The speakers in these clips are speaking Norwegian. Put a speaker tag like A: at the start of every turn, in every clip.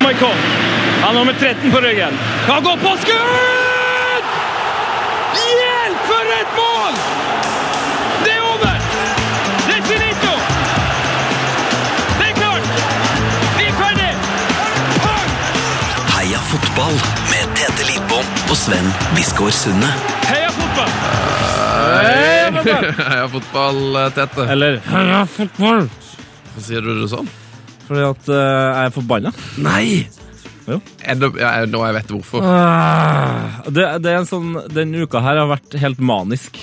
A: Moikon. Han har nummer 13 på ryggen. Han går på skudd! Hjelp, for et mål! Det er over! Det er finito! Det er klart! Vi er ferdig! Pang!
B: Heia fotball med Tete Lidbom og Sven Biskår Sunde.
A: Heia fotball!
C: Jeg har fotball-tete.
D: Eller Heia fotball!
C: eh, Hvorfor sier du det sånn?
D: Fordi at eh, jeg er forbanna.
C: Nei!
D: Jo.
C: Er det, ja, er det nå jeg vet hvorfor.
D: Eh, Ah, Det, det er en sånn, Denne uka her har vært helt manisk.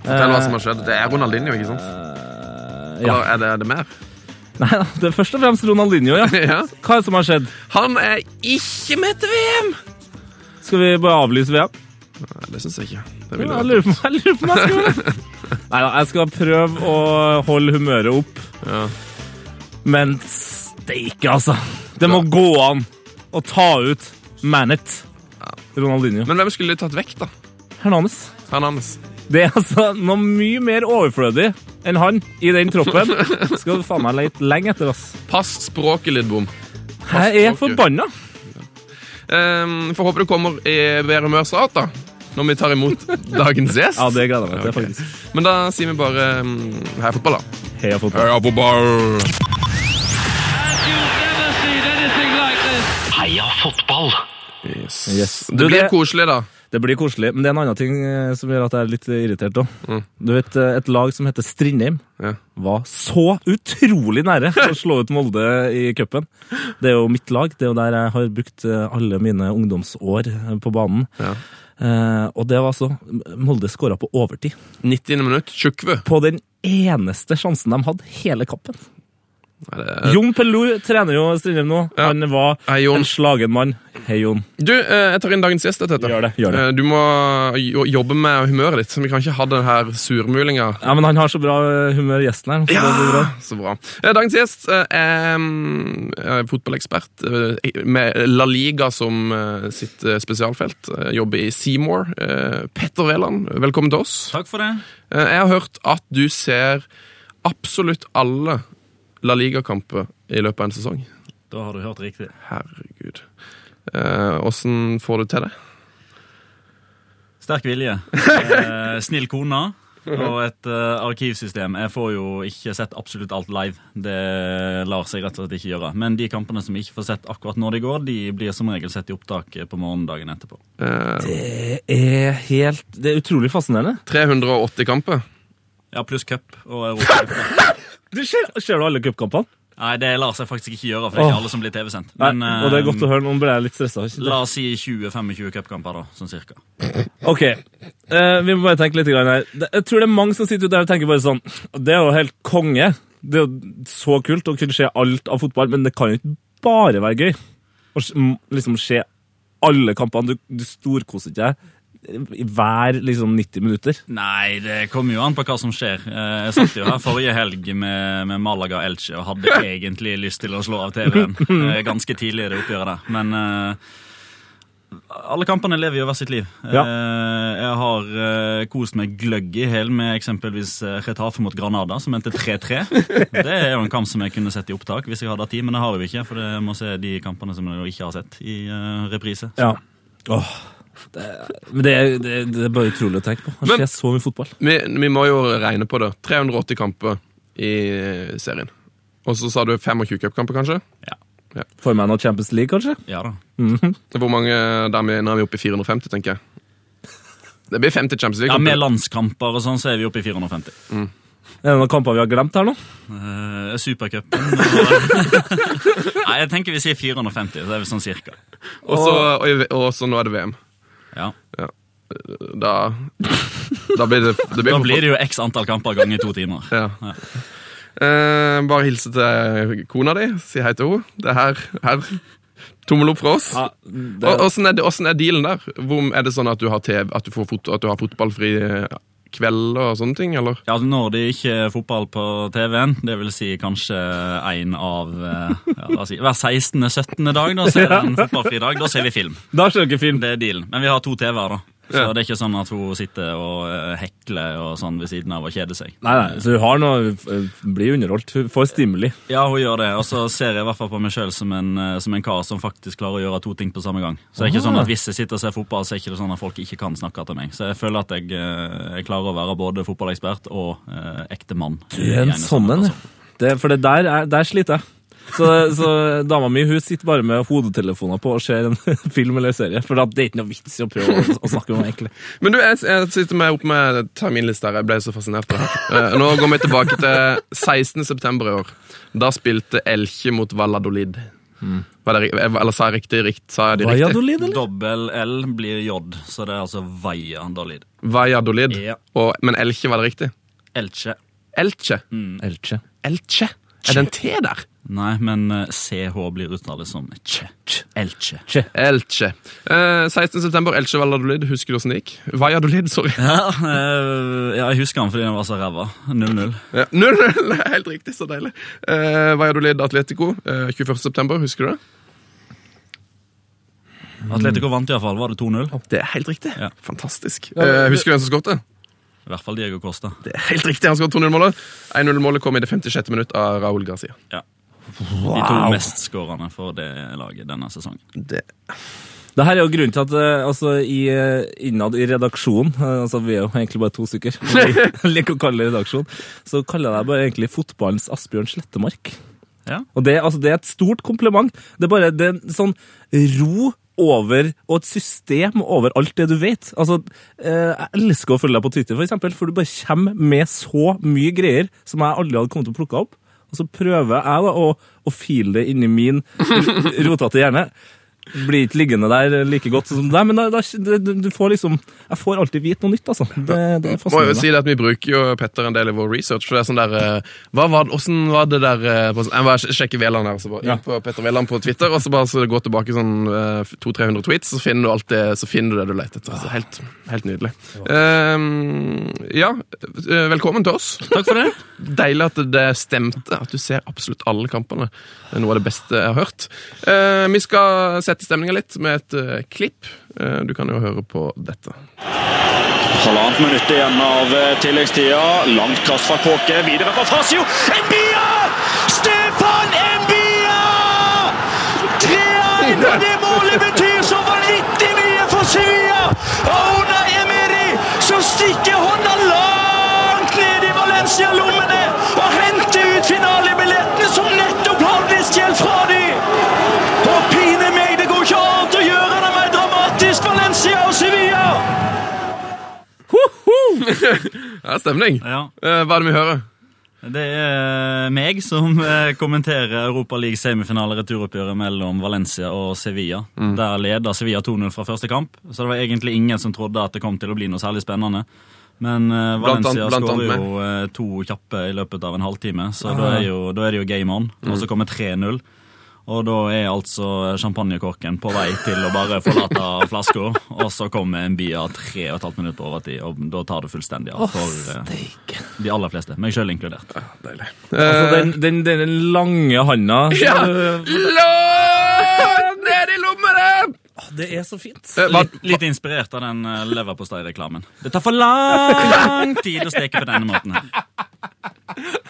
C: Fortell hva som har skjedd. Det er Ronaldinho, ikke sant?
D: Eh, ja.
C: Eller er det, er det mer?
D: Nei, da, det er først og fremst Ronaldinho. ja.
C: Ja.
D: Hva er det som har skjedd?
C: Han er ikke med til VM!
D: Skal vi bare avlyse VM?
C: Nei, det syns jeg ikke. Det
D: Ja, Jeg
C: ville
D: lurer på jeg lurer på om jeg skal gjøre det. Nei da, jeg skal prøve å holde humøret opp.
C: Ja.
D: Men steike, altså. Det må gå an å ta ut Manet. Ronaldinho.
C: Men hvem skulle de tatt vekk, da?
D: Hernanes.
C: Hernandez.
D: Det er altså noe mye mer overflødig enn han i den troppen. Skal du faen meg lete lenge etter, ass.
C: Pass språket, Lidbom.
D: Jeg er
C: språket.
D: forbanna.
C: Um, får håpe du kommer i bedre humør snart, da. Når vi tar imot dagens gjest.
D: Ja, det gleder jeg meg til,
C: Ok.
D: faktisk.
C: Men da sier vi bare um, heia fotball, da.
D: Heia fotball.
C: Heia fotball!
A: You've never seen anything like this.
B: Heia fotball!
C: Yes.
D: Yes.
C: Det
D: Du,
C: blir
D: det-
C: koselig, da.
D: Det blir koselig. Men det er en annen ting eh, som gjør at jeg er litt irritert òg. Du vet, eh, et lag som heter Strindheim,
C: Mm. Ja.
D: var så utrolig nære å slå ut Molde i cupen. Det er jo mitt lag. Det er jo der jeg har brukt eh, alle mine ungdomsår eh, på banen.
C: Ja.
D: Eh, og det var altså Molde skåra på overtid.
C: 90. minutt. Tjukve.
D: På den eneste sjansen de hadde hele kappen.
C: Nei, det-
D: Jon Pelou trener jo Strindheim nå.
C: Ja.
D: Han var
C: Hei, Jon.
D: en slagen mann. Hei, Jon.
C: Du, eh, jeg tar inn dagens gjest. Dette.
D: Gjør det, gjør det.
C: Eh, Du må jo- jobbe med humøret ditt. så Vi kan ikke ha den her surmulinga.
D: Ja, men han har så bra eh, humør, gjesten her. Så det blir bra.
C: Så bra. Eh, Dagens gjest eh, er mm, eh, fotballekspert eh, med La Liga som eh, sitt eh, spesialfelt. Eh, Jobber i Seymour. Eh, Petter Wæland, velkommen til oss.
E: Takk for det.
C: Eh, Jeg har hørt at du ser absolutt alle La Liga-kamper i løpet av en sesong.
E: Da har du hørt riktig.
C: Herregud. Åssen får du til det?
E: Sterk vilje. Eh, snill kone. Og et eh, arkivsystem. Jeg får jo ikke sett absolutt alt live. Det lar seg rett og slett ikke gjøre. Men de kampene som jeg ikke får sett akkurat når de går, de blir som regel sett i opptak på morgendagen etterpå.
C: Eh,
D: Det er helt Det er utrolig fascinerende.
C: 380 kamper.
E: Ja, pluss cup og europacup.
D: Du ser, ser du alle cupkampene?
E: Nei, det lar seg faktisk ikke gjøre, for det er ikke alle som blir TV-sendt.
D: Nei,
E: Men
D: og det er godt å
E: eh,
D: høre. Nå ble jeg litt stressa.
E: la oss si 20-25 cupkamper, da, sånn cirka.
D: Ok, eh, vi må bare tenke litt grann her. Det- Jeg tror det er mange som sitter ute der og tenker bare sånn Det er jo helt konge. Det er jo så kult å kunne se alt av fotball, men det kan jo ikke bare være gøy. Å s- m- liksom se alle kampene. Du, du storkoser ikke deg i hver liksom 90 minutter.
E: Nei, det kommer jo an på hva som skjer. Eh, Jeg satt jo her forrige helg med, med Malaga Elche og hadde egentlig lyst til å slå av TV-en eh, ganske tidlig i det oppgjøret der. Men eh, alle kampene lever jo hver sitt liv. Eh,
D: Ja.
E: Jeg har eh, kost meg gløgg i hæl med eksempelvis eh, Getafe mot Granada, som endte 3-3. Det er jo en kamp som jeg kunne sett i opptak hvis jeg hadde hatt tid, men det har jeg jo ikke, for jeg må se de kampene som jeg jo ikke har sett i eh, reprise.
D: Ja. Åh. Det, er- men det, er- det, er- det er bare utrolig å tenke på. Å
C: Men-
D: se så mye fotball.
C: Vi, vi må jo regne på det. 380 kamper i serien. Og så sa du 25 cupkamper, kanskje?
D: Får meg noe Champions League, kanskje?
E: Ja da.
C: Hvor mange der vi, Nå er vi oppe i 450, tenker jeg. Det blir 50 Champions
E: Ja, Med
C: League-kamper.
E: landskamper og sånn, så er vi oppe i 450.
D: Er det noen kamper vi har glemt her nå?
E: Eh, Supercupen og- Nei, jeg tenker vi sier 450. Det er vel sånn cirka.
C: og, så- og, i- og så nå er det VM.
E: Ja.
C: Da, da blir det, det blir
E: Da blir det jo x antall kamper ganger to timer.
C: Ja. Eh, bare hilse til kona di. Si hei til henne. Det er her. her. Tommel opp fra oss.
D: Ja, det,
C: Og- Åssen er, det- åssen er dealen der? Hvor, er det sånn at du har, TV, at du får fot, at du har fotballfri eh, kvelder og sånne ting, eller?
E: Ja, Når det ikke er fotball på TV-en, det vil si kanskje en av eh, ja, la oss si, Hver 16.-17. dag, da, så er det en fotballfri dag. Da ser vi film.
D: da skjønner jeg ikke film.
E: Det er dealen. Men vi har to TV-er, da. Så det er ikke sånn at hun sitter og eh, hekler og sånn ved siden av og kjeder seg.
D: Nei, nei, så hun har noe, eh, blir underholdt. Hun får stimuli.
E: Ja, hun gjør det, og så ser jeg i hvert fall på meg sjøl som, en, eh, som en kar som faktisk klarer å gjøre to ting på samme gang. Så det er ikke
D: Ah.
E: sånn at hvis jeg sitter og ser fotball, så er ikke det sånn at folk ikke kan snakke til meg. Så jeg føler at jeg, eh, jeg klarer å være både fotballekspert og eh, ekte mann.
D: Du er en
E: Gjerne sånn,
D: sånn en,
E: altså.
D: ja. Det- For det der, er, der sliter jeg. Så, så dama mi hun sitter bare med hodetelefoner på og ser en film eller serie. For at det er ikke noe vits i å prøve å, å snakke om egentlig.
C: Men du, jeg, jeg sitter med, opp med terminlista her. Jeg ble så fascinert av det her. Eh, Nå går vi tilbake til 16. september i år. Da spilte Elche mot Valladolid. Var det, ri- eh, eller sa jeg riktig? rikt, sa jeg det riktig?
D: Valladolid, eller?
E: sånn. Dobbel L blir J, så det er altså Vaia Dalid.
C: Valladolid.
E: Ja.
C: Og, men Elche var det riktig.
E: Elche.
C: Elche.
D: Elche.
C: Elche? Er det en T der?
E: Nei, men eh, CH blir uttalt som tje. Elche.
C: Elche. Eh, 16. september, Elche Valladolid. Husker du åssen det gikk? Valladolid, sorry.
E: Ja, eh, ja, jeg husker han fordi han var så ræva. 0-0.
C: Ja. 0-0, helt riktig. Så deilig. Eh, Valladolid Atletico eh, 21. september, husker du det?
D: Mm.
E: Atletico vant iallfall. Var det 2-0?
C: Det er helt riktig.
E: Ja.
C: Fantastisk. Eh, husker du hvem som skåret?
E: I hvert fall Diego Costa.
C: Det er helt riktig, han skåret 2-0-målet. 1-0-målet kom i det 56. minutt av Raúl Garcia.
E: De to mestskårerne for det laget denne sesongen.
C: Det.
D: Det her er jo grunnen til at eh, altså, i, eh, innad i redaksjonen eh, altså Vi er jo egentlig bare to stykker. Jeg liker å kalle det redaksjon. Så kaller jeg deg bare egentlig fotballens Asbjørn Slettemark.
E: Ja.
D: Og det, altså, det er et stort kompliment. Det er bare det er en sånn ro over, og et system over alt det du vet. Altså, eh, jeg elsker å følge deg på Twitter, for eksempel, for du bare kommer med så mye greier som jeg aldri hadde kommet til å plukke opp. Og så prøver jeg da å, å file det inni min rotete hjerne. Blir ikke liggende der like godt som deg, men da, da, du, du får liksom Jeg får alltid vite noe nytt, altså. Det, det er
C: Må jo
D: fascinerende.
C: si det at Vi bruker jo Petter en del i vår research. for det er sånn der, eh, hva var, det- Hvordan var det der eh, på- Jeg bare sjekker Veland her, så bare, inn på Petter Veland på Twitter, og så bare så gå tilbake sånn eh, 200-300 tweets, så finner du alt det, så finner du det du leter etter. Så helt, helt nydelig. Eh, ja, eh, velkommen til oss.
E: Takk for det.
C: Deilig at det stemte, at du ser absolutt alle kampene. Det er noe av det beste jeg har hørt. Eh, vi skal sette stemninga litt med et eh, klipp. Eh, du kan jo høre på dette.
F: Halvannet minutt igjen av eh, tilleggstida. Langt kast fra Kåke. Videre fra Fasio. Embia! Stefan Embia! 3-1! og Det målet betyr så vanvittig mye for Sevilla! Og under Emiri så stikker hånda langt ned i Valencia-lommene og henter ut finalebillettene som nettopp har blitt stjålet fra dem! Og pine meg, det går ikke annet å gjøre det med dramatisk Valencia og Sevilla!
C: Ja, stemning.
E: Ja.
C: Eh, hva er det vi hører?
E: Det er meg som eh, kommenterer Europa League semifinale returoppgjøret mellom Valencia og Sevilla.
C: Mm.
E: Der leda Sevilla 2-0 fra første kamp, så det var egentlig ingen som trodde at det kom til å bli noe særlig spennende. Men eh,
C: Blant
E: Valencia
C: annet- blant
E: skårer
C: annet
E: jo eh, to kjappe i løpet av en halvtime, så
C: Ah.
E: da, er jo, da er det jo game on.
C: Mm.
E: Og så kommer 3-0. Og da er altså champagnekorken på vei til å bare forlate flaska, og så kommer en bia tre og et halvt minutt på overtid, og da tar det fullstendig av for eh, de aller fleste, meg sjøl inkludert.
C: Deilig.
D: Altså, den, den, den lange handa
C: Ja! Lån ned i lommene!
D: Det er så fint.
C: Eh, hva,
E: Litt, litt inspirert av den eh, leverpostei-reklamen. Det tar for lang tid å steke på denne måten. her.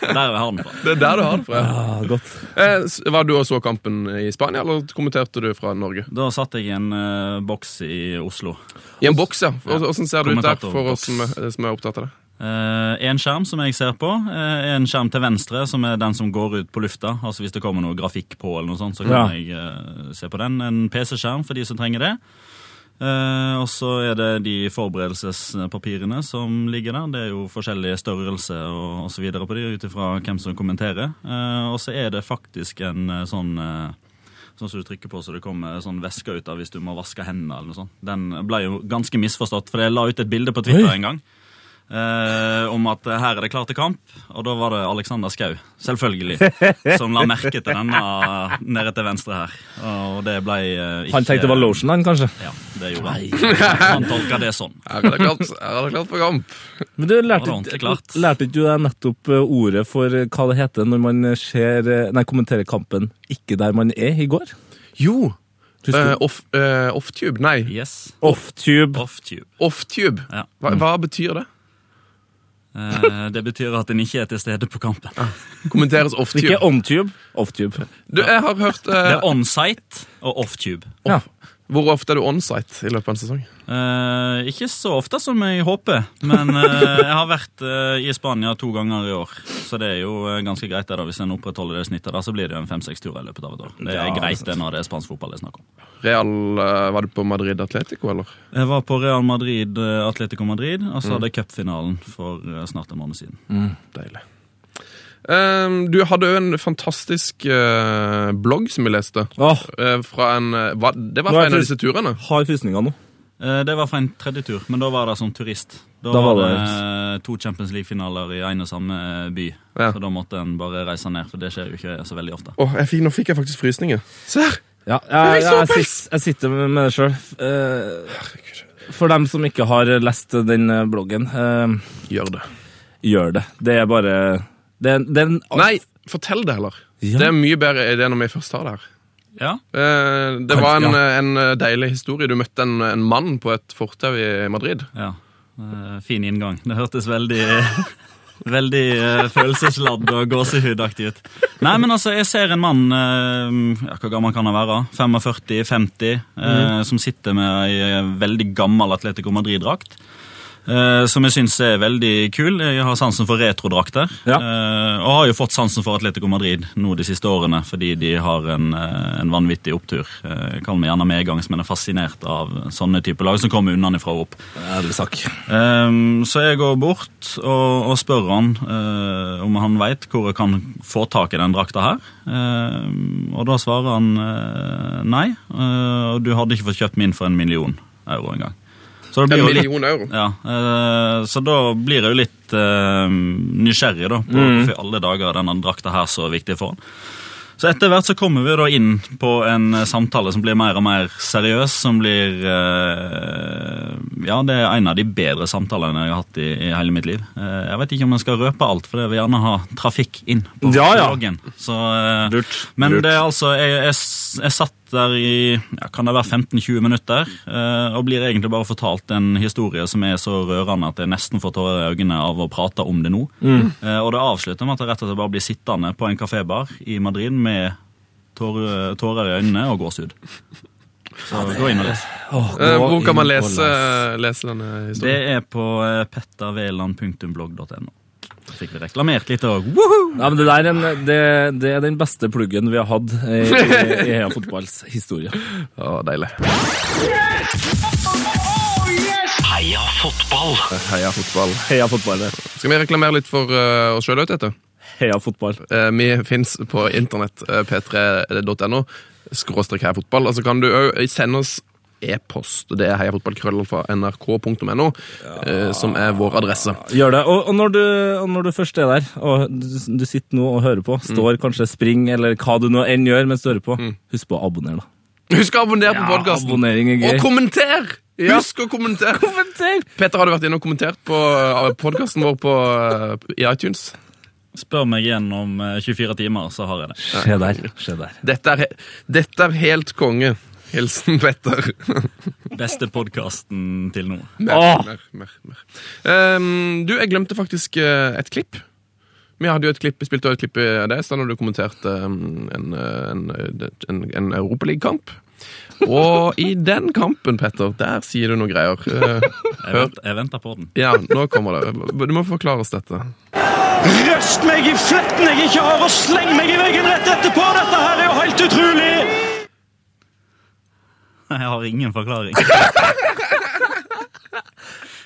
E: Der har den fra.
C: det er der du har det fra.
D: Ja, Ah, godt.
C: Eh, s- var du og så kampen i Spania, eller kommenterte du fra Norge?
E: Da satt jeg i en eh, boks i Oslo.
C: I en boks, ja. Åssen ser det ut der for oss
E: Kommentatorboks.
C: som er, som er opptatt av det?
E: Eh, en skjerm som jeg ser på, eh, en skjerm til venstre, som er den som går ut på lufta. Altså Hvis det kommer noe grafikk på, eller noe sånt, så kan
D: Ja.
E: jeg eh, se på den. En PC-skjerm for de som trenger det. Eh, og så er det de forberedelsespapirene som ligger der. Det er jo forskjellige størrelse og osv. på de, ut ifra hvem som kommenterer. Eh, og så er det faktisk en eh, sånn eh, Sånn som du trykker på så det kommer sånn væske ut av hvis du må vaske hendene. eller noe sånt. Den ble jo ganske misforstått, for jeg la ut et bilde på Twitter
D: Oi.
E: en gang eh, om at eh, her er det klart til kamp, og da var det Alexander Skau, selvfølgelig, som la merke til denne eh, nede til venstre her. Og det ble eh, ikke
D: Han tenkte det var lotion, han, kanskje.
E: Ja, det gjorde han. Han tolka det sånn.
C: Her er det klart, her er det klart for kamp.
D: Men du,
E: det
D: lærte,
E: var ordentlig klart.
D: lærte ikke du deg nettopp eh, ordet for eh, hva det heter når man ser, eh, nei, kommenterer kampen ikke der man er i går?
C: Jo, Eh, off, eh, Offtube? Nei,
E: Yes.
D: Offtube.
E: Offtube.
C: offtube.
E: Ja.
C: Hva, hva betyr det?
E: Eh, det betyr at en ikke er til stede på kampen.
C: Kommenteres offtube.
D: Ikke ontube. Offtube.
C: Du, jeg har hørt
E: Det
C: eh,
E: er onsite og offtube.
D: Ja.
C: Hvor ofte er du onsite i løpet av en sesong?
E: Eh, ikke så ofte som jeg håper, men eh, jeg har vært eh, i Spania to ganger i år. Så det er jo eh, ganske greit det da, hvis en opprettholder det snittet. da, Så blir det jo en fem-seks turer i løpet av et år. Det er greit det når det er spansk fotball det er snakk om.
C: Real, eh, Var du på Madrid Atletico, eller?
E: Jeg var på Real Madrid, eh, Atletico Madrid, og så hadde jeg cupfinalen for eh, snart en måned siden.
C: Deilig. Ehm, du hadde jo en fantastisk eh, blogg som vi leste.
D: Åh,
C: Eh, fra en, eh, hva, det var
D: Nå er
C: fra en av
D: det-
C: disse turene.
D: har frysninger nå.
E: Eh, Det var for en tredje tur, men da var det som turist. Da,
D: Da var
E: var det eh, to Champions League-finaler i en og samme eh, by.
C: Ja.
E: Så da måtte en bare reise ned, for det skjer jo ikke så veldig ofte.
C: Åh, jeg fikk, nå fikk jeg faktisk frysninger. Se her!
D: Ja,
C: Men
D: jeg,
C: jeg
D: jeg,
C: så
D: jeg,
C: pels!
D: sit- jeg sitter med med det sjøl. For dem som ikke har lest den eh, bloggen, eh,
C: Gjør det.
D: gjør det. Det er bare Det er, det er en
C: Nei, fortell det heller.
D: Ja.
C: Det er mye bedre idé når vi først har det her.
E: Ja,
C: Eh, det var en,
D: Ja.
C: eh, en eh, deilig historie. Du møtte en, en mann på et fortau i Madrid.
E: ja. Eh, Fin inngang. Det hørtes veldig Veldig eh, følelsesladd og gåsehudaktig ut. Nei, men altså, jeg ser en mann eh, ja, Hvor gammel kan han være? 45-50? Eh, Som sitter med ei eh, veldig gammel Atletico Madrid-drakt. Eh, som jeg syns er veldig kul. Jeg har sansen for retrodrakter.
D: Ja.
E: Eh, og har jo fått sansen for Atletico Madrid nå de siste årene, fordi de har en, eh, en vanvittig opptur. Eh, Kall meg gjerne medgangs, men er fascinert av sånne typer lag som kommer unnafra og opp.
D: ærlig sak.
E: Ehm, så jeg går bort og, og spør han eh, om han veit hvor jeg kan få tak i den drakta her. Ehm, og da svarer han eh, nei, eh, og du hadde ikke fått kjøpt min for en million euro engang. Så, det
C: En
E: blir jo litt-
C: million euro.
E: ja, eh, så da blir jeg jo litt eh, nysgjerrig da, på
C: Mm.
E: hvorfor i alle dager er denne drakta her så viktig for han. Så etter hvert så kommer vi da inn på en eh, samtale som blir mer og mer seriøs, som blir eh, Ja, det er en av de bedre samtalene jeg har hatt i, i hele mitt liv. Eh, jeg vet ikke om jeg skal røpe alt, for jeg vil gjerne ha trafikk inn på
D: Ja, ja.
E: bloggen. Så, eh,
D: Lurt,
E: Men
D: lurt.
E: det er altså jeg, jeg, s- jeg satt der i ja, kan det være 15-20 minutter eh, og blir egentlig bare fortalt en historie som er så rørende at jeg nesten får tårer i øynene av å prate om det nå.
D: Mm.
E: Eh, og det avslutter med at jeg rett og slett bare blir sittende på en kafébar i Madrid med tårer, tårer i øynene og gåsehud. Så gå inn og les.
C: Eh, hvor kan man lese, eh, lese denne
E: Det
C: historien?
E: er på eh, petterveland.blogg.no. Da fikk vi reklamert litt òg. Woohoo!
D: Ja, men det, der er en, det, det er den beste pluggen vi har hatt i, i, i Heia Fotballs historie.
C: Å, deilig.
B: Heia fotball!
C: Heia fotball.
D: Heia fotball. det.
C: Skal vi reklamere litt for eh, oss sjøl, vet du?
D: Heia fotball.
C: Eh, Vi fins på internett, eh, p3.no, skråstrek heia fotball. Og så kan du òg sende oss e-post. Det er heiafotballkrøllalfa.nrk.no, eh, som er vår adresse.
D: Gjør det. Og, og, når du, og når du først er der, og du, du sitter nå og hører på, står kanskje spring eller hva du nå enn gjør mens du hører på, husk på å abonnere, da.
C: Husk å abonnere på
D: Ja,
C: podkasten!
D: Abonnering er gøy.
C: Og kommenter! Husk å kommentere!
D: kommenter!
C: Peter, har du vært inne og kommentert på podkasten vår på, eh, i iTunes?
E: Spør meg igjen om eh, 24 timer, så har jeg det.
D: Se der. Se der.
C: Dette er, he- dette er helt konge. Hilsen Petter.
E: Beste podkasten til nå.
C: Mer,
D: Åh!
C: mer, mer, mer. Ehm, du, jeg glemte faktisk eh, et klipp. Vi hadde jo et klipp, vi spilte jo et klipp i det, så da du kommenterte ehm, en, eh, en, eh, en, en Europaliga-kamp. Og i den kampen, Petter, der sier du noen greier. Eh,
E: Jeg vent- Jeg venter på den.
C: ja, nå kommer det. Du må forklare oss dette.
F: Røst meg i fletten jeg ikke har, og sleng meg i veggen rett etterpå! Dette her er jo helt utrolig!
E: Jeg har ingen forklaring.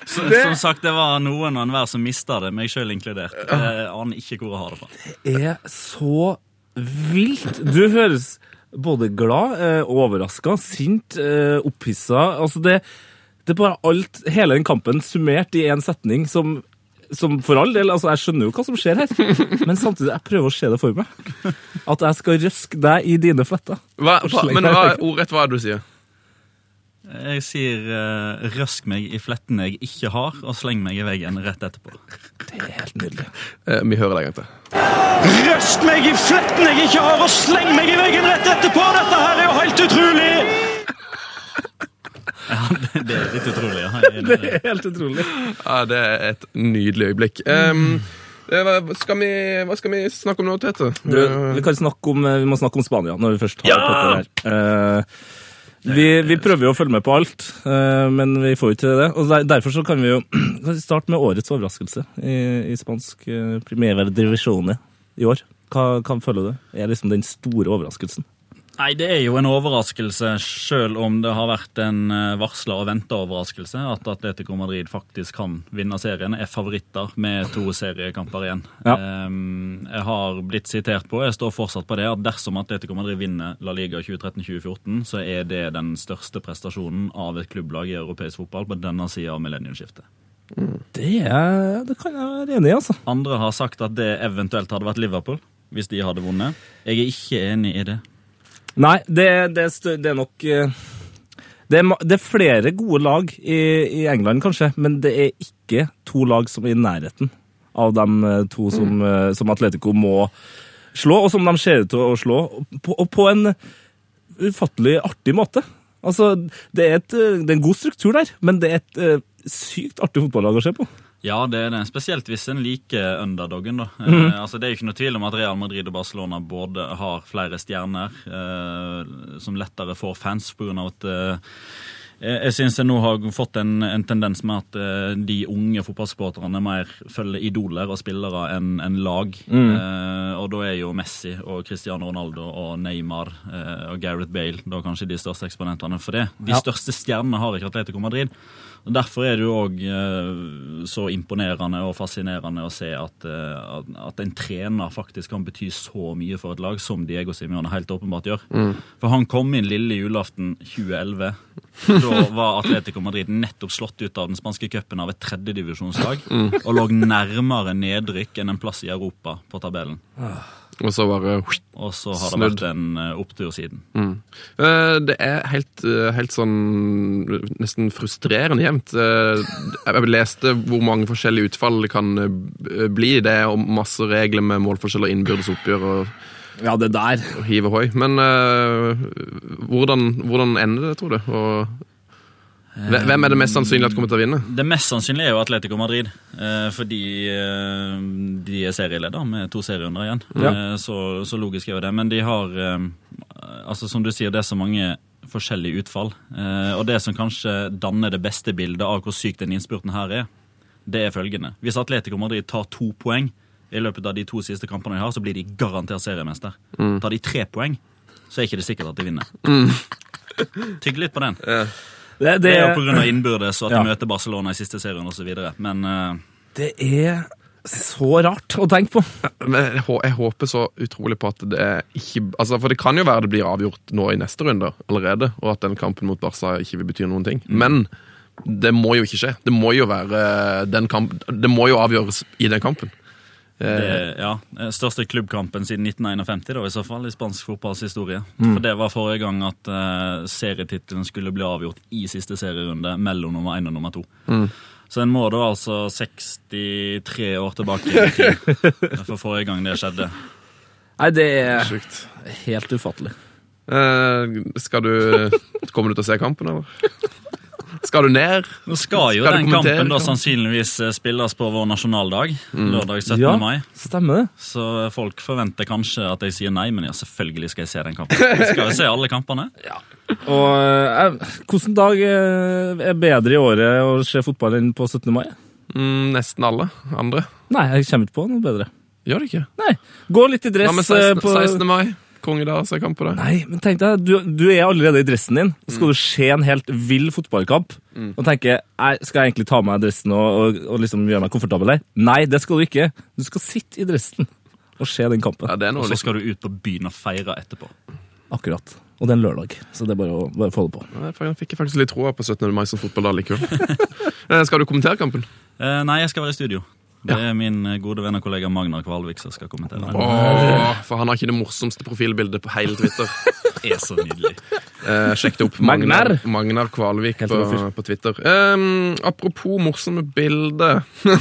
E: Så, Som sagt, det var noen og enhver som mista det, meg sjøl inkludert. Jeg aner ikke hvor jeg har det fra.
D: er så vilt. Du høres både glad, eh, overraska, sint, eh, opphissa. Altså det, det er bare alt, hele den kampen summert i én setning som, som for all del, altså jeg skjønner jo hva som skjer her, men samtidig jeg prøver å se det for meg. At jeg skal røske deg i dine fletter.
C: Hva, hva- men hva, ordrett hva er det du sier?
E: Jeg sier eh, 'røsk meg i fletten jeg ikke har', og 'sleng meg i veggen' rett etterpå.
D: Det er helt nydelig.
C: Eh, vi hører det en gang til.
F: Røst meg i fletten jeg ikke har, og sleng meg i veggen rett etterpå! Dette her er jo helt utrolig!
E: helt utrolig. ja. Jeg er enig i det.
D: Helt utrolig.
C: Ja, det er et nydelig øyeblikk. Ehm, eh, hva, skal vi, hva skal vi snakke om nå, Tete? Eh,
D: Du, vi, kan snakke om, vi må snakke om Spania når vi først har Eh. ja! dette her. Eh, vi, vi prøver jo å følge med på alt, eh, men vi får jo ikke det. Og der, derfor så kan vi jo kan vi starte med årets overraskelse i, i spansk eh, primera divisjone i år. Hva, hva føler du er liksom den store overraskelsen?
E: Nei, det er jo en overraskelse, sjøl om det har vært en eh, varsla og venta overraskelse, at Atletico Madrid faktisk kan vinne serien. Er favoritter med to seriekamper igjen.
D: Ja.
E: Ehm, jeg har blitt sitert på, jeg står fortsatt på det, at dersom Atletico Madrid vinner La Liga 2013-2014, så er det den største prestasjonen av et klubblag i europeisk fotball på denne sida av millenniumsskiftet.
D: Det, er, det kan jeg være enig i, altså.
E: Andre har sagt at det eventuelt hadde vært Liverpool, hvis de hadde vunnet. Jeg er ikke enig i det.
D: Nei, det, det, er stø- det er nok eh, det er, ma- det er flere gode lag i, i England, kanskje, men det er ikke to lag som er i nærheten av de eh, to som, eh, som Atletico må slå, og som de ser ut til å slå, og på, og på en ufattelig artig måte. Altså, det er, et, eh, det er en god struktur der, men det er et eh, sykt artig fotballag å se på.
E: Ja, det er det. Spesielt hvis en liker underdoggen. da. Eh, altså, det er jo ikke noe tvil om at Real Madrid og Barcelona både har flere stjerner eh, som lettere får fans pga. at eh, jeg jeg syns jeg nå har fått en, en tendens med at eh, de unge fotballsporterne mer følger idoler og spillere enn enn lag. Eh, og da er jo Messi og Cristiano Ronaldo og Neymar eh, og Gareth Bale da kanskje de største eksponentene for det. De
D: Ja.
E: største stjernene har ikke Atletico Madrid. Og Derfor er det jo òg så imponerende og fascinerende å se at, eh, at- at en trener faktisk kan bety så mye for et lag, som Diego Simione helt åpenbart gjør. For han kom inn lille julaften 2011. Da var Atletico Madrid nettopp slått ut av den spanske cupen av et tredjedivisjonslag og lå nærmere nedrykk enn en plass i Europa på tabellen.
C: Og så bare
E: Og så har det
C: Snudd.
E: vært en eh, opptur siden.
C: Eh, Det er helt, eh, helt sånn nesten frustrerende jevnt. Eh, Jeg leste hvor mange forskjellige utfall det kan eh, bli. Det er om masse regler med målforskjell og innbyrdes oppgjør og
D: Ja, det der.
C: hiv ohoi. Men eh, hvordan, hvordan ender det, tror du? Og hve- hvem er det mest sannsynlig at kommer til å vinne?
E: Det mest sannsynlige er jo Atletico Madrid, eh, fordi eh, de er serieleder med to serierunder igjen.
D: Ja.
E: Eh, så, så logisk er jo det. Men de har eh, Altså, som du sier, det er så mange forskjellige utfall. Eh, og det som kanskje danner det beste bildet av hvor syk den innspurten her er, det er følgende. Hvis Atletico Madrid tar to poeng i løpet av de to siste kampene de har, så blir de garantert seriemester. Tar de tre poeng, så er ikke det sikkert at de vinner. Tygg litt på den.
D: Det,
E: Det er jo pga. innbyrdes og at de
D: Ja.
E: møter Barcelona i siste serien osv. Men eh,
D: det er så rart å tenke på.
C: Men jeg, hå- jeg håper så utrolig på at det er ikke altså For det kan jo være det blir avgjort nå i neste runde allerede, og at den kampen mot Barca ikke vil bety noen ting. Men det må jo ikke skje. Det må jo være eh, den kamp, Det må jo avgjøres i den kampen.
E: det er ja, eh, største klubbkampen siden 1951, da, i så fall, i spansk fotballs historie. For det var forrige gang at eh, serietittelen skulle bli avgjort i siste serierunde mellom nummer én og nummer to. Så en må da altså 63 år tilbake i tid for forrige gang det skjedde.
D: Nei, det er
C: Sjukt.
D: helt ufattelig.
C: Eh, skal du Kommer du til å se kampen, eller? Skal du ned?
E: Nå skal jo
C: Skal du
E: den
C: kommentere
E: kampen da
C: kampen?
E: sannsynligvis eh, spilles på vår nasjonaldag, lørdag 17. mai.
D: stemmer det.
E: Så folk forventer kanskje at jeg sier nei, men ja, selvfølgelig skal jeg se den kampen. Skal jeg se alle kampene?
D: Og eh, hvilken dag eh, er bedre i året å se fotball enn på 17. mai?
C: Mm, nesten alle andre.
D: Nei, jeg kommer ikke på noe bedre.
C: Gjør det ikke?
D: Nei, Gå litt i dress
C: Hva med
D: eh,
C: 16,
D: på
C: 16. mai? Kongedag, se kamp på det.
D: Nei, men tenk deg, du, du er allerede i dressen din.
C: Mm.
D: Så skal du se en helt vill fotballkamp og tenke nei, skal jeg egentlig ta av meg dressen og, og, og liksom gjøre meg komfortabel her? Nei, det skal du ikke. Du skal sitte i dressen og se den kampen.
C: Ja, det er
E: Og
C: noe
E: så
C: litt,
E: skal du ut på byen og feire etterpå.
D: Akkurat. Og det er en lørdag, så det er bare å bare få det på.
C: Nei, jeg fikk faktisk litt troa på 17. mai som fotball likevel. Eh, skal du kommentere kampen?
E: Eh, nei, jeg skal være i studio. Det er min eh, gode venn og kollega Magnar Kvalvik som skal kommentere. det.
C: Åh, for han har ikke det morsomste profilbildet på hele Twitter.
E: Det er så nydelig.
C: Eh, sjekk det opp.
D: Magnar.
C: Magnar Kvalvik
D: Helt
C: på,
D: rå fyr.
C: på Twitter. Um, apropos morsomme bilder.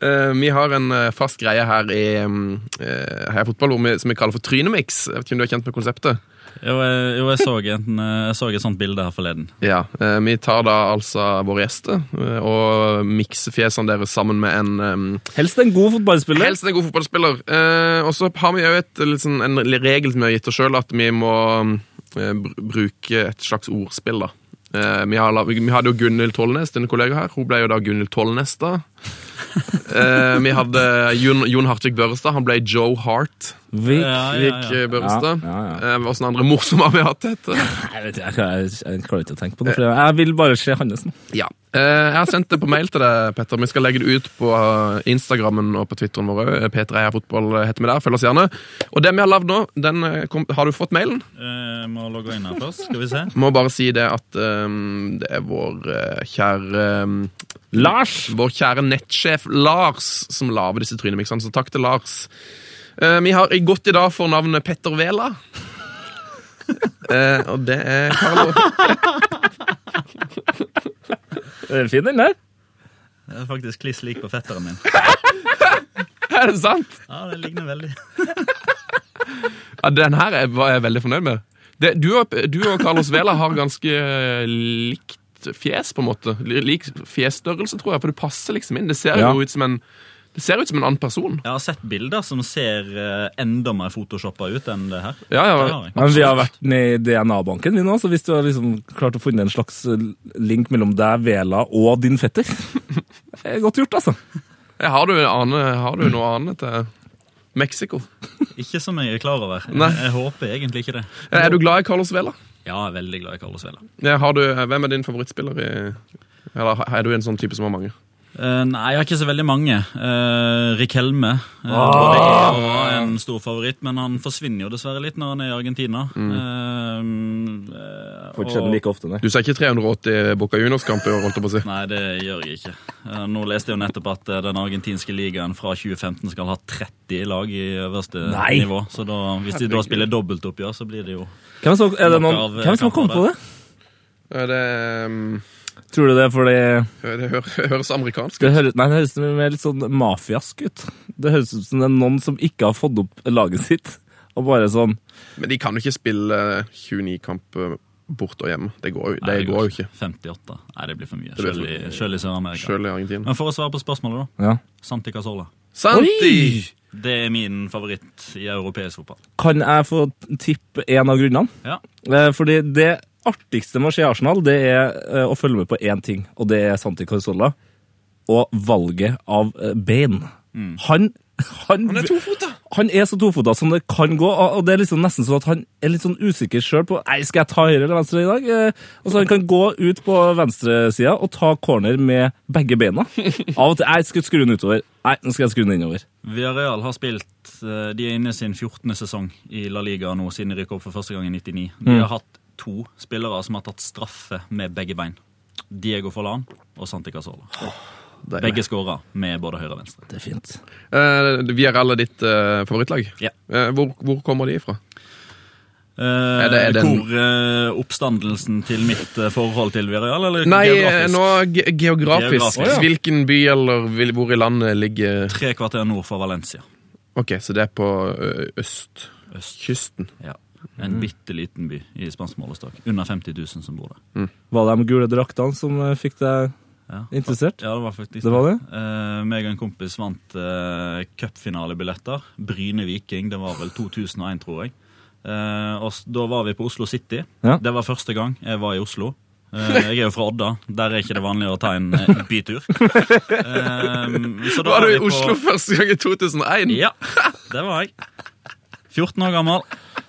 C: Eh, vi har en eh, fast greie her i um, eh, Heia Fotball hvor vi, som vi kaller for Trynemix. Jeg vet ikke om du er kjent med konseptet?
E: Jo, jeg, jo, jeg, så en, jeg så et sånt bilde her forleden.
C: Ja, eh, Vi tar da altså våre gjester eh, og mikser fjesene deres sammen med en em,
D: Helst en god fotballspiller.
C: Helst en god fotballspiller. Eh, og så har vi jo et, litt sånn, en regel som vi har gitt oss sjøl, at vi må eh, br- bruke et slags ordspill. da. Eh, vi, har, la- vi vi hadde jo Gunhild Tollnes, din kollega her. Hun ble jo da Gunhild Tollnes, da. Eh, vi hadde Jon, Jon Hartvig Børrestad. Han ble Joe Hart.
D: Vik.
E: Ja, ja,
C: Vik
E: ja.
C: eh, Børrestad.
D: Ja, ja,
C: Eh, Hva sånne andre morsomme har vi hatt? Etter.
D: Jeg, vet, ikke, jeg, jeg, jeg klarer ikke å tenke på det. for Jeg jeg vil bare se Hannesen.
C: Ja. Eh, jeg har sendt det på mail til deg, Petter. Vi skal legge det ut på eh, Instagrammen og på Twitteren vår òg. P3 Heia Fotball heter vi der. Følg oss gjerne. Og det vi har lagd nå, den eh, kom, Har du fått mailen?
E: Eh, må logge inn her først. Skal vi se.
C: Må bare si det at eh, det er vår eh, kjære eh,
D: Lars!
C: Vår kjære nettsjef Lars som lager disse trynemiksene, så takk til Lars. Eh, vi har i godt i dag for navnet Petter Vela. Eh, og det er Carlo.
D: Er den fin, den der?
E: Det er faktisk kliss lik på fetteren min.
C: Er det sant?
E: Ja, det ligner veldig.
C: Ja, den her er, var jeg veldig fornøyd med. Det, du, og, du og Carlos Vela har ganske eh, likt fjes, på en måte. Li- Lik fjesstørrelse, tror jeg, for det passer liksom inn. Det ser
D: Ja.
C: jo ut som en det ser ut som en annen person.
E: Jeg har sett bilder som ser eh, enda mer photoshoppa ut enn det her.
C: Ja,
E: Det
C: ja.
E: har jeg.
D: Men vi har vært ned i DNA-banken vi nå, så hvis du har liksom klart å finne en slags link mellom deg, Vela og din fetter det er Godt gjort, altså.
C: Jeg Har, du, ane, har du noe annet til Mexico?
E: Ikke som jeg er klar over.
C: Nei.
E: Jeg håper egentlig ikke det.
C: Eh, Er du glad i Carlos Vela?
E: Ja, jeg er veldig glad i Carlos Vela.
C: Eh, Har du, eh, hvem er din favorittspiller i Eller er du en sånn type som har mange?
E: Eh, nei, jeg har ikke så veldig mange. Uh, Rik Helme eh,
C: Ah!
E: både er og var en stor favoritt, men han forsvinner jo dessverre litt når han er i Argentina.
C: Mm.
E: Eh, eh,
D: Får ikke se den
E: og-
D: like ofte, nei.
C: Du ser ikke 380 Boca Juniors-kamper, holdt jeg på å si.
E: Nei, det gjør jeg ikke. Eh, nå leste jeg jo nettopp at eh, den argentinske ligaen fra 2015 skal ha 30 lag i øverste
D: Nei!
E: nivå. Så da, hvis de da spiller dobbeltoppgjør, så blir det jo
D: Hvem, så, er det
E: Noe av-
D: noen, hvem som har kommet på det?
C: Eh, Det, mm,
D: Tror du det er fordi
C: det hø- høres amerikansk ut.
D: det høres, nei, det høres mer litt sånn mafiask ut. Det høres ut som det er noen som ikke har fått opp laget sitt, og bare sånn
C: Men de kan jo ikke spille eh, 29 kamper eh, bort og hjemme. Det går jo,
E: Nei,
C: det går jo ikke.
E: 58. Nei, det blir for mye.
C: blir for
E: Selv i,
C: mye.
E: selv i Sør-Amerika.
C: Selv i Argentina.
E: Men for å svare på spørsmålet, da.
D: ja.
E: Santi Casola.
C: Santi!
E: Det er min favoritt i europeisk fotball.
D: Kan jeg få tippe en av grunnene?
E: Ja.
D: Eh, Fordi det artigste med å se Arsenal, det er eh, å følge med på én ting, og det er Santi Carzola og valget av eh, bein. Han, Mm. han,
C: Han er tofota!
D: han er så tofota som det kan gå, og og det er liksom nesten sånn at han er litt sånn usikker sjøl på Nei, skal jeg ta høyre eller venstre i dag. Eh, Og så han kan gå ut på venstresida og ta corner med begge beina. Av og til jeg skal skru den utover. Nei, nå skal jeg skru den innover.
E: Villarreal har spilt eh, De er inne i sin 14. sesong i La Liga nå, siden de rykket opp for første gang i 99. De
C: Mm.
E: har hatt to spillere som har tatt straffe med begge bein. Diego Forlan og Santi Casola. Begge skåra med både høyre og venstre.
D: Det er fint.
C: Eh, vi er alle ditt eh, favorittlag.
E: Ja.
C: Eh, hvor, hvor kommer de ifra?
E: Eh,
C: Er det- er det en-
E: Hvor eh, oppstandelsen til mitt eh, forhold til Villarreal, eller
C: Nei, eh,
E: geografisk?
C: nå ge geografisk.
E: Geografisk. Å, ja.
C: Hvilken by eller vil, hvor i landet ligger
E: Tre kvarter nord for Valencia.
C: Ok, så det er på ø, øst. Østkysten.
E: Ja. En
C: Mm.
E: bitte liten by i spansk målestokk. Under 50 000 som bor der.
D: Var det de gule draktene som eh, fikk deg
E: Ja.
D: interessert?
E: Ja, det var faktisk
D: Det var det?
E: Eh, meg og en kompis vant uh, cupfinalebilletter. Bryne Viking, det var vel 2001, tror jeg. Eh, og s- da var vi på Oslo City.
D: Ja.
E: Det var første gang jeg var i Oslo. Eh, jeg er jo fra Odda. Der er ikke det vanlig å ta en eh, bytur. Eh, så da
C: Var du i
E: vi på-
C: Oslo første gang i 2001?
E: Ja, det var jeg. 14 år gammel.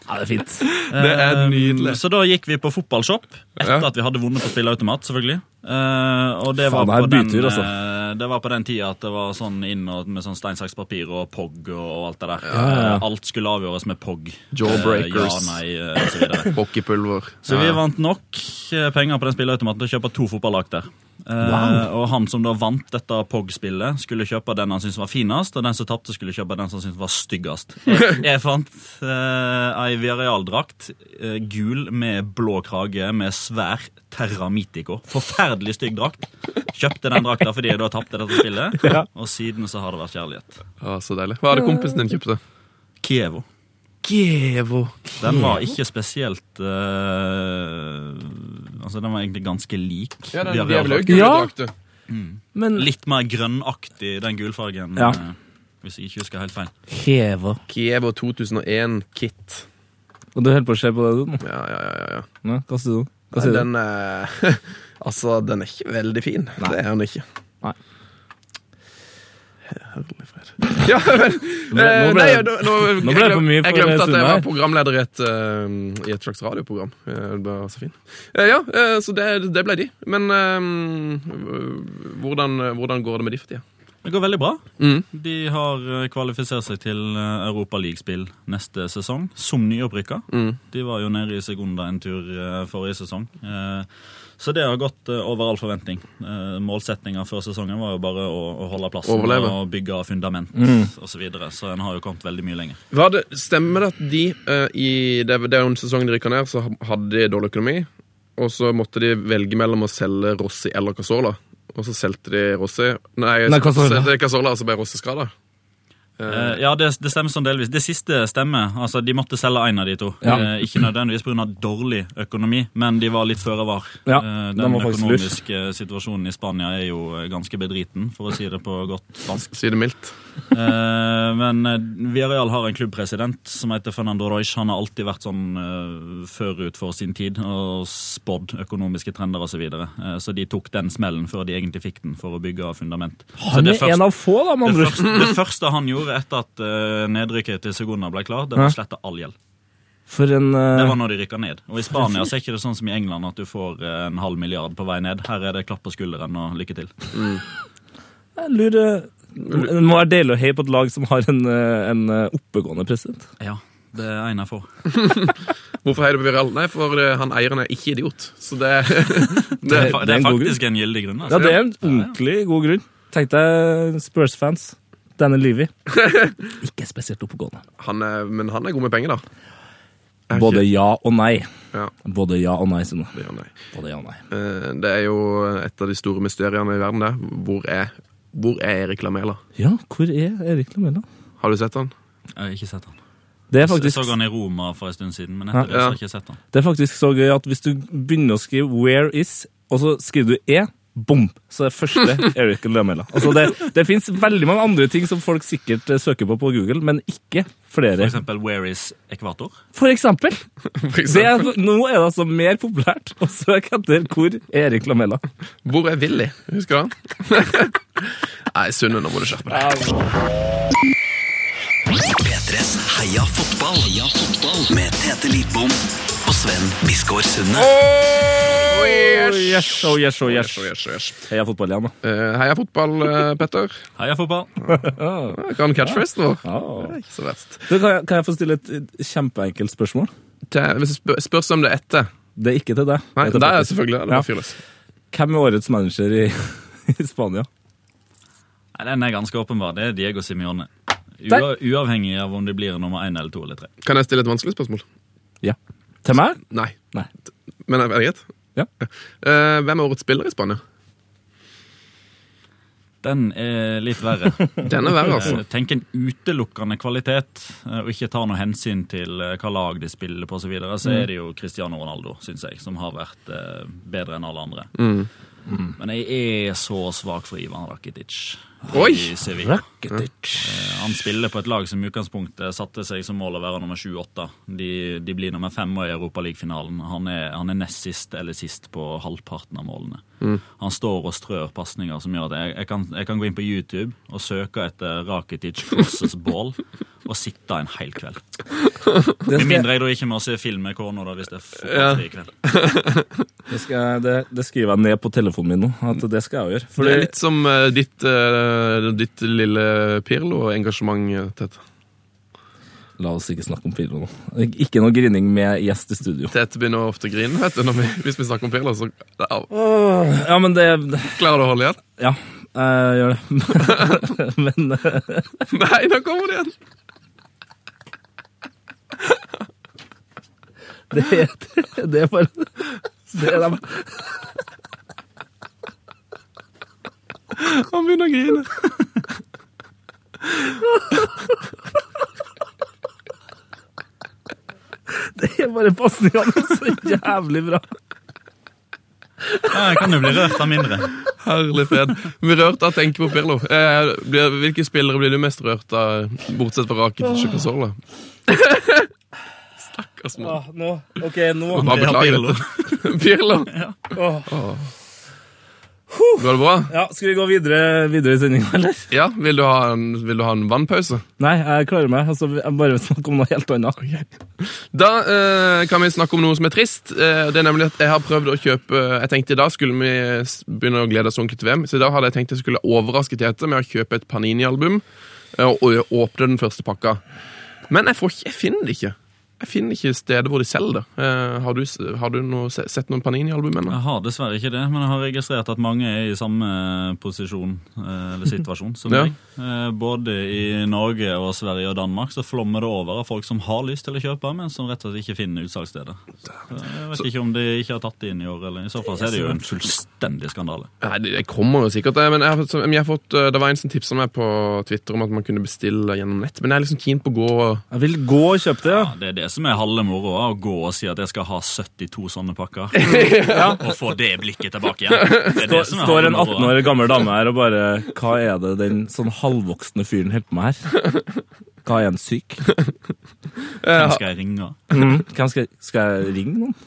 D: Ja, det er fint.
C: Det er nydelig.
E: Eh, Så da gikk vi på fotballshop etter
C: Ja.
E: at vi hadde vunnet på spilleautomat, selvfølgelig. Eh, og det var,
D: Faen, det her
E: på
D: er
E: den,
D: bytur, altså.
E: eh, det var på den tida at det var sånn inn og med sånn stein, saks, papir og POG og alt det der. Eh, Alt skulle avgjøres med POG.
C: Jawbreakers.
E: Eh, ja, nei, eh, og så videre.
C: Hockeypulver.
E: Så vi
C: Ja.
E: vant nok eh, penger på den spilleautomaten til å kjøpe to fotballag der. Eh, Og han som da vant dette POG-spillet, skulle kjøpe den han syntes var finest, og den som tapte, skulle kjøpe den som syntes var styggest. Jeg, jeg fant eh, ei Viareal-drakt, eh, gul med blå krage, med svær Terramitico. Forferdelig stygg drakt. Kjøpte den drakta fordi jeg da tapte dette spillet, og siden så har det vært kjærlighet.
C: Å, så deilig. Hva er det kompisen din kjøpte?
E: Kievo.
C: Kievo.
E: Den var ikke spesielt eh, Altså, den var egentlig ganske lik.
C: Ja, den
E: Villarreal.
C: diablaug.
D: Ja.
C: Ja. Mm.
D: Men
E: Litt mer grønnaktig, den gulfargen.
D: Ja.
E: eh, Hvis jeg ikke husker helt feil.
D: Heva.
C: Kievo 2001-kit.
D: Og du holder på å se på det, du? nå?
C: Ja, ja, ja, ja, ja.
D: Nei, Hva sier du?
C: Nei,
D: Hva sier du?
C: den er Altså, den er ikke veldig fin. Det er den ikke.
D: Nei.
C: Herlig fred. Ja, men eh,
D: Nå ble
C: Nei,
D: det-
C: nå, nå,
D: nå ble det for mye
C: jeg
D: for
C: glemte at
D: Sunne
C: jeg
D: her.
C: var programleder i et, eh, i et slags radioprogram. Eh, Det var så fin. Eh, Ja, eh, så det, det ble de. Men eh, hvordan, hvordan går det med de for tida?
E: Det går veldig bra.
C: Mm.
E: De har eh, kvalifisert seg til eh, Europaligaspill neste sesong, som nyopprykka.
C: Mm.
E: De var jo nede i Segunda en tur eh, forrige sesong. Eh, Så det har gått eh, over all forventning. Eh, Målsettinga før sesongen var jo bare å, å holde plassen
C: Overleve. Mm.
E: og bygge fundament og osv., så, videre. så en har jo kommet veldig mye lenger.
C: Var det, stemmer det at de eh, i det, det er jo en sesong de rykka ned, så hadde de dårlig økonomi. Og så måtte de velge mellom å selge Rossi eller Casola. Og så solgte de Rossi Nei,
D: Nei, Cazorla.
C: solgte de Casola, og så ble Rossi skada.
E: Eh, Ja, det, det stemmer sånn delvis. Det siste stemmer. Altså, De måtte selge én av de to.
D: Ja.
E: Eh, Ikke nødvendigvis pga. dårlig økonomi, men de var litt føre var.
D: Ja,
E: Eh,
D: den
E: Den
D: var faktisk lur.
E: økonomiske eh, situasjonen i Spania er jo eh, ganske bedriten, for å si det på godt spansk.
C: Si det mildt.
E: Eh, Men eh, Villarreal har en klubbpresident som heter Fernando Roig. Han har alltid vært sånn eh, forut for sin tid og spådd økonomiske trender osv. Så, videre. Eh, så de tok den smellen før de egentlig fikk den, for å bygge fundament. Så
D: Han
E: det
D: er
E: første-
D: en av få, da, med
E: det
D: andre ord.
E: første, det første han gjorde etter at eh, nedrykket til Segunda ble klar, det var å slette all gjeld.
D: For en
E: Det
D: eh,
E: var når de rykka ned. Og I Spania så er ikke det sånn som i England at du får eh, en halv milliard på vei ned. Her er det klapp på skulderen og lykke til.
D: Jeg lurer Det må være deilig å heie på et lag som har en, eh, en eh, oppegående president.
E: Ja, det er en av få.
C: Hvorfor heier du på Viral? Nei, for eh, han eieren er ikke idiot. Så det,
E: Det
C: det
E: er, fa- det
D: en
E: er
D: god
E: faktisk en gyldig grunn.
D: Ja,
E: Altså.
D: det er en ordentlig god grunn. Tenk deg Spurs-fans. Denne Livy. Ikke spesielt oppegående.
C: han er, Men han er god med penger, da. Er ikke-
D: Både ja og nei.
C: Ja.
D: Både ja og nei, Sunne.
C: Ja, nei.
D: Både ja og nei.
C: Eh, Det er jo et av de store mysteriene i verden, det. Hvor er, hvor er Erik Lamela?
D: Ja, hvor er Erik Lamella?
C: Har du sett han?
E: Jeg har ikke sett han.
D: Det er
E: Jeg
D: faktisk
E: så han i Roma for en stund siden, men
D: Ja.
E: etter det så har jeg ikke sett han.
D: Det er faktisk så gøy at hvis du begynner å skrive 'where is', og så skriver du 'e', bom, så er det første Eric Lamela. Altså det, det fins veldig mange andre ting som folk sikkert eh, søker på på Google, men ikke
E: For
D: flere.
E: eksempel Where is Ekvator?
D: For eksempel!
C: For
D: Det er,
C: eksempel.
D: nå er det altså mer populært å søke etter 'hvor er Erik Lamela'.
C: Hvor er Willy? Husker du han? Nei, Sunne, nå må du skjerpe deg.
B: P3s Heia fotball. Heia fotball. Med Tete Lidbom og Sven Biskår Sunde.
D: Oh, yes, oh, yes, oh, yes.
C: Yes, yes, yes.
D: Heia fotball igjen, da.
C: Eh, heia fotball, eh, Petter.
E: Heia fotball!
C: Jeg kan catchphrasen vår.
D: Ah.
C: Ikke så verst.
D: Du, kan, jeg, kan jeg få stille et eh, kjempeenkelt spørsmål?
C: Til- Hvis det spør- spørs om det er etter
D: Det er ikke til deg.
C: Nei, det
D: Det til
C: er
D: Petter.
C: selvfølgelig det.
D: Ja.
C: er fyrløs.
D: Hvem er årets manager i, i Spania?
E: Nei, Den er ganske åpenbar. Det er Diego Simione. Ua,
D: Der.
E: uavhengig av om det blir nummer én eller to eller tre.
C: Kan jeg stille et vanskelig spørsmål?
D: Ja. Til meg?
C: Nei.
D: Nei.
C: Men er det greit?
D: Ja.
C: Eh, hvem er årets spiller i Spania?
E: Den er litt verre.
C: Den er verre, altså.
E: Eh, Tenk en utelukkende kvalitet, eh, og ikke ta noe hensyn til eh, hva lag de spiller på osv., så, videre,
C: Mm.
E: så er det jo Cristiano Ronaldo, syns jeg, som har vært eh, bedre enn alle andre.
C: Mm.
E: Men jeg er så svak for Ivan Rakitic.
C: Oi!
E: i Sevilla. Eh, Han spiller på et lag som i utgangspunktet satte seg som mål å være nummer 7-8. De, de blir nummer fem i Europaligafinalen. Han, er- han er nest sist eller sist på halvparten av målene. Han står og strør pasninger som gjør at jeg, jeg, kan, jeg kan gå inn på YouTube og søke etter Rakitic crosses ball og sitte en hel kveld.
D: Det
E: Med
D: skal, jeg-
E: mindre jeg da ikke må se film med korna, da, hvis det er fotballfri kveld.
D: det, skal, jeg- det, det skriver jeg ned på telefonen min nå, at det skal jeg gjøre.
C: Det
D: Fordi,
C: er litt som eh, ditt, eh, ditt lille Pirlo-engasjement, eh, Tete.
D: La oss ikke snakke om Pirlo nå. Ikke noe grining med gjest i studio.
C: Tete begynner ofte å grine vet du, når vi, hvis vi snakker om Pirlo. Så au,
D: Ja, men det
C: klarer du å holde igjen?
D: Ja, jeg gjør det. men eh,
C: Nei, nå kommer det igjen!
D: det, er- det er bare det er dem.
C: Han begynner å grine.
D: Det er bare pasningene er så jævlig bra.
E: Ja, jeg kan jo bli rørt av mindre.
C: Herlig fred. Vi er rørt av å tenke på Pirlo. Eh, blir, hvilke spillere blir du mest rørt av, bortsett fra Rakitic og Casola? Stakkars mann.
D: nå. OK, nå.
C: Bare
E: Andrea
C: beklager
E: Pirlo.
C: dette. Pirlo.
D: Åh.
C: Går det bra?
D: Ja, Skal vi gå videre, videre i sendinga, eller?
C: Ja, vil du ha en, vil du ha en vannpause?
D: Nei, jeg klarer meg. Altså, jeg bare vil snakke om noe helt annet.
C: Da eh, kan vi snakke om noe som er trist. Eh, det er nemlig at Jeg har prøvd å kjøpe eh, Jeg tenkte i dag skulle vi s- begynne å glede oss ordentlig til VM, så i dag hadde jeg tenkt jeg skulle overraske Tete med å kjøpe et Panini-album eh, og, og åpne den første pakka. Men jeg, får ikke, jeg finner det ikke. Jeg finner ikke stedet hvor de selger det. Eh, har du, s- har du noe, se- sett noen Panini-album ennå?
E: Jeg har dessverre ikke det, men jeg har registrert at mange er i samme posisjon eh, eller situasjon som
C: Ja.
E: meg. Eh, Både i Norge og Sverige og Danmark så flommer det over av folk som har lyst til å kjøpe, men som rett og slett ikke finner utsalgsstedet. Så Jeg vet ikke om de ikke har tatt det inn i år, eller i så fall så er det jo en fullstendig skandale.
C: Nei, det det kommer jo sikkert det, men jeg, har fått- men jeg har fått, eh, det var en som tipsa meg på Twitter om at man kunne bestille gjennom nett. Men jeg er liksom keen på å gå
D: Jeg vil gå og kjøpe det.
E: Ja, det er det som er halve moroa, å gå og si at jeg skal ha 72 sånne pakker, og få det blikket tilbake igjen. Det er
D: Står,
E: det som er
D: står en
E: halve moroa.
D: 18 år gammel dame her og bare Hva er det den sånn halvvoksne fyren holder på med her? Hva er en syk?
E: Hvem skal jeg ringe?
D: Hvem skal, skal jeg ringe noen?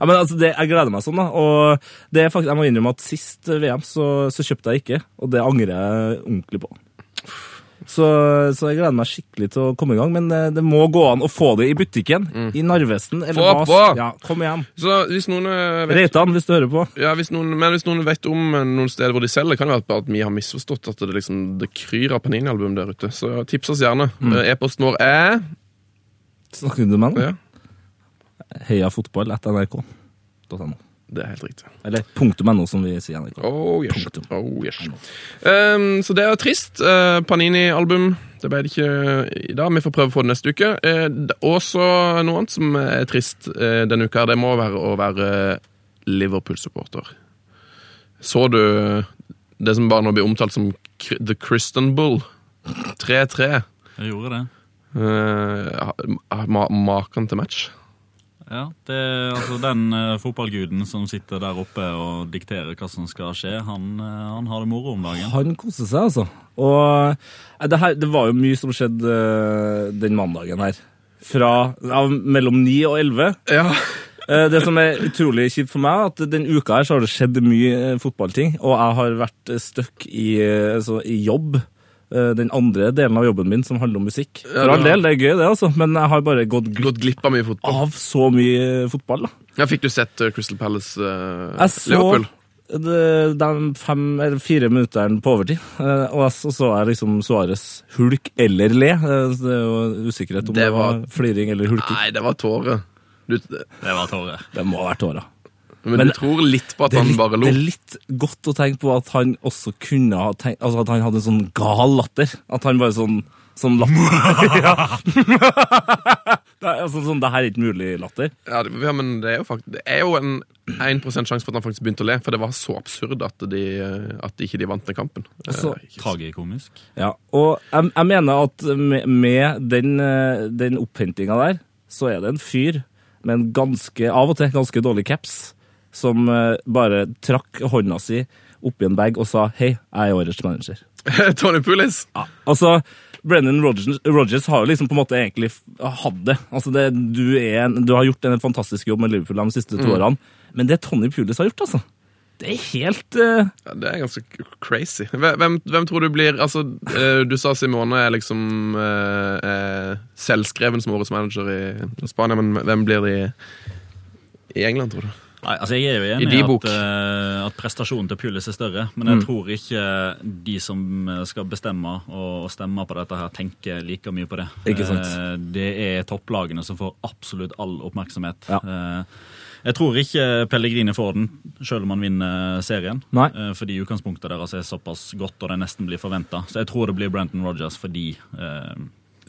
D: Ja, men altså, det, Jeg gleder meg sånn, da. Og det er faktisk, jeg må innrømme at sist VM så, så kjøpte jeg ikke, og det angrer jeg ordentlig på. Så, så jeg gleder meg skikkelig til å komme i gang, men eh, det må gå an å få det i butikken. I Narvesen. Eller
C: Få
D: hva-
C: på!
D: Ja, kom igjen.
C: Så hvis noen eh, vet
D: Reitan, hvis du hører på.
C: Ja, hvis noen, men hvis noen vet om eh, noen steder hvor de selger, kan det være bare at vi har misforstått at det, liksom, det kryr av Panini-album der ute. Så tips oss gjerne. Eh, E-posten vår er
D: Snakker du med
C: ja,
D: ham? Heia fotball etter nrk.no.
C: Det er helt riktig.
D: Eller punktum .no, som vi sier i NRK.
C: Oh yes.
D: Punktum.
C: Oh, yes. Ehm, så det er trist. Eh, Panini-album Det ble det ikke i dag. Vi får prøve å få det neste uke. Eh, d- også noe annet som er trist eh, denne uka. Det må være å være Liverpool-supporter. Så du det som bare nå blir omtalt som Kr- The Christian Bull? 3-3.
E: Jeg gjorde det.
C: Eh, ha- ma maken til match.
E: Ja, det er altså Den eh, fotballguden som sitter der oppe og dikterer hva som skal skje, han, eh, han har det moro om dagen.
D: Han koser seg, altså. Og eh, det, her, det var jo mye som skjedde eh, den mandagen her. Fra ja, mellom 9 og 11.
C: Ja.
D: Eh, Det som er utrolig kjipt for meg, er at den uka her så har det skjedd mye eh, fotballting, og jeg har vært eh, stuck i, eh, altså, i jobb. Eh, Den andre delen av jobben min som handler om musikk. For all del, det er gøy det, altså, men jeg har bare gått glipp
C: Gått glipp av mye fotball.
D: av så mye eh, fotball, da.
C: Ja, fikk du sett eh, Crystal Palace eh,
D: Jeg så
C: Liverpool?
D: de, de fem eller fire minuttene på overtid, eh, og jeg så, så jeg liksom Suárez hulk eller le. Eh, så Det er jo usikkerhet om
C: Det
D: det var,
C: var-
D: fliring eller hulking.
C: Nei, det var tårer. Du, men,
E: Det var tårer.
D: Det må ha vært åra.
C: du tror litt på Ah. at
D: Det er,
C: han
D: litt,
C: bare
D: det
C: lo?
D: er litt godt å tenke på at han også kunne ha tenkt Altså at han hadde en sånn gal latter. At han bare sånn Sånn latter. ja. det er, altså, sånn, det her er ikke mulig latter.
C: Ja, det, ja, men det er jo, faktisk, det er jo en 1 sjanse for at han faktisk begynte å le, for det var så absurd at, de, eh, at ikke de vant den kampen. Eh,
D: Så-
E: Tragikomisk.
D: Ja, og jeg, jeg mener at med, med den, eh, den opphentinga der, så er det en fyr med en ganske, av og til ganske dårlig caps, som eh, bare trakk hånda si oppi en bag og sa 'hei, jeg er årets manager'.
C: Tony Pulis!
D: Altså, Brennan Rodgers, Rodgers har jo liksom på en måte egentlig f- hatt det. Altså, det du, er en, du har gjort en fantastisk jobb med Liverpool de siste to årene, men det Tony Pulis har gjort, altså Det er helt eh,
C: Ja, det er ganske k- crazy. Hve- Hvem, hvem tror du blir Altså, eh, du sa Simone er liksom eh, eh, selvskreven som årets manager i Spania, men hvem blir de i England, tror du?
E: Nei, altså Jeg er jo enig
C: I de
E: i
C: bok.
E: at, eh, at prestasjonen til Pulis er større, men
D: Mm.
E: jeg tror ikke de som eh, skal bestemme og stemme på dette, her tenker like mye på det.
D: Ikke sant.
E: Eh, Det er topplagene som får absolutt all oppmerksomhet.
D: Ja.
E: Eh, Jeg tror ikke Pellegrini får den, selv om han vinner serien.
D: Nei.
E: eh, Fordi utgangspunktet deres er såpass godt og det nesten blir forventa. Så jeg tror det blir Brenton Rogers fordi eh,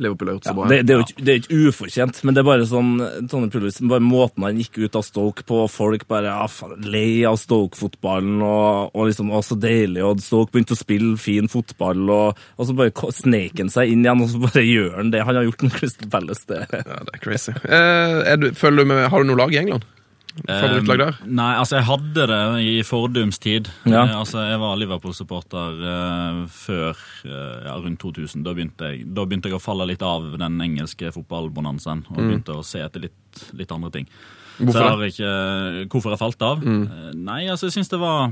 C: Liverpool har gjort så bra.
D: Det, det, er jo ikke, det er jo ikke ufortjent, men det er bare sånn Tony Pulis, bare måten han gikk ut av Stoke på, og folk bare ja, faen, lei av Stoke-fotballen, og, og liksom å, så deilig, og Stoke begynte å spille fin fotball, og, og så bare ko- snek han seg inn igjen, og så bare gjør han det han har gjort med Crystal Palace. Det.
C: Ja, det er crazy. Eh, er du, følger du med, har du noe lag i England? Favorittlag der?
E: Eh, nei, altså jeg hadde det i fordums tid.
D: Ja.
E: Eh, altså Jeg var Liverpool-supporter eh, før eh, ja, rundt 2000. Da begynte, jeg, da begynte jeg å falle litt av den engelske fotballbonanzaen og begynte å se etter litt, litt andre ting. Så
C: Mm.
E: jeg
C: Hvorfor det? Mm.
E: har ikke, hvorfor jeg falt av? Eh, Nei, altså jeg syns det var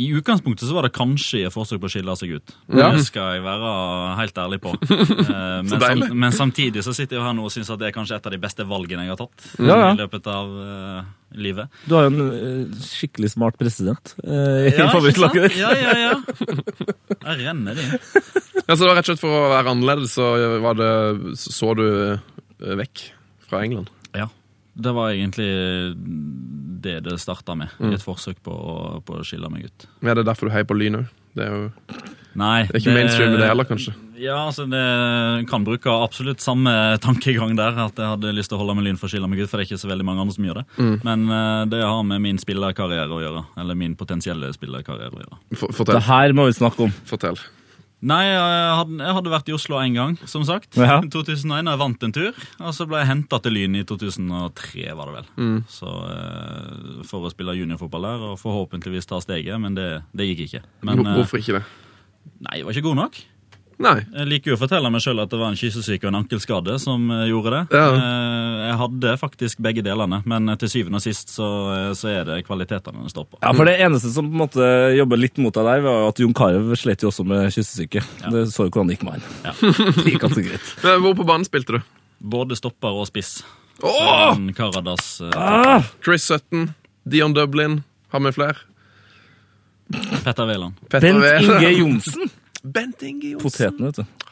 E: i utgangspunktet så var det kanskje et forsøk på å skille seg ut.
C: Ja.
E: Det skal jeg være helt ærlig på. Eh, Men, sam,
C: deilig.
E: men samtidig så sitter jeg jo her nå og syns at det er kanskje et av de beste valgene jeg har tatt.
D: Ja, ja.
E: i løpet av eh, livet.
D: Du har jo en eh, skikkelig smart president eh, i
E: Ja, ikke
D: favorittlaget
E: sant?
D: ditt.
E: Ja, ja, ja. Jeg renner de.
C: Altså, det var rett og slett for å være annerledes, så var det, så du eh, vekk fra England.
E: Ja. Det var egentlig det det starta med.
C: Mm.
E: i Et forsøk på å, på å skille meg ut.
C: Men er det derfor du heier på Lyn òg? Det er jo det
E: Nei.
C: er ikke mainstream i det heller, kanskje.
E: Ja, altså det kan bruke absolutt samme tankegang der. At jeg hadde lyst til å holde med Lyn for å skille meg ut, for det er ikke så veldig mange andre som gjør det.
C: Mm.
E: Men eh, det har med min spillerkarriere å gjøre. Eller min potensielle spillerkarriere å gjøre.
C: For,
D: Det
C: fortell.
D: her må vi snakke om.
C: fortell.
E: Nei, eh, jeg hadde, jeg hadde vært i Oslo en gang, som sagt. I
D: Ja.
E: 2001, og jeg vant en tur. Og så ble jeg henta til Lyn i 2003, var det vel.
C: Mm.
E: Så eh, For å spille juniorfotball der, og forhåpentligvis ta steget, men det, det gikk ikke. Men
C: Hvor-
E: eh,
C: Hvorfor ikke det?
E: nei, jeg var ikke god nok.
C: Nei.
E: Jeg liker jo å fortelle meg sjøl at det var en kyssesyke og en ankelskade som eh, gjorde det.
C: Ja.
E: Eh, Jeg hadde faktisk begge delene, men eh, til syvende og sist så, eh, så er det kvalitetene det står på.
D: Ja, for Det eneste som på en måte jobber litt mot deg der, var jo at Jon Carew slet jo også med kyssesyke. Det så jo hvordan det gikk med han.
E: Ja.
D: Det gikk ganske greit.
C: Men hvor på banen spilte du?
E: Både stopper og spiss.
C: Åh!
D: Mm.
C: Ah!
E: Søren Karadas eh,
D: Ah!
C: Chris Sutton, Dion Dublin, har vi flere?
E: Petter Wæland.
C: Petter
D: Bent
C: Wæhl.
D: Inge Johnsen.
C: Bent Inge Johnsen.
D: Poteten, vet du.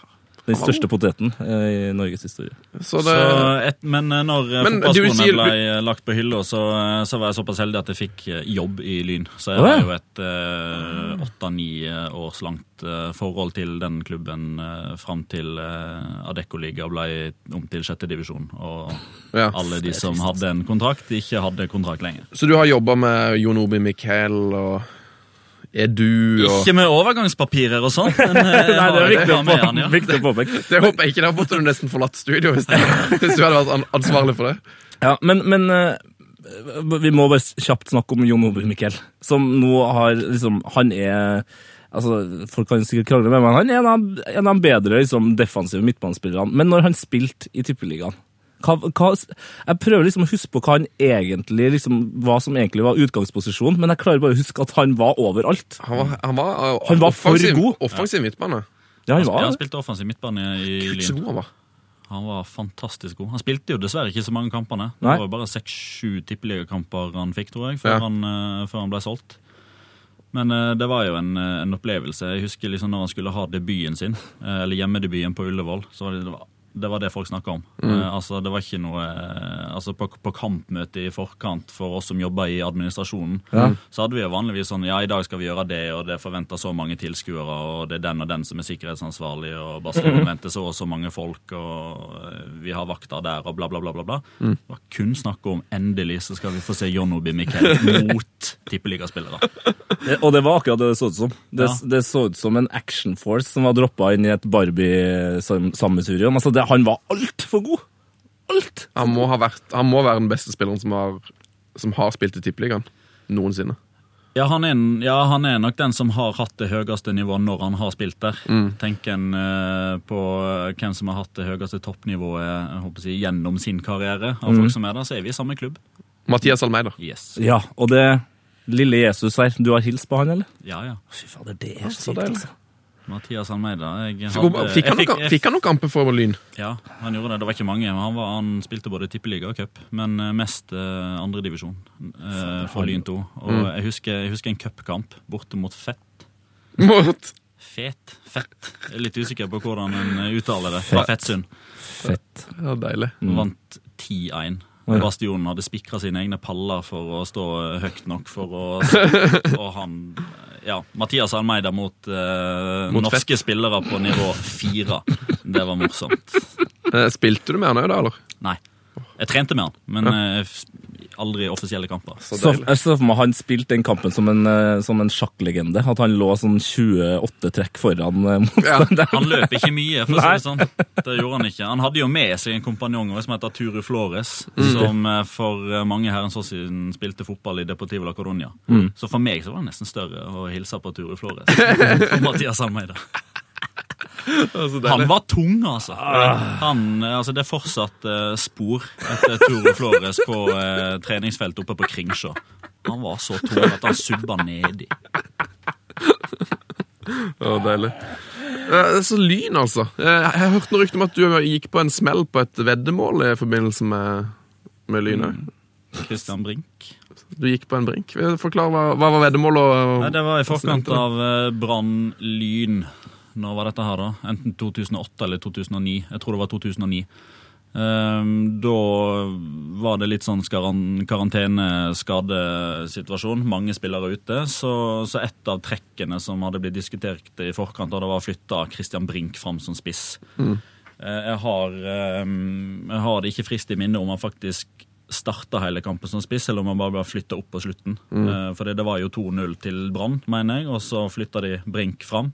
D: Den største poteten eh, i Norges historie.
C: Så det,
E: Så et, men eh, når eh,
C: Men du
E: fotballskoene
C: sier-
E: ble eh, lagt på hylla, så, eh, så var jeg såpass heldig at jeg fikk eh, jobb i Lyn. Så jeg
D: Å, ja.
E: har jo et eh, åtte-ni eh, års langt eh, forhold til den klubben eh, fram til eh, Adeccoliga ble om til sjette divisjon. Og
C: ja.
E: alle de som hadde en kontrakt, ikke hadde kontrakt lenger.
C: så du har jobba med Jon Obi Michael og Edu og
E: Ikke med overgangspapirer og sånn, men eh, jeg
D: Nei, det
E: har-
D: er viktig
E: jeg
D: å,
E: har med han, ja.
D: viktig å påpeke.
C: Det håper jeg ikke. Da måtte du nesten forlatt studio hvis, det, hvis du hadde vært an- ansvarlig for det.
D: Ja, men, men eh, vi må bare kjapt snakke om Jon Ober Mikkel, som nå har liksom Han er Altså, Folk kan sikkert krangle med meg, men han er en av, en av de bedre liksom, defensive midtbanespillerne. Men når han spilte i Tippeligaen hva, hva, jeg prøver liksom å huske på hva, han egentlig, liksom, hva som egentlig var utgangsposisjonen, men jeg klarer bare å huske at han var overalt.
C: Han var, han var, uh,
D: Han var for
C: offensiv,
D: god.
C: offensiv midtbane.
D: Ja, han
E: Jeg har
D: var
E: spilt offensiv midtbane i
C: Gud, så
E: Lyn.
C: god han var.
E: Han var fantastisk god. Han spilte jo dessverre ikke så mange kampene. Det
D: Nei.
E: var jo bare seks-sju tippeligakamper han fikk, tror jeg, før,
C: Ja.
E: han, eh, før han ble solgt. Men eh, det var jo en, eh, en opplevelse. Jeg husker liksom når han skulle ha debuten sin, eh, eller hjemmedebuten på Ullevål, så var det, det, var, det var det folk snakka om. Eh, altså, det var ikke noe eh, Altså, på, på kampmøtet i forkant for oss som jobba i administrasjonen, så hadde vi jo vanligvis sånn Ja, i dag skal vi gjøre det, og det forventer så mange tilskuere, og det er den og den som er sikkerhetsansvarlig, og Barcelona venter så og så mange folk, og eh, vi har vakter der, og bla, bla, bla, bla. bla. Det var kun snakk om endelig så skal vi få se John Obi Mikkel mot tippeligaspillere.
D: Det- Og det var akkurat det det så ut som. Det,
E: Ja.
D: det så ut som en action force som var droppa inn i et Barbie-sammensurium. Altså, det- han var altfor god! Alt!
C: Han må, ha vært, han må være den beste spilleren som har, som har spilt i Tippeligaen noensinne.
E: Ja han, er, ja, han er nok den som har hatt det høyeste nivået når han har spilt der.
C: Mm.
E: Tenker en eh, på eh, hvem som har hatt det høyeste toppnivået jeg håper å si, gjennom sin karriere, av
C: Mm.
E: folk som er der, så er vi i samme klubb.
C: Mathias Almeida.
E: Yes.
D: Ja, og det lille Jesus her, du har hilst på han, eller?
E: Ja, ja.
D: Fy fader, det er altså.
C: så deilig.
E: Mathias Almeida. Jeg
C: Fikk han,
D: eh,
E: hadde-
C: fikk han,
E: jeg
C: noen, fikk han noen kamper for Lyn?
E: Ja, han gjorde det. Det var ikke mange. men Han, var, han spilte både tippeliga og cup, men eh, mest eh, andredivisjon eh, for Lyn 2. Og
C: Mm.
E: jeg, husker, jeg husker en cupkamp borte mot Fett.
C: Mot
E: Fet? Fett. Jeg er litt usikker på hvordan en eh, uttaler det. Fra Fettsund.
D: Fett.
C: ja, Deilig.
E: Vant 10-1. Bastionen hadde spikra sine egne paller for å stå eh, høyt nok for å Og han eh, Ja, Mathias Almeida mot, eh,
C: Mot
E: norske spillere på nivå fire. Det var morsomt.
C: Eh, Spilte du med han òg, da? eller?
E: Nei. Jeg trente med han, men eh, f- aldri i offisielle kamper.
C: Så
D: Så,
C: deilig.
D: jeg ser for meg han spilte den kampen som en, eh, som en sjakklegende. At han lå sånn 28 trekk foran eh, motstanderen.
E: Han løp ikke mye, for å si det sånn. Det gjorde han ikke. Han hadde jo med seg en kompanjong også, som heter Turu Flores, som eh, for eh, mange herrens år siden spilte fotball i Deportivo la Coruña. Så for meg så var det nesten større å hilse på Turu Flores. For Mathias Almeida. Han var tung, altså. Han, eh, altså det er fortsatt eh, spor etter Turu Flores på eh, treningsfeltet oppe på Kringsjå. Han var så tung at han subba nedi.
C: Å, deilig. Eh, Så Lyn, altså. Eh, Jeg har hørt noe rykte om at du eh, gikk på en smell på et veddemål i forbindelse med, med Lyn òg.
E: Mm. Christian Brink.
C: Du gikk på en brink. Forklar hva, hva var veddemålet?
E: Nei,
C: og-
E: det var i forkant av eh, Brann Lyn. Når var dette her, da? Enten 2008 eller 2009. Jeg tror det var 2009. Ehm, da var det litt sånn skaran- karantene-skadesituasjon. Mange spillere ute. Så, så et av trekkene som hadde blitt diskutert i forkant, og det var å flytte Christian Brink fram som spiss. Eh, Jeg har, eh, jeg har det ikke frist i minne om han faktisk starta hele kampen som spiss, eller om han bare ble flytta opp på slutten. For det var jo 2-0 til Brann, mener jeg, og så flytta de Brink fram.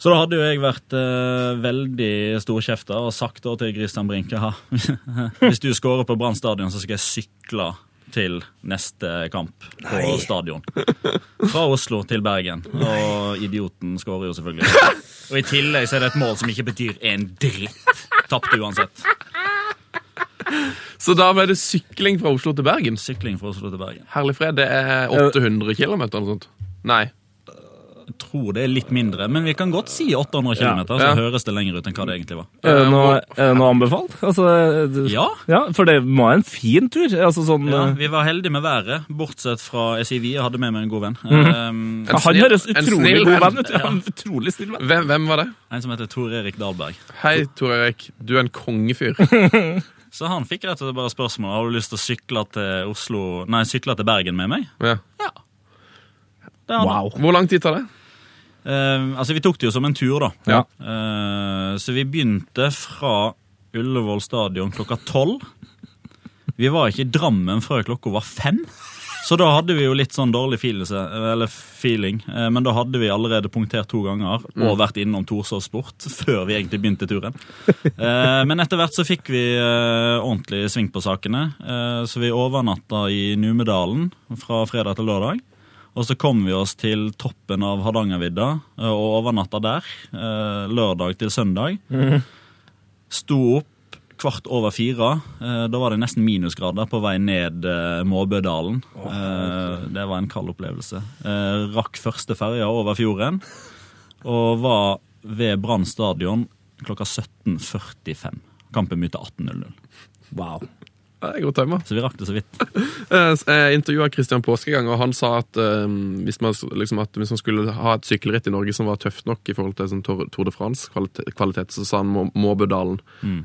E: Så da hadde jo jeg vært eh, veldig storkjefta og sagt da til Christian Brink «Jaha, hvis du scorer på Brann stadion, så skal jeg sykle til neste kamp på stadion. Fra Oslo til Bergen. Og idioten skårer jo selvfølgelig. Og i tillegg så er det et mål som ikke betyr en dritt. Tapte uansett.
C: Så da ble det sykling fra Oslo til Bergen.
E: Sykling fra Oslo til Bergen.
C: Herlig fred, det er 800 km eller noe sånt. Nei.
E: Jeg tror det er litt mindre, men vi kan godt si 800 km, så
C: Ja.
E: høres det lenger ut enn hva det egentlig var.
D: Er det noe, er det noe anbefalt? Altså, det-
E: Ja.
D: ja. For det var en fin tur. Altså sånn
E: Ja,
D: eh,
E: vi var heldige med været, bortsett fra jeg sier vi, jeg hadde med meg en god venn. Eh,
D: ja, Han
C: snill-
D: høres
C: en
D: utrolig
C: snill
D: god
C: venn.
D: venn ut. Ja, en utrolig snill venn.
C: Hvem, hvem var det?
E: en som heter Tor Erik Dahlberg.
C: Hei, Tor Erik. Du er en kongefyr.
E: Så han fikk rett og slett bare spørsmål Har du lyst til å sykle til Oslo Nei, sykle til Bergen med meg.
C: Ja.
E: Det hadde han.
C: Hvor lang tid tar det?
E: Eh, altså, vi tok det jo som en tur, da.
D: Ja.
E: Eh, så vi begynte fra Ullevål stadion klokka tolv. Vi var ikke i Drammen før klokka var fem. Så da hadde vi jo litt sånn dårlig feelelse, eller feeling, eh, men da hadde vi allerede punktert to ganger og vært innom Torshov Sport før vi egentlig begynte turen. Eh, Men etter hvert så fikk vi eh, ordentlig sving på sakene, eh, så vi overnatta i Numedalen fra fredag til lørdag. Og så kom vi oss til toppen av Hardangervidda eh, og overnatta der. eh, Lørdag til søndag. Sto opp kvart over fire. Eh, Da var det nesten minusgrader på vei ned eh, Måbødalen. Eh, Det var en kald opplevelse. Eh, Rakk første ferja over fjorden og var ved Brann stadion klokka 17.45. Kampen begynte 18.00,
D: Wow.
C: Ja, det er god timer.
E: så vi rakk det så vidt.
C: Eh, Jeg intervjua Christian Påske en gang, og han sa at, eh, hvis man, liksom, at hvis man skulle ha et sykkelritt i Norge som var tøft nok i forhold til sånn Tour Tour de France-kvalitet, kvalitet, så sa han Må- Måbødalen.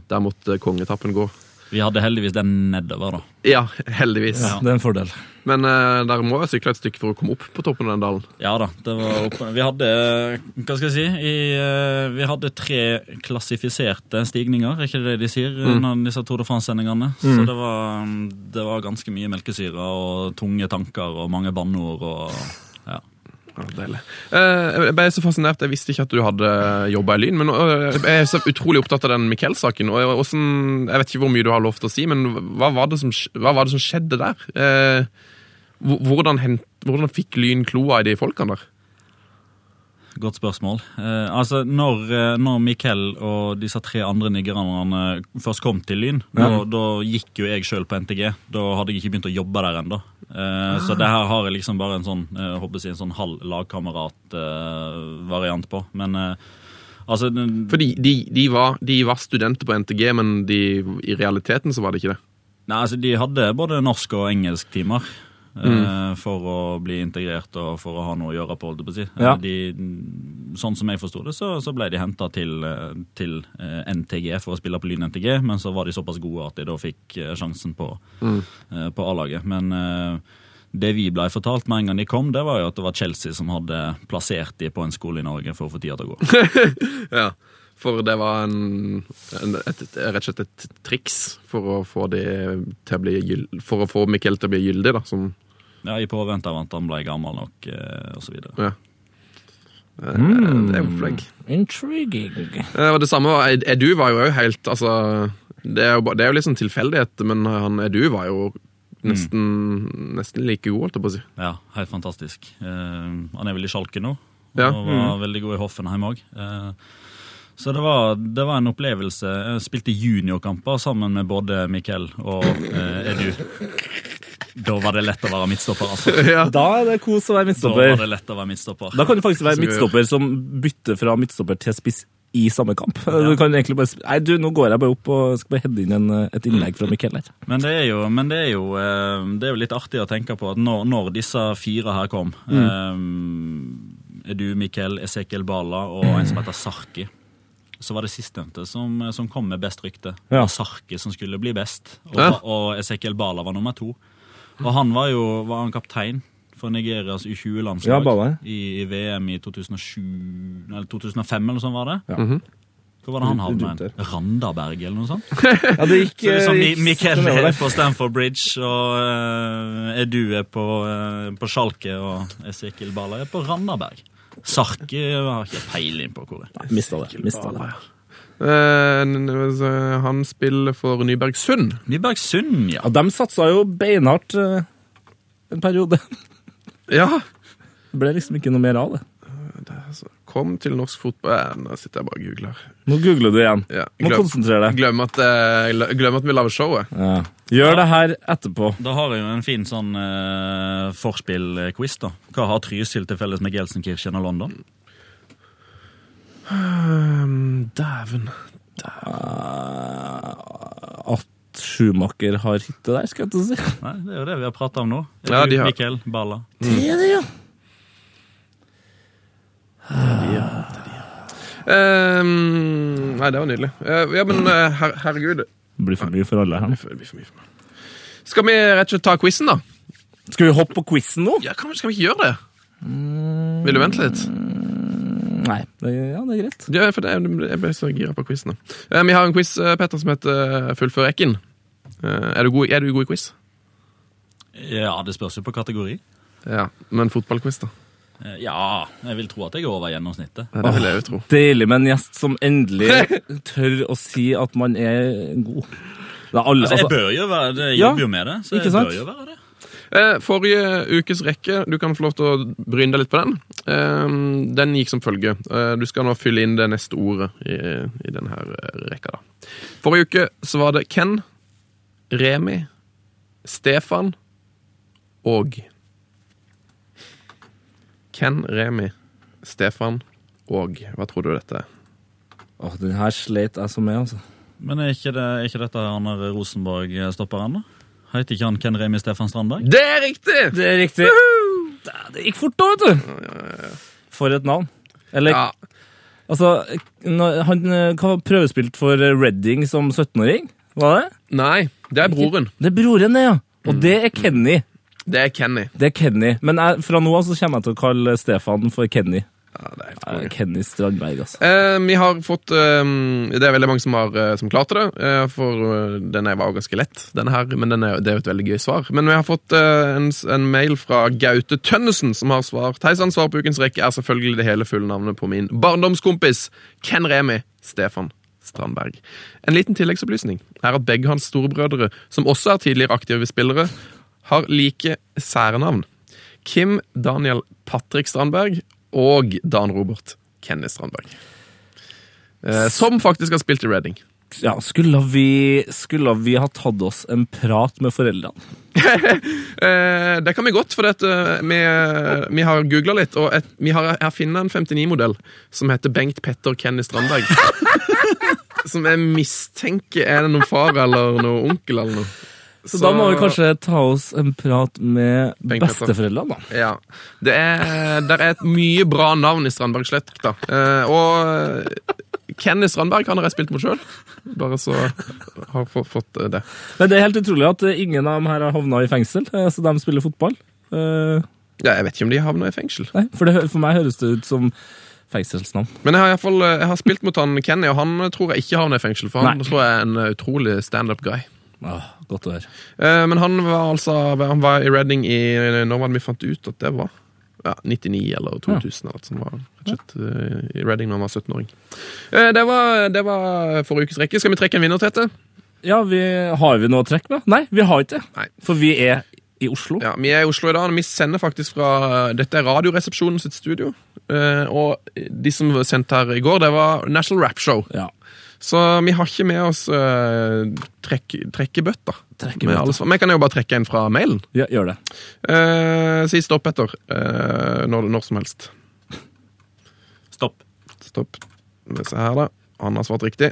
C: Der måtte kongeetappen gå.
E: Vi hadde heldigvis den nedover, da.
C: Ja, heldigvis.
D: Det er en fordel.
C: Men eh, der må jeg sykle et stykke for å komme opp på toppen av den dalen.
E: Ja da. det var opp... Vi hadde hva skal jeg si, i, eh, vi hadde tre klassifiserte stigninger, er ikke det de sier? Når disse Tour de France-sendingene. Så det var, mm, det var ganske mye melkesyre og tunge tanker og mange banneord. og ja.
C: Ja, deilig. Eh, Jeg ble så fascinert. Jeg visste ikke at du hadde jobba i Lyn. Men eh, jeg er så utrolig opptatt av den Miquel-saken. og hvordan- Jeg vet ikke hvor mye du har lov til å si, men hva var det som, sk- hva var det som skjedde der? Eh, hvor- Hvordan, hent, hvordan fikk Lyn kloa i de folkene der?
E: Godt spørsmål. Eh, altså, når, eh, når Mikkel og disse tre andre nigerianerne først kom til Lyn, da, da gikk jo jeg sjøl på NTG. Da hadde jeg ikke begynt å jobbe der ennå. Eh, Så det her har jeg liksom bare en sånn eh, jeg håper å si en sånn halv lagkamerat-variant på. Men eh, altså den-
C: Fordi de, de, var, de var studenter på NTG, men de, i realiteten så var det ikke det.
E: Nei, altså De hadde både norsk- og engelsktimer. eh, for å bli integrert og for å ha noe å gjøre på. holdt jeg på å si. Eh,
D: Ja.
E: De, sånn som jeg forsto det, så, så ble de henta til, eh, til eh, NTG for å spille på Lyn NTG, men så var de såpass gode at de da fikk eh, sjansen på, eh, på A-laget. Men eh, det vi blei fortalt med en gang de kom, det var jo at det var Chelsea som hadde plassert de på en skole i Norge for å få tida til å gå.
C: Ja, for det var en, en et, et, rett og slett et triks for å få, de til å bli gyld, for å få Mikkel til å bli gyldig, da. Som,
E: Ja, I påvente av at han ble gammel nok, eh, og så videre.
C: ja. Eh,
D: Mm.
C: Det er jo flink.
D: Intriguing.
C: Eh, Og det samme var Ed- Edu var jo også helt Altså, det er jo, ba- det er jo litt sånn tilfeldighet, men han Edu var jo nesten, nesten like god, holdt jeg på å si.
E: Ja, helt fantastisk. Eh, han er vel i Schalke nå,
C: Ja.
E: og var veldig god i Hoffenheim òg. så det var, det var en opplevelse. Jeg spilte juniorkamper sammen med både Mikkel og eh, Edu. Da var det lett å være midtstopper, altså.
C: ja.
D: Da er det kos å være
E: Da var
D: midtstopper.
E: det lett å være midtstopper.
D: Da kan du faktisk være
C: Skal vi-
D: midtstopper som bytter fra midtstopper til spiss i samme kamp. Du kan egentlig bare sp- Nei, du, nå går jeg bare opp og skal bare heade inn en, et innlegg fra Mikkel her.
E: Men det er jo, men det er jo, eh, det er jo litt artig å tenke på at når, når disse fire her kom
D: Mm.
E: eh, Edu, Mikkel, Esekiel Bala og en som heter Sarki. Så var det sistnevnte som, som kom med best rykte. Det
D: Ja.
E: var Sarki som skulle bli best. Og,
C: Ja.
E: og Esekiel Bala var nummer to. Og han var jo var han kaptein for Nigerias
D: Ja,
E: U20-landslag
D: Bala.
E: i, i VM i 2007, eller 2005, eller noe sånt var det.
D: Ja.
C: Mhm.
E: Hvor var det han havna?
D: Rundt der.
E: Randaberg, eller noe sånt?
D: Ja, det gikk, eh,
E: Så det er sånn,
D: gikk
E: Mi- Mikkel
D: nedover
E: er
D: der.
E: på Stamford Bridge, og eh, Edu er på, eh, på Schalke, og Esekiel Balla er på Randaberg. Sarki har ikke peiling på hvor det er.
D: Mista det. Mista det.
C: Eh, n- n- så Han spiller for Nybergsund.
E: Nybergsund, ja.
D: Ja, de satsa jo beinhardt eh, en periode.
C: Ja.
D: Det ble liksom ikke noe mer av det.
C: Altså, Kom til norsk fotball Eh, Nå sitter jeg bare og googler.
D: Nå googler du igjen.
C: Ja,
D: Må
C: glem,
D: konsentrere deg.
C: glem, at, eh, gl- glem at vi lager showet.
D: Ja. Gjør det her etterpå.
E: Da har jeg jo en fin sånn eh, forspill-quiz, da. Hva har Trysil til felles med Gelsenkirchen og London?
C: Um, Dæven.
D: Eh, at Schumacher har hytte der, skal jeg ikke si.
E: Nei, det er jo det vi har prata om nå. Edu,
C: Ja, de har-
E: Mikkel, Balla.
D: Det er det, ja.
C: Um, nei, det var nydelig. Eh, ja, men eh, her, herregud.
D: Det blir for mye for alle her.
C: Det blir for mye for meg. Skal vi rett og slett ta quizen, da?
D: Skal vi hoppe på quizen nå?
C: Ja, kan, vi- Skal vi ikke gjøre det? Vil du vente litt?
D: Nei. Det, ja, det er greit.
C: Ja, for det, Jeg ble så gira på quizen. da. Eh, Vi har en quiz eh, Petter, som heter eh, Fullfør rekken. Eh, Er du god, i- er du god i quiz?
E: Ja, det spørs jo på kategori.
C: Ja, Men fotballquiz, da?
E: Eh, ja, jeg vil tro at jeg er over gjennomsnittet.
C: Ja, Det vil jeg jo tro.
D: Deilig med en gjest som endelig tør å si at man er god. Det er alle,
E: Altså, jeg
D: altså,
E: bør jo være det. Jeg
D: Ja,
E: jobber jo med det, så
D: ikke
E: jeg
D: sant?
E: bør jo være det.
C: Eh, Forrige ukes rekke, du kan få lov til å bryne deg litt på den. Eh, Den gikk som følge. Eh, Du skal nå fylle inn det neste ordet i, i denne her eh, rekka. da. Forrige uke så var det Ken, Remi, Stefan og Ken, Remi, Stefan og Hva tror du dette er?
D: Åh, den her sleit jeg så med, altså.
E: Men er ikke, det, er ikke dette han der Rosenborg-stopperen, da? Heter ikke han Ken Remi Stefan Strandberg?
C: Det er riktig!
D: Det er riktig. Det, det gikk fort da, vet du. For et navn. Eller,
C: Ja,
D: altså, når han eh, hva var prøvespilt for eh, Reading som 17-åring, var det?
C: Nei, det er broren.
D: Det er broren, det, ja.
C: Mm.
D: Og det er Kenny.
C: Det er Kenny.
D: Det er Kenny. Men jeg, fra nå av så kommer jeg til å kalle Stefan for Kenny.
C: Ja, det er helt
D: Eh, Kenny Strandberg, altså.
C: Eh, vi har fått eh, Det er veldig mange som har eh, som klarte det. eh, for eh, den er- var jo ganske lett, denne her, men den er, det er jo et veldig gøy svar. Men vi har fått eh, en, s- en mail fra Gaute Tønnesen, som har svart Hei sann, svar på ukens rekke er selvfølgelig det hele fulle navnet på min barndomskompis Ken Remi Stefan Strandberg. En liten tilleggsopplysning er at begge hans storebrødre, som også er tidligere aktive spillere, har like særnavn. Kim Daniel Patrick Strandberg og Dan Robert Kenny Strandberg. Eh, som faktisk har spilt i Reading.
D: Ja, skulle vi, skulle vi ha tatt oss en prat med foreldrene?
C: Eh, det kan vi godt, for dette, vi, vi har googla litt, og et, vi har, jeg finner en 59-modell som heter Bengt Petter Kenny Strandberg. som jeg mistenker er det noen far eller noen onkel eller noe.
D: Så, da må vi kanskje ta oss en prat med
C: Bengt Petter.
D: besteforeldrene, da.
C: Ja. Det er, der er et mye bra navn i Strandberg slekt, da. Eh, og eh, Kenny Strandberg han har jeg spilt mot sjøl, bare så har få- fått eh, det.
D: Men det er helt utrolig at eh, ingen av dem her har havna i fengsel, eh, så de spiller fotball. Eh,
C: Ja, jeg vet ikke om de havner i fengsel.
D: Nei, for, det, hø- for meg høres det ut som fengselsnavn.
C: Men jeg har, i hvert fall, eh, jeg har spilt mot han Kenny, og han eh, tror jeg ikke havner i fengsel, for han
D: Nei.
C: tror jeg er en eh, utrolig standup-guy.
D: Åh, godt å høre.
C: Eh, Men han var altså Han var i Reading i Når var det vi fant ut at det var? Ja, 99 eller 2000 eller noe sånt. var han rett og slett, eh, I Reading da han var 17-åring. Eh, Det var, det var forrige ukes rekke. Skal vi trekke en vinner, Tete?
D: Ja, vi, Har vi noe å trekke med? Nei, vi har ikke det.
C: Nei.
D: For vi er i Oslo.
C: Ja, Vi er i Oslo i dag, og vi sender faktisk fra eh, Dette er Radioresepsjonen sitt studio. Eh, Og de som var sendt her i går, det var National Rap Show.
D: Ja.
C: Så vi har ikke med oss eh, trekk, trekkebøtta.
D: Trekkebøtta.
C: Med alle svar. Men jeg kan jo bare trekke en fra mailen.
D: ja, gjør det.
C: Eh, si stopp etter. eh, når, når som helst.
E: Stopp.
C: Stopp. Skal vi se her, da. Han har svart riktig.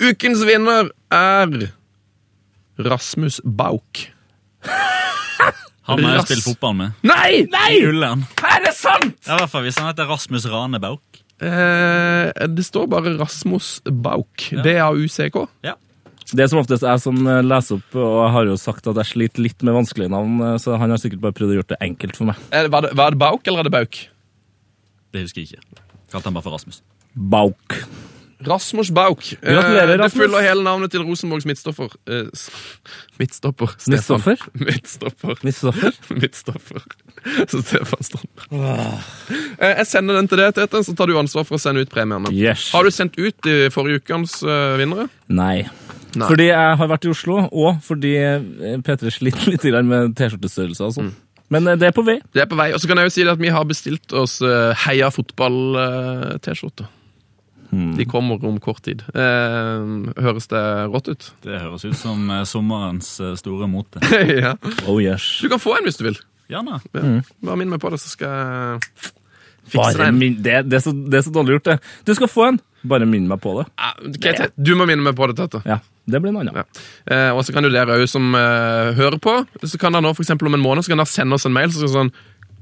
C: Ukens vinner er Rasmus Bauk.
E: Han har jeg
C: Rass.
E: spilt fotball med.
C: Nei!
E: Ullern.
D: Er det sant?!
E: Ja, I hvert fall hvis han heter Rasmus Ranebauk.
C: Eh, det står bare Rasmus Bauk. D-a-u-c-k.
E: Ja.
D: Det er som oftest jeg som eh, leser opp, og jeg har jo sagt at jeg sliter litt med vanskelige navn, eh, så han har sikkert bare prøvd å gjøre det enkelt for meg.
C: Eh, Var, det- var det Bauk eller er det Bauk?
E: Det husker jeg ikke. Kalte han bare for Rasmus.
D: Bauk.
C: Rasmus Bauk. Eh,
D: Gratulerer, Rasmus.
C: Det fyller hele navnet til Rosenborgs midtstopper. Eh, s- midtstopper. Stefan.
D: Midtstopper?
C: Midtstopper.
D: Nissestoffer.
C: Midtstopper. Så Stefan Strandberg.
D: Ah.
C: Eh, Jeg sender den til deg, Tete, så tar du ansvar for å sende ut premiene.
D: Yes.
C: Har du sendt ut de forrige ukens eh, vinnere?
D: Nei.
C: Nei.
D: Fordi jeg har vært i Oslo, og fordi eh, P3 sliter litt grann med T-skjortestørrelser og sånn.
C: Mm.
D: Men eh, det er på vei.
C: Det er på vei. Og så kan jeg jo si det at vi har bestilt oss eh, Heia fotball-T-skjorter.
D: Hmm.
C: De kommer om kort tid. Eh, høres det rått ut?
E: Det høres ut som eh, sommerens eh, store mote.
C: ja.
D: Oh yes.
C: Du kan få en hvis du vil.
E: Gjerne.
C: Ja.
D: Hmm.
C: Bare minn meg på det, så skal jeg fikse
D: Bare
C: den.
D: min, det, det, er så, det er så dårlig gjort, det. Du skal få en. Bare minn meg på det.
C: Ja, ok, Tete, Ah, Du må minne meg på det, Tete.
D: Ja, det blir en annen.
C: Ja. Eh, og så kan jo dere òg som eh, hører på, så kan dere nå for eksempel om en måned så kan dere sende oss en mail. Så sånn,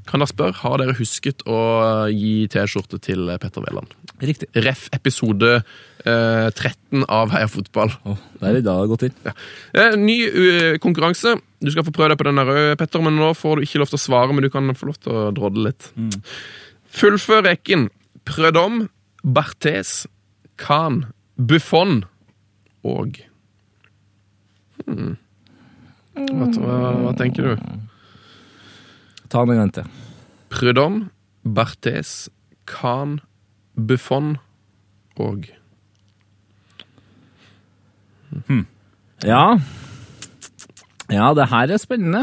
C: kan dere spørre har dere husket å eh, gi T-skjorte til eh, Petter Wæland.
D: Riktig.
C: Ref. episode eh, 13 av Heia fotball.
D: Åh, der er det gått inn.
C: Ja. Eh, ny eh, konkurranse. Du skal få prøve deg på den der røde, Petter, men nå får du ikke lov til å svare, men du kan få lov til å drodle litt. Fullfør rekken. Prødom, Barthes, Khan, Buffon og hmm. hva, hva, hva tenker du?
D: Ta den en gang til.
C: Prødom, Barthes, Khan, Buffon og
D: Ja. Ja, det her er spennende.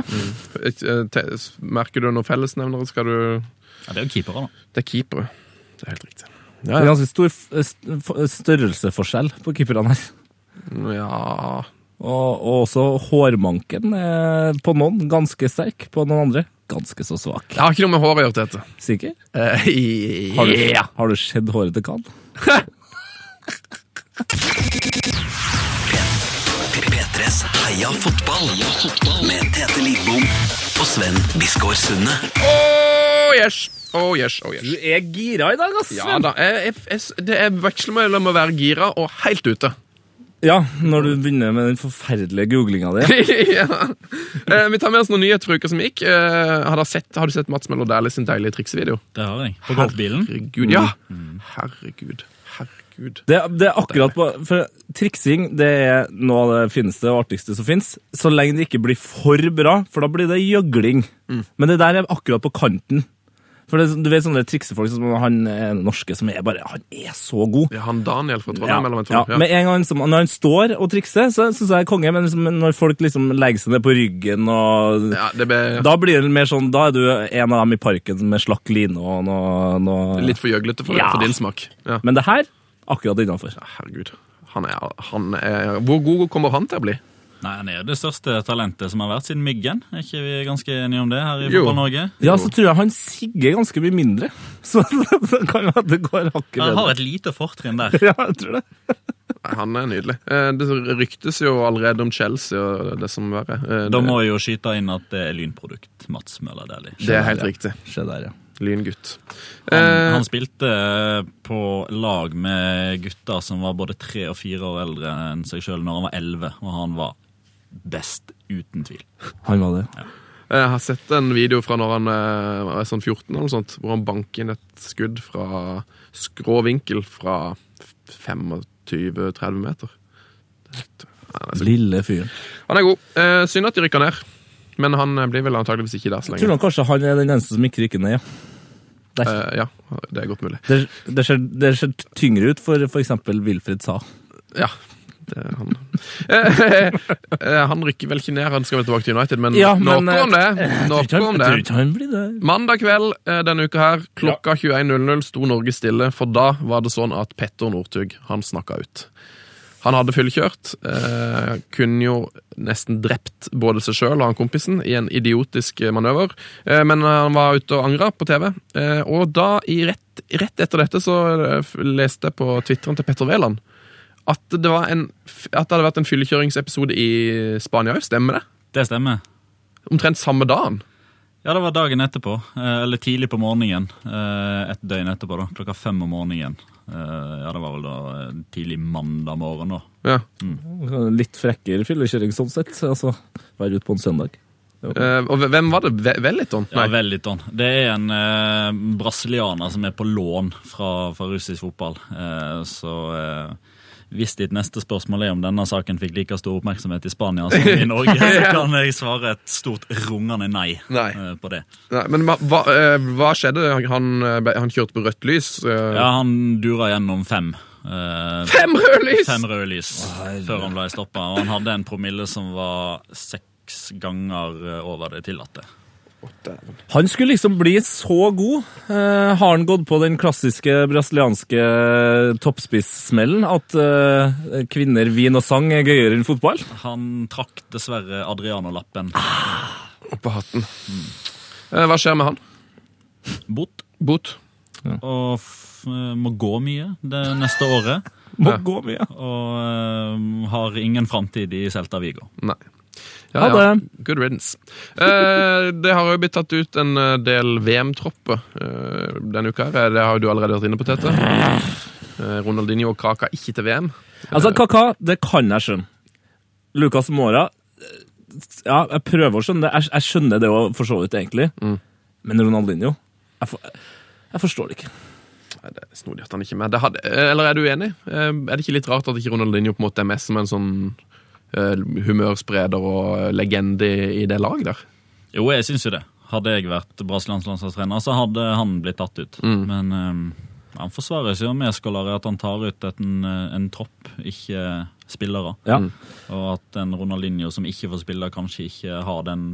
C: Eh, te- Merker du noen fellesnevnere? Skal du
E: Ja, det er jo keepere, da.
C: Det er keepere. Det er helt riktig.
D: Det er ganske stor f- eh, st- f- størrelseforskjell på keeperne her.
C: Ja
D: Og, og også hårmanken eh, på noen ganske sterk, på noen andre ganske så svak.
C: Jeg har ikke noe med hår å gjøre, Tete.
D: Sikker?
C: Uh,
D: Har du, har du sett håret til Khan?
B: P3s Heia fotball. Med Tete Lidbom og Sven Biskår Sunde.
C: Oh yes! Oh yes, oh yes.
D: er gira i dag, ass!
C: Ja da, jeg, jeg, jeg, det er veksler mellom å være gira og helt ute.
D: Ja, når du begynner med den forferdelige googlinga di.
C: ja. Eh, vi tar med oss noen nyheter fra uka som gikk. Eh, har, dere sett, har du sett Mats Melo Dæhlie sin deilige triksevideo?
E: Det har jeg. På golfbilen.
C: Herregud, ja!
D: Mm.
C: Herregud, herregud.
D: Det, det er akkurat på, for Triksing det er noe av det fineste og artigste som fins, så lenge det ikke blir for bra, for da blir det gjøgling.
C: Mm.
D: Men det der er akkurat på kanten. For det, Du vet sånne triksefolk som han eh, norske som er bare Han er så god!
C: Ja, han Daniel fra Trondheim, eller hva
D: ja,
C: heter han?
D: Med en gang som, Når han står og trikser, så syns jeg er konge, men liksom, når folk liksom legger seg ned på ryggen og
C: ja, det ble
D: Da blir det mer sånn, da er du en av dem i parken med slakk line og noe, noe
C: litt for gjøglete for,
D: Ja.
C: for din smak. Ja.
D: Men det her, akkurat innafor.
C: Herregud. Han er, han er, hvor god kommer han til å bli?
E: Nei, Han er jo det største talentet som har vært siden Myggen. Er ikke vi ganske enige om det her i
C: Jo.
E: Fotball-Norge?
D: Ja, så tror jeg han sigger ganske mye mindre. Så det kan jo at det går hakket
E: Han har
D: bedre.
E: et lite fortrinn der.
D: Ja, jeg tror det.
C: Nei, Han er nydelig. Eh, Det ryktes jo allerede om Chelsea og det som verre. Eh,
E: Da
C: det-
E: må jeg jo skyte inn at det er lynprodukt. Mats Møller Dæhlie.
C: Det er helt riktig.
E: Se der, ja.
C: Lyngutt.
E: Han,
C: Eh,
E: han spilte eh, på lag med gutter som var både tre og fire år eldre enn seg sjøl når han var elleve, og han var best, uten tvil.
D: Han var det.
C: Jeg har sett en video fra når han eh, er sånn 14 eller noe sånt, hvor han banker inn et skudd fra skrå vinkel fra 25-30 meter.
D: Lille fyren.
C: Han er god. Eh, synd at de rykker ned, men han eh, blir vel antageligvis ikke der så
D: Tror
C: lenge.
D: nok kanskje han er den eneste som ikke rykker ned, ja.
C: Eh, ja, det er godt mulig.
D: Det, det, ser, det ser tyngre ut for f.eks. Wilfred Sa.
C: Ja, det er han. Eh, eh, han rykker vel ikke ned, han skal vel tilbake til United, men,
D: Ja,
C: noe
D: men, eh,
C: om det. Noe
D: Jeg tror ikke
C: om
D: han-
C: det.
D: jeg tror ikke han blir det.
C: Mandag kveld eh, denne uka her, klokka 21.00 sto Norge stille, for da var det sånn at Petter Northug, han snakka ut. Han hadde fyllekjørt, eh, kunne jo nesten drept både seg sjøl og han kompisen i en idiotisk eh, manøver, eh, men han var ute og angra på TV. Eh, og da, i rett, rett etter dette, så eh, f- leste jeg på Twitteren til Petter Wæland at det, var en, f- at det hadde vært en fyllekjøringsepisode i Spania òg, stemmer det?
E: Det stemmer.
C: Omtrent samme dagen.
E: Ja, det var dagen etterpå. eh, Eller tidlig på morgenen. eh, Et døgn etterpå, da. Klokka fem om morgenen. Eh, Ja, det var vel da eh, tidlig mandag morgen, da.
C: Ja.
D: Litt frekkere fyllekjøring sånn sett. Altså, være ute på en søndag.
C: Eh, og hvem var det? Ve- Wellington?
E: Ja, Wellington. Det er en eh, brasilianer som er på lån fra, fra russisk fotball. Eh, så eh, hvis ditt neste spørsmål er om denne saken fikk like stor oppmerksomhet i Spania som i Norge, så kan jeg svare et stort rungende nei,
C: Nei.
E: eh, på det.
C: Nei, men hva, hva, eh, hva skjedde? Han, eh, ble- han kjørte på rødt lys. eh,
E: Ja, han dura gjennom fem. eh,
C: Fem røde lys!
E: Fem røde lys før han ble stoppa. Og han hadde en promille som var seks ganger eh, over det tillatte.
D: Han skulle liksom bli så god. Eh, har han gått på den klassiske brasilianske toppspissmellen at eh, kvinner, vin og sang er gøyere enn fotball?
E: Han trakk dessverre Adriano-lappen
C: Opp på hatten.
E: Mm.
C: Eh, hva skjer med han?
E: bort.
C: Bot?
E: og f eh, må gå mye det neste året.
D: Må
C: Ja.
D: gå mye.
E: Og eh, har ingen framtid i Celta Vigo.
C: Nei.
D: Ha det.
C: Good riddance. Eh, det har jo blitt tatt ut en eh, del VM-tropper eh, denne uka. her. Det har jo du allerede vært inne på, Tete. Eh, Ronaldinho og Kaka ikke til VM.
D: Altså, Kaka, det kan jeg skjønne. Lucas Mora eh, Ja, jeg prøver å skjønne det. Jeg, jeg skjønner det òg, for så vidt, egentlig.
E: Mm.
D: Men Ronaldinho jeg, for, jeg forstår det ikke.
C: Nei, det er snodig at han ikke er med. Det hadde, eh, eller er du uenig? Eh, er det ikke litt rart at ikke Ronaldinho på en måte er med som en sånn eh, humørspreder og legende i det lag der?
E: Jo, jeg syns jo det. Hadde jeg vært brasiliansk landslagstrener, så hadde han blitt tatt ut.
D: Mm.
E: Men eh, han forsvarer seg jo med skolari at han tar ut en, eh, en tropp, ikke spillere.
D: Ja.
E: Og at en Ronaldinho som ikke får spille, kanskje ikke har den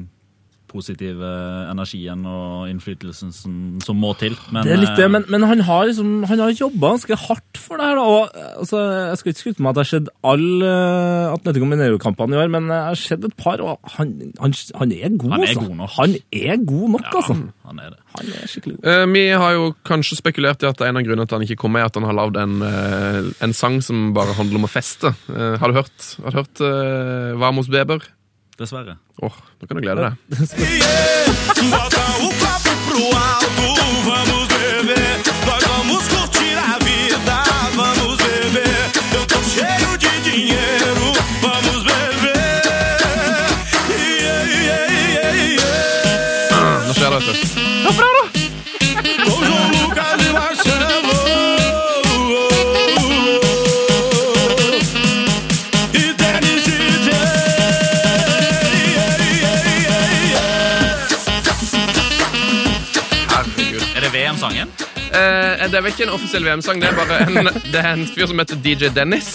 E: positive energien og innflytelsen som, som må til. Men,
D: Det er litt det,
E: eh,
D: men, men han har liksom, han har jobba ganske hardt for det her. da, og eh, altså, Jeg skal ikke skryte meg at jeg har sett alle eh, Atletico Minero-kampene i år, men jeg har sett et par, og han, han, han er god,
E: Han er
D: altså.
E: god nok.
D: Han er god nok, altså.
E: ja, Mm. han er det.
D: Han er skikkelig god.
C: Eh, vi har jo kanskje spekulert i at en av grunnene til at han ikke kom med, er at han har lagd en, eh, en sang som bare handler om å feste. Eh, har du hørt, har du hørt eh, Vamos Beber?
E: Dessverre.
C: Åh, nå kan du glede deg.
G: Bota o papo pro alto, vamos beber. Nós vamos curtir a vida, vamos beber. Eu tô cheio de dinheiro, vamos beber. Yeah, yeah, yeah, yeah.
C: Nå skjer det, vet du.
G: Com João Lucas e Marcelo. E Dennis DJ. Yeah, yeah, yeah, yeah.
C: Herregud.
E: Er det VM-sangen?
C: Eh, det er vel ikke en offisiell VM-sang, det er bare en, det er en fyr som heter DJ Dennis.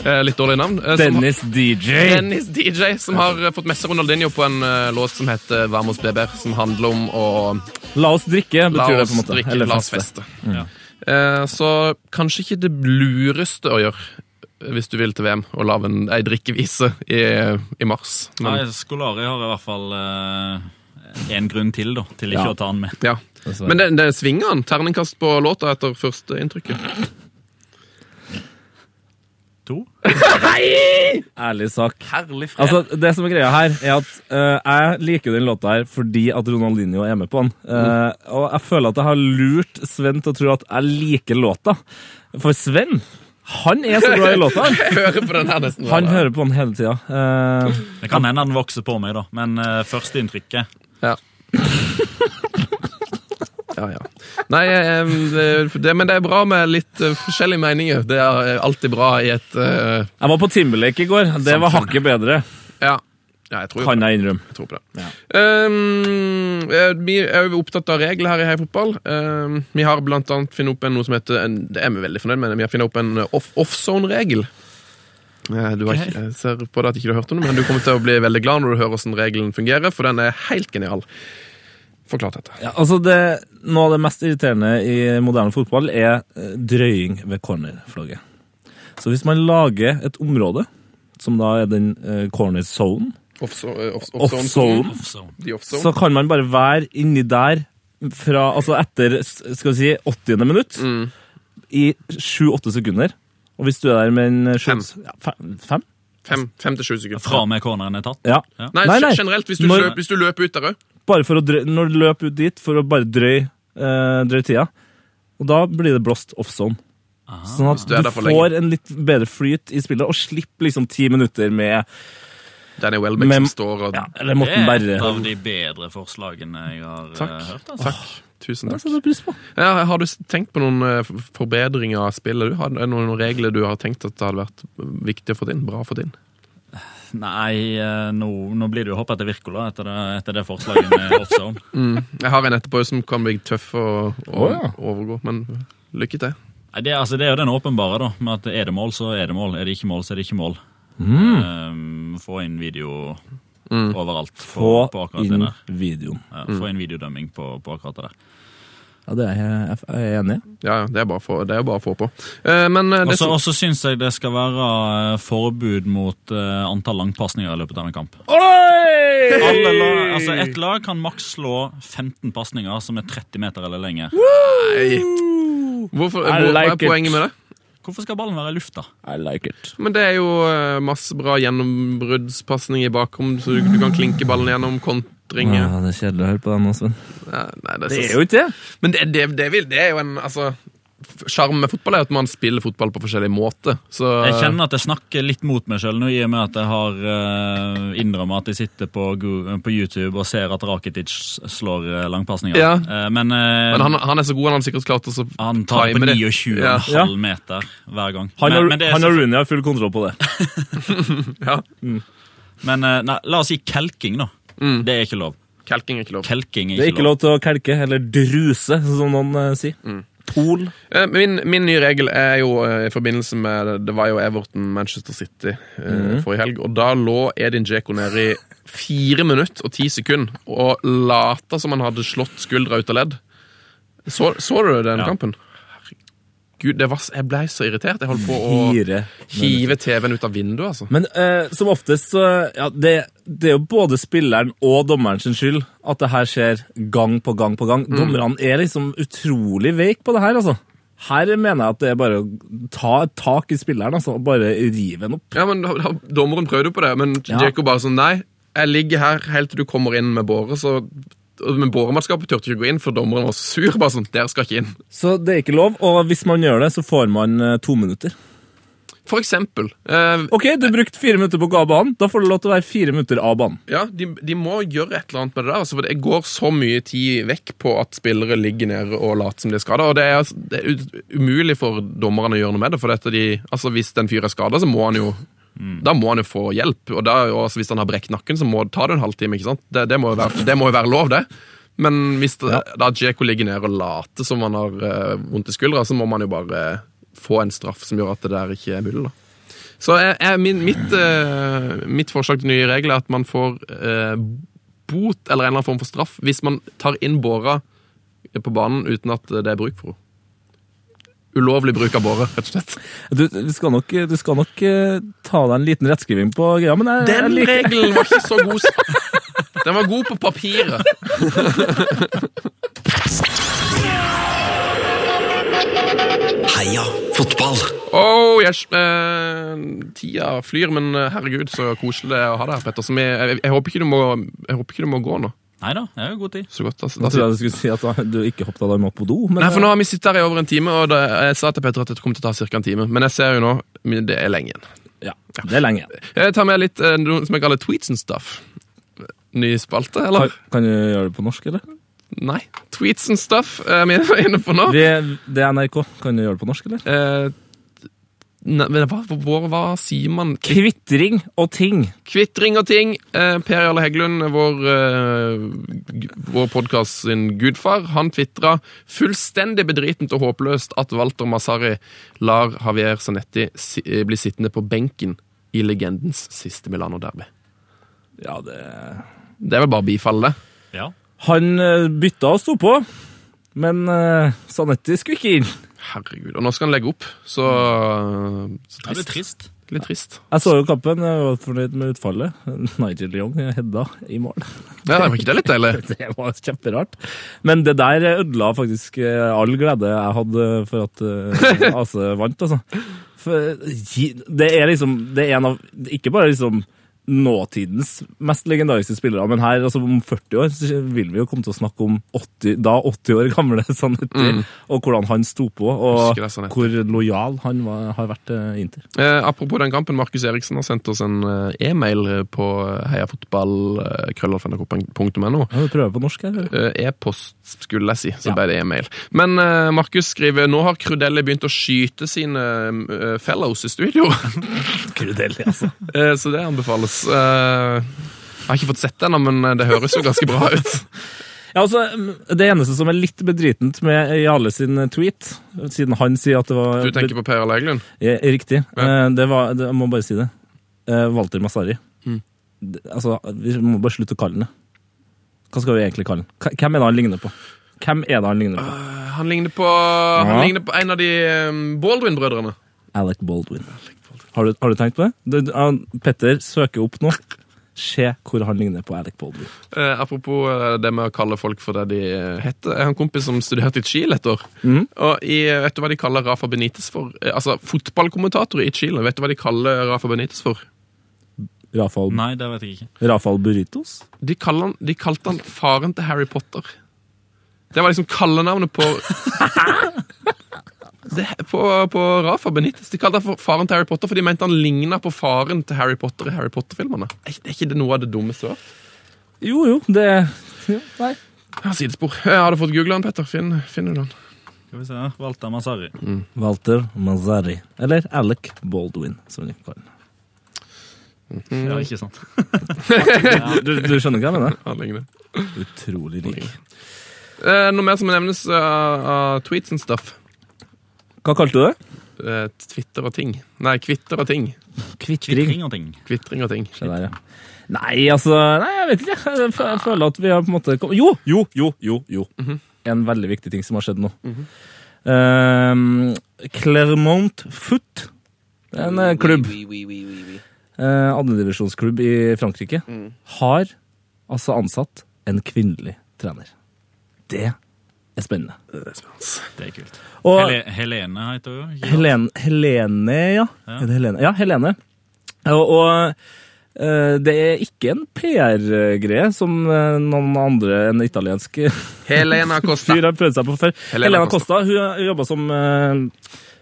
C: Eh, litt dårlig navn. eh, som-
D: Dennis DJ.
C: Dennis DJ, som har eh, fått med seg Ronaldinho på en eh, låt som heter Vamos Beber, som handler om å
D: La oss drikke,
C: la
D: betyr det
C: oss
D: på en måte.
C: drikke,
D: Eller
C: la oss
D: feste.
C: feste. Eh, så kanskje ikke det lureste å gjøre eh, hvis du vil til VM og lage en, ei drikkevise i, i mars. Men,
E: Nei, Skolari Eh, har i hvert fall eh, en grunn til da, til ikke
D: Ja.
E: å ta han med.
C: ja.
D: Dessverre.
C: Men det, det svinger han. Terningkast på låta etter første inntrykket.
E: to.
D: Ærlig sak.
C: Herlig fred.
D: Altså, det som er greia her, er at eh, jeg liker den låta her fordi at Ronaldinho er med på den.
C: Mm.
D: Eh, Og jeg føler at jeg har lurt Sven til å tro at jeg liker låta. For Sven, han er så glad i låta.
C: Jeg hører på den her nesten. hver
D: Han
C: dag.
D: hører på den hele tida. Eh,
E: Det kan hende den vokser på meg, da, men uh, førsteinntrykket
C: Ja. ja, ja. Nei, em, det, det, men det er bra med litt eh, forskjellige meninger. Det er eh, alltid bra i et eh,
D: jeg var på Timberlake i går. Det var hakket bedre,
C: Ja. ja, jeg tror jo på
D: kan jeg innrømme.
C: Jeg tror på det. Um, eh, vi er jo opptatt av regler her i Heia Fotball. Um, vi har blant annet funnet opp en, noe som heter en, Det er vi veldig fornøyd med. Vi har funnet opp en eh, off- offzone-regel. Eh, Du har ikke, jeg ser på det at ikke du har hørt om det, men du kommer til å bli veldig glad når du hører hvordan regelen fungerer, for den er helt genial. Forklart dette.
D: Ja, altså det, Noe av det mest irriterende i moderne fotball er eh, drøying ved cornerflagget. Så hvis man lager et område, som da er den eh, corner zone,
C: Offso- eh, off-
D: off zone,
C: The offzone.
D: så kan man bare være inni der fra, altså etter s- skal vi si, 80. minutt
C: Mm.
D: i 7-8 sekunder. Og hvis du er der med en
C: Fem.
D: sju- Ja, fem, fem?
C: Fem, fem til sju sekunder.
E: fra og med corneren er tatt.
D: Ja.
E: Ja.
C: Nei,
D: Nei, nei.
C: generelt. Hvis du,
D: Når-
C: løper, hvis du løper ut der òg.
D: Bare for å drøy, når du løp ut dit for å bare drøy, eh, drøy tida. Og da blir det blåst off-zone. Sånn at
C: du
D: du,
C: er der for lenge.
D: får en litt bedre flyt i spillet, og slipper liksom ti minutter med
C: Danny Welbeck
D: Men-
C: som står og
D: ja, Eller
E: Det
D: Morten
E: er
D: Berre.
E: et av de bedre forslagene jeg har eh, hørt. Altså.
C: Takk. Tusen
D: Det
C: takk.
D: setter jeg pris på.
C: Ja, har du s- tenkt på noen eh, f- forbedringer av spillet? Du har, er det noen regler du har tenkt at det hadde vært eh, viktig å få inn? Bra å få inn?
E: Nei, eh, nå, nå blir det jo hoppet etter Virkola etter det, etter det forslaget med offzone.
C: Jeg har en etterpå som kan bli tøff å, å
D: Å, ja.
C: overgå, men lykke til.
E: Nei, det, altså, det er jo den åpenbare, da. Med at er det mål, så er det mål. Er det ikke mål, så er det ikke mål. Eh, få inn video overalt.
D: Mm.
E: På,
D: Få
E: på akkurat det
D: inn Mm.
E: der.
D: videoen.
E: Ja, få inn videodømming på, på akkurat det der.
D: Ja, det er jeg, jeg er enig i.
C: Ja, ja, det er bare å få- det er bare å få på. Eh, Men eh,
E: Og
C: det
E: så-
C: som,
E: Og så syns jeg det skal være eh, forbud mot eh, antall langpasninger i løpet av en kamp. Alle lag, altså Ett lag kan maks slå 15 pasninger som er 30 meter eller lenger.
C: Nei. Hvorfor,
D: I
C: hvor, hva er
D: like it.
C: poenget med det?
E: Hvorfor skal ballen være i lufta?
D: I like it.
C: Men det er jo eh, masse bra gjennombruddspasning i bakrom, så du, du kan klinke ballen gjennom, kontringer
D: Ja, det er kjedelig å høre på deg nå, Sven.
C: Nei, nei, det,
D: Det
C: er
D: er
C: så,
D: jo ikke det.
C: men det, det, det, vil, det er jo en Altså, f- sjarmen med fotball er at man spiller fotball på forskjellig måte, så
E: Jeg kjenner at jeg snakker litt mot meg sjøl nå, i og med at jeg har eh, innrømmet at jeg sitter på, Gu- på YouTube og ser at Rakitic slår eh, langpasninger.
C: Ja.
E: Eh, men eh,
C: Men
E: han,
C: han, han er så god, han har sikkert klart å så
E: tar det på
C: timer det.
E: 29,5
C: Ja.
E: meter hver gang.
D: Han
E: men,
D: og-
E: men, det er
D: han
E: så-
D: og Rooney har full kontroll på det.
C: Ja.
E: men eh, nei, la oss si kelking, da.
C: Mm.
E: Det er ikke lov.
C: Kelking er ikke lov.
E: Kelking
D: Det er ikke lov til å kelke, eller druse, som noen eh, sier.
C: Mm.
D: Pol.
C: Eh, Min, min nye regel er jo eh, i forbindelse med Det var jo Everton Manchester City eh,
D: Mhm.
C: forrige helg, og da lå Edin Djeko nede i fire minutter og ti sekunder og lata som han hadde slått skuldra ut av ledd. Så, så du den
E: Ja.
C: kampen? Herregud, det var, s- jeg blei så irritert. Jeg holdt på å
D: Fire.
C: hive TV-en ut av vinduet, altså.
D: Men eh, som oftest så ja, det, det er jo både spilleren og dommeren sin skyld at det her skjer gang på gang på gang. Dommerne er liksom utrolig veik på det her, altså. Her mener jeg at det er bare å ta et tak i spilleren altså, og bare rive den opp.
C: Ja, men da- da- Dommeren prøvde jo på det, men
D: Ja.
C: Djeko bare sånn Nei, jeg ligger her helt til du kommer inn med båre, så og- Men båremannskapet turte ikke gå inn, for dommeren var så sur. Bare sånn, dere skal ikke inn.
D: Så det er ikke lov, og hvis man gjør det, så får man eh, to minutter.
C: For eksempel. Eh,
D: Ok, du brukte fire minutter på å gå av banen. Da får du lov til å være fire minutter av banen.
C: ja, de, de må gjøre et eller annet med det der. Altså, for det går så mye tid vekk på at spillere ligger nede og later som de er skada. Og det er, altså- det er ut- umulig for dommerne å gjøre noe med det. For dette de, altså, hvis den fyren er skada, så må han jo da må han jo få hjelp. Og da, og altså, hvis han har brekt nakken, så må det ta det en halvtime. ikke sant? Det, det, må, jo være, det må jo være lov, det. Men hvis det, da Djeko ligger nede og later som han har eh, vondt i skuldra, så må man jo bare eh, få en straff som gjør at det der ikke er mulig. da. Så jeg, jeg, min, mitt, eh, mitt forslag til nye regler er at man får eh, bot eller en eller annen form for straff hvis man tar inn båra på banen uten at det er bruk for henne. Ulovlig bruk av båre, rett og slett.
D: Du, du, skal nok, du skal nok eh, ta deg en liten rettskriving på greia, men jeg, jeg
C: Den
D: liker
C: regelen var ikke så god. som- Den var god på papiret.
B: Heia fotball.
C: Oh, yes. eh, tida flyr, men eh, herregud, så koselig det er å ha deg her, Petter. Så vi- Jeg, jeg, håper ikke du må, jeg håper ikke du må gå nå.
E: Nei da, det er jo god tid.
C: Så godt, altså.
D: Jeg
C: Da
D: trodde
C: sier-
D: jeg du skulle si at da- du ikke hoppet av deg med opp på do. Men
C: Nei, for nå har vi sittet her i over en time, og det, jeg sa til Petter at det kom til å ta ca. en time. Men jeg ser jo nå men det er lenge igjen.
D: eh, ja, det er lenge.
C: Jeg tar med litt eh, noe som jeg kaller tweets and stuff. Ny spalte, eller?
D: Kan, kan du gjøre det på norsk, eller?
C: Nei. Tweets and stuff er vi inne på nå.
D: Det, det er NRK. Kan du gjøre det på norsk, eller?
C: Eh, Nei, men hva, hva, hva sier man? Kvi-
D: Kvitring og ting.
C: Kvittring og ting. Eh, per Jarle Heggelund, vår, eh, g- vår podkast sin gudfar, han tvitra fullstendig bedritent og håpløst at Walter Massari lar Javier Zanetti si eh, bli sittende på benken i legendens siste Milano-derby.
D: Ja, det...
C: Det er vel bare å bifalle det.
E: Ja.
D: Han eh, bytta og sto på, men eh, Sanetti skulle ikke inn.
C: Herregud. Og nå skal han legge opp, så, så
E: Det er
C: trist.
E: trist.
C: Litt trist.
D: Jeg så jo kampen, jeg var fornøyd med utfallet. Nigel Young hedda i mål.
C: Ja, var ikke det litt deilig?
D: Det var kjemperart. Men det der ødela faktisk eh, all glede jeg hadde for at eh, AC vant, altså. For gi- det er liksom Det er en av Ikke bare liksom nåtidens mest legendariske spillere, men her, altså om 40 år, så vil vi jo komme til å snakke om 80, da 80 år gamle Sanetti, og hvordan han sto på, og
C: Mm. Husker jeg Zanetti.
D: hvor lojal han var, har vært til Inter.
C: Eh, apropos den kampen, Markus Eriksen har sendt oss en eh, e-mail på eh, heiafotball.krøllalfnrk.no.
D: Ja, du prøver på norsk her? eller?
C: Eh, E-post, skulle jeg si. Så
D: Ja.
C: ble det e-mail. Men eh, Markus skriver nå har Crudelli begynt å skyte sine eh, fellows i studio.
D: Krudell, altså.
C: Eh, så det anbefales. Eh, jeg har ikke fått sett det ennå, men eh, det høres jo ganske bra ut.
D: Ja, altså, Det eneste som er litt bedritent med Jarle sin tweet, siden han sier at det var
C: Du tenker på Per Arne Eglund?
D: Ja, Riktig. Eh, Det var, det, jeg må bare si det. Eh, Walter Massari. Det- Altså, Vi må bare slutte å kalle han det. Hva skal vi egentlig kalle han? Hva- Hvem er det han ligner på? Hvem er det han ligner på?
C: Han ligner på, han
D: Ja.
C: ligner på en av de eh, Baldwin-brødrene.
D: Alec Baldwin. Har du, har du tenkt på det? Du, du, han, Petter søker opp nå. Se hvor han ligner på Alec Baldwin.
C: Eh, apropos eh, det med å kalle folk for det de eh, heter. Jeg har en kompis som studerte i Chile et år.
D: Mm.
C: Og i, eh, vet du hva de kaller Rafa Benitez for? Eh, altså, fotballkommentatorer i Chile, vet du hva de kaller Rafa Benitez for?
D: Rafael,
E: Nei, det vet jeg ikke.
D: Rafael Burritos?
C: De, kaller han, de kalte han faren til Harry Potter. Det var liksom kallenavnet på det, på, på Rafa Benitez. De kalte han for faren til Harry Potter, for de mente han ligna på faren til Harry Potter i Harry Potter-filmene. Er ikke- er ikke det noe av det dummeste? da?
D: Jo, jo, det jo, Nei.
C: Ja, Sidespor. Eh, Har du fått googla den, Petter? Finn, finner du den?
E: Skal vi se. Walter Massari.
D: Mm. Walter Mazzari. Eller Alec Baldwin, som vi kaller han.
E: Ja, ikke sant.
D: Du, du skjønner hva jeg mener?
C: Han ligner.
D: Utrolig lik.
C: Eh, noe mer som nevnes eh, av tweets and stuff.
D: Hva kalte du det?
C: Eh, Twitter og ting. Nei, kvitter og ting.
D: Kvittring.
E: Kvittring og ting.
C: Kvittring og ting.
D: Se der, ja. Nei, altså Nei, jeg vet ikke. Jeg fø- jeg føler at vi har på en måte kom- Jo, jo, jo, jo. jo. Mhm. En veldig viktig ting som har skjedd nå. Eh, Clermont Foot. Det er En eh, klubb. Eh, Andredivisjonsklubb i Frankrike. Har altså ansatt en kvinnelig trener. Det er spennende.
E: Det er kult.
D: Og
E: Hele, Helene heter hun. ikke sant?
D: Helene, Helene ja.
E: Ja.
D: Er det Helene? Ja, Helene. Og, og eh, det er ikke en PR-greie som eh, noen andre enn italiensk fyr
C: Helena Costa.
D: har prøvd seg på før.
C: Helena
D: Helena, Costa hun jobba som eh,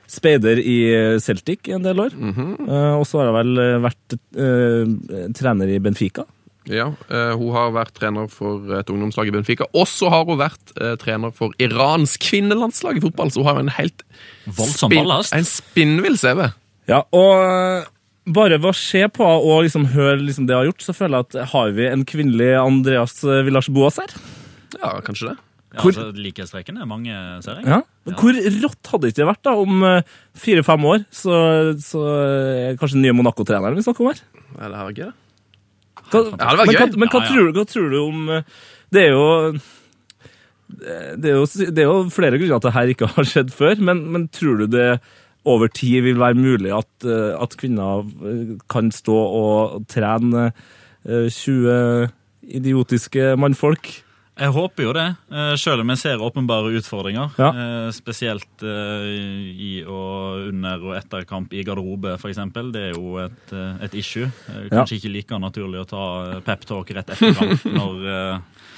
D: speider i Celtic i en del år.
E: Mhm.
D: Eh, og så har hun vel eh, vært eh, trener i Benfica.
C: Ja, eh, Hun har vært trener for et ungdomslag i Benfica. Og så har hun vært eh, trener for Irans kvinnelandslag i fotball, så hun har en helt
E: Voldsom
C: spinn-
E: ballast.
C: en spinnvill CV.
D: Ja, og eh, bare ved å se på henne og liksom høre liksom det hun har gjort, så føler jeg at har vi en kvinnelig Andreas Villars Boas her?
C: Ja, kanskje det.
E: Ja,
D: Hvor-
E: altså, Likhetstrekken er mange, ser
D: Ja.
E: jeg.
D: Hvor rått hadde ikke det vært da om eh, fire-fem år, så, så er kanskje den nye Monaco-treneren vi snakker om her?
C: Nei, det her er gøy, det.
D: Hva,
C: Ja, det var
D: men
C: gøy.
D: hva, men hva,
E: Ja, ja.
D: Tror, hva tror du om eh, Det er jo det er, jo, det er jo flere grunner til at det her ikke har skjedd før, men, men tror du det over tid vil være mulig at, eh, at kvinner eh, kan stå og trene eh, 20 idiotiske mannfolk
E: Jeg håper jo det, eh, selv om jeg ser åpenbare utfordringer.
D: Ja.
E: eh, Spesielt eh, i og under og etter kamp i garderobe, f.eks. Det er jo et, eh, et issue. Eh,
D: Ja.
E: Kanskje ikke like naturlig å ta eh, pep-talk rett etter kamp når, eh,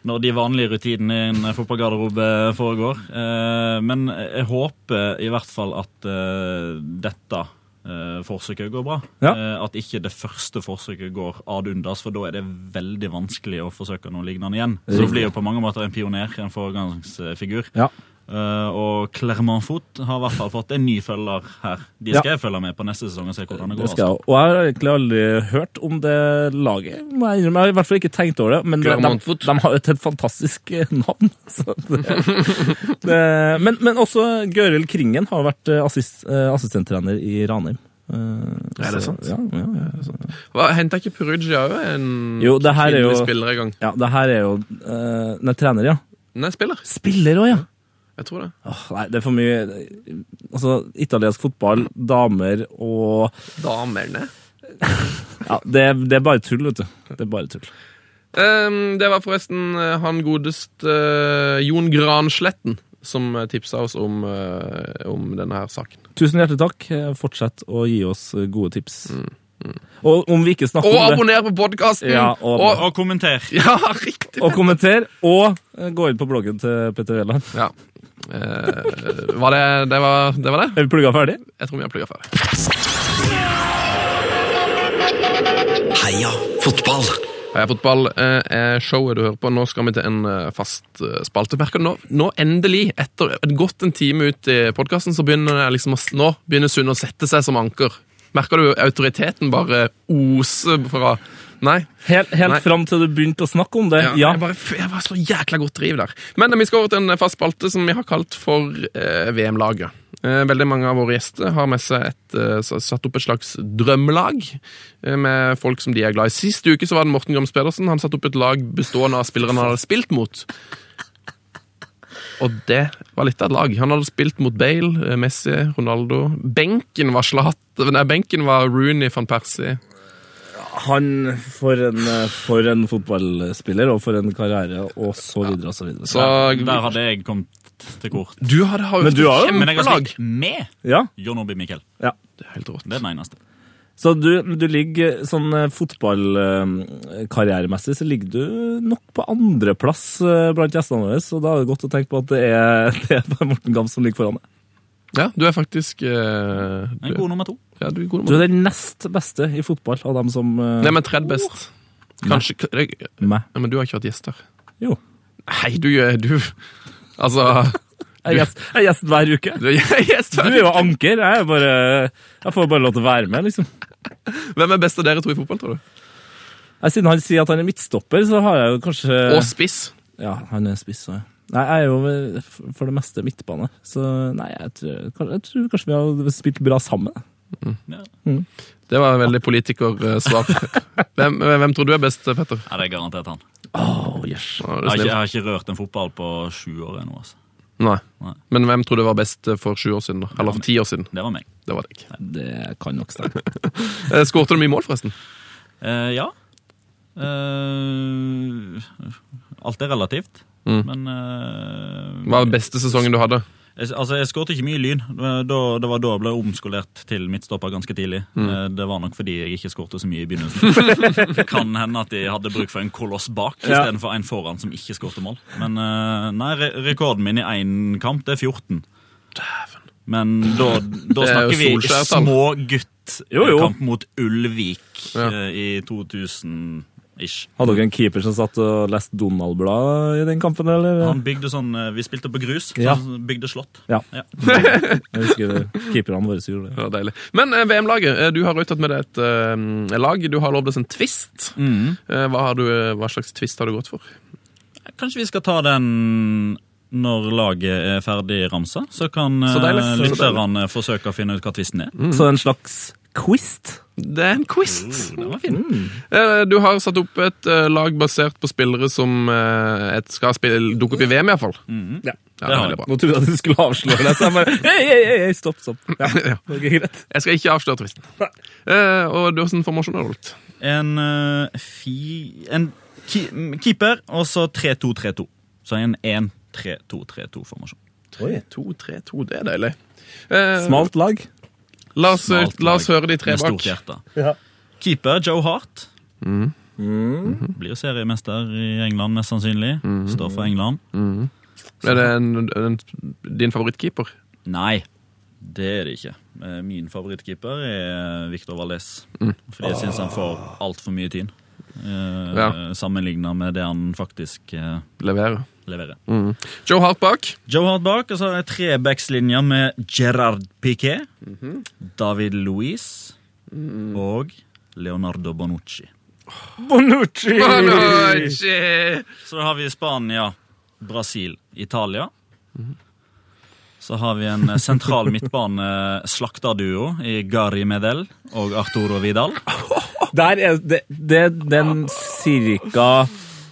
E: når de vanlige rutinene i en fotballgarderobe foregår. Eh, Men jeg håper i hvert fall at eh, dette eh, forsøket går bra.
D: Ja.
E: Eh, At ikke det første forsøket går ad undas, for da er det veldig vanskelig å forsøke noe lignende igjen. Så du blir jo på mange måter en pioner, en foregangsfigur.
D: Ja.
E: Eh, og Clermont Foot har i hvert fall fått en ny følger her. De skal jeg følge med på neste sesong og se hvordan det går.
D: Det skal jeg også. Og jeg har egentlig aldri hørt om det laget. må Jeg innrømme. Jeg har i hvert fall ikke tenkt over det, men det, de,
C: Clermont Foot.
D: de har jo et helt fantastisk eh, navn. Så det, det, men, men også Gørild Kringen har vært eh, assist, eh, assistenttrener i Ranheim. Eh,
C: Er det
D: så-
C: sant?
D: Ja, ja, ja, det er sant.
C: Henta ikke Perugia òg en
D: Jo, det her er jo-
C: kvinnelig spiller i gang?
D: ja, det her er jo eh, Nei, trener, ja.
C: Nei, spiller.
D: Spiller òg, ja!
C: Jeg tror det.
D: Åh, nei, det er for mye Altså, italiensk fotball, damer og
C: Damerne.
D: Ja, det, det er bare tull, vet du. Det er bare tull.
C: Ehm, det var forresten eh, han godeste eh, Jon Gransletten som eh, tipsa oss om, eh, om denne her saken.
D: Tusen hjertelig takk. Eh, Fortsett å gi oss eh, gode tips. Og om vi ikke snakker
C: Mm, Og
D: om det,
C: abonner på podkasten!
D: Ja, og-
C: og,
E: altså. Og kommenter!
C: ja, riktig!
D: og kommenter, og eh, gå inn på bloggen til Petter Veland.
C: Ja. Eh, var det det var, det var det?
D: Er vi plugga ferdig?
C: Jeg tror vi har plugga ferdig.
B: Heia fotball!
C: Heia fotball eh, er showet du hører på. Nå skal vi til en eh, fast eh, spalte. Merker du Nå, nå endelig, etter et godt en time ut i podkasten, så begynner det liksom å, s- nå begynner Sunne å sette seg som anker. Merker du autoriteten bare oser fra Nei.
D: Helt, helt
C: Nei.
D: fram til du begynte å snakke om det.
C: Ja,
D: Ja.
C: Jeg, bare, f- jeg bare slår jækla godt driv der. Men eh, vi skal over til en fast spalte som vi har kalt for eh, VM-laget. Eh, veldig mange av våre gjester har med seg et, eh, s- satt opp et slags drømmelag eh, med folk som de er glad i. Sist uke så var det Morten Grams Pedersen. Han satte opp et lag bestående av spillere han hadde spilt mot. Og det var litt av et lag. Han hadde spilt mot Bale, eh, Messi, Ronaldo. Benken var Zlatan- nei, benken var Rooney van Persie.
D: Han for en, eh, for en fotballspiller, og for en karriere, og så videre og så videre.
C: Så
E: Der hadde jeg kommet til kort.
C: du hadde har
D: Men du har jo-
E: Men jeg har
C: kjempelag!
E: spilt med
D: Ja,
E: John Obi Mikkel.
D: ja.
C: Det er helt rått.
E: Det er den eneste.
D: Så du, du ligger sånn fotballkarrieremessig så ligger du nok på andreplass eh, blant gjestene våre, så da er det godt å tenke på at det er, det er Morten Gams som ligger foran deg.
C: Ja, du er faktisk eh,
E: En
C: du,
E: god nummer to.
C: ja, du er god
D: Du
C: nummer.
D: er den nest beste i fotball av dem som eh,
C: Nei, men tredje best. Kanskje k- det- ja,
D: meg.
C: Men du har ikke vært gjest her.
D: Jo.
C: Nei, du er du Altså
D: Jeg er gjest- jeg er gjest hver uke.
C: du er gjest
D: Du
C: her.
D: er jo anker. Jeg, er bare, jeg får bare lov til å være med, liksom.
C: Hvem er best av dere to i fotball, tror du?
D: Jeg, siden han sier at han er midtstopper, så har jeg jo kanskje
C: Og spiss.
D: Ja, han er spiss. så jeg- Nei, jeg er jo eh, for- for det meste midtbane, så nei, jeg tror, kan- jeg tror kanskje vi har spilt bra sammen.
C: Det var veldig politikersvar. Hvem, eh, hvem tror du er best, Petter?
E: Ja, det er garantert han.
D: Oh, yes.
C: Å, er du
E: Jeg har, ikke,
C: snill.
E: jeg har ikke rørt en fotball på sju år ennå. Altså.
C: Nei.
E: Nei.
C: Men hvem tror du var best eh, for sju år siden? da? Eller for ti år siden?
E: Det var meg.
C: Det var deg.
D: Det kan nok stemme.
C: Eh, Skårte du mye mål, forresten?
E: Eh, ja. Eh, alt er relativt,
C: Mm.
E: men eh,
C: Hva var beste sesongen du hadde?
E: Jeg, altså, jeg skåret ikke mye lyn. Da, det var da jeg ble omskolert til midtstopper ganske tidlig. Eh, Det var nok fordi jeg ikke skårte så mye i begynnelsen. det kan hende at de hadde bruk for en koloss bak
D: Ja.
E: istedenfor en foran som ikke skårte mål. Men eh, nei, re rekorden min i én kamp, det er 14. Men da, da
C: Det er jo
E: snakker vi
C: Solskjær-tall.
E: små gutt eh,
D: Jo, jo.
E: kamp mot Ulvik
C: Ja.
E: eh, i 2000-ish.
D: Hadde dere en keeper som satt og leste Donald-blad i den kampen, eller?
E: Han bygde sånn, eh, Vi spilte på grus, så
D: Ja.
E: han bygde slott.
D: Ja.
E: Ja.
D: Jeg husker det. keeperne våre som gjorde det.
C: Det var deilig. Men eh, VM-laget, eh, du har jo tatt med deg et eh, lag. Du har lovd oss en twist. Eh, hva, har du, eh, hva slags twist har du gått for?
E: Kanskje vi skal ta den når laget er ferdig ramsa, så kan eh,
C: Så deilig. Så
E: lytterne forsøke å finne ut hva tvisten er.
D: Så en slags quiz?
C: Det er en quiz. Eh, Du har satt opp et eh, lag basert på spillere som eh, et skal spille, dukke opp i VM, iallfall.
D: Ja.
C: Ja,
E: Det
C: det er
E: har
C: veldig bra.
D: Nå trodde jeg at du skulle avsløre det, så jeg bare hei, hei, hei, hei, stopp, stopp. Ja,
C: Ja.
D: det er greit.
C: Jeg skal ikke avsløre sånn tvisten. Eh, Og du, hvordan formasjon har du holdt?
E: En, eh, fi, en Ki keeper, og så 3-2-3-2. Så en 1-3-2-3-2-formasjon.
C: 3-2-3-2, det er deilig. Eh,
D: Smalt lag.
C: La oss, eh, la oss høre de tre
E: med
C: bak. Mm.
E: stort hjerte.
D: Ja.
E: Keeper Joe Hart. Blir seriemester i England, mest sannsynlig.
C: Mm.
E: Står for England.
C: Er det en, en, din favorittkeeper?
E: Nei, det er det ikke. Eh, Min favorittkeeper er Victor Valdes. Fordi jeg syns han får altfor mye tid. Eh,
C: Ja.
E: Sammenligna med det han faktisk eh,
C: Leverer.
E: leverer.
C: Joe Hart bak.
E: Joe Hart bak, og så har jeg trebackslinja med Gerard Piquet, David Louis og Leonardo Bonucci.
D: Bonucci!
C: Bonucci!
E: Så da har vi Spania, Brasil, Italia. Så har vi en eh, sentral midtbane slakterduo i Gary Medel og Arturo Vidal.
D: Der er det, det, den cirka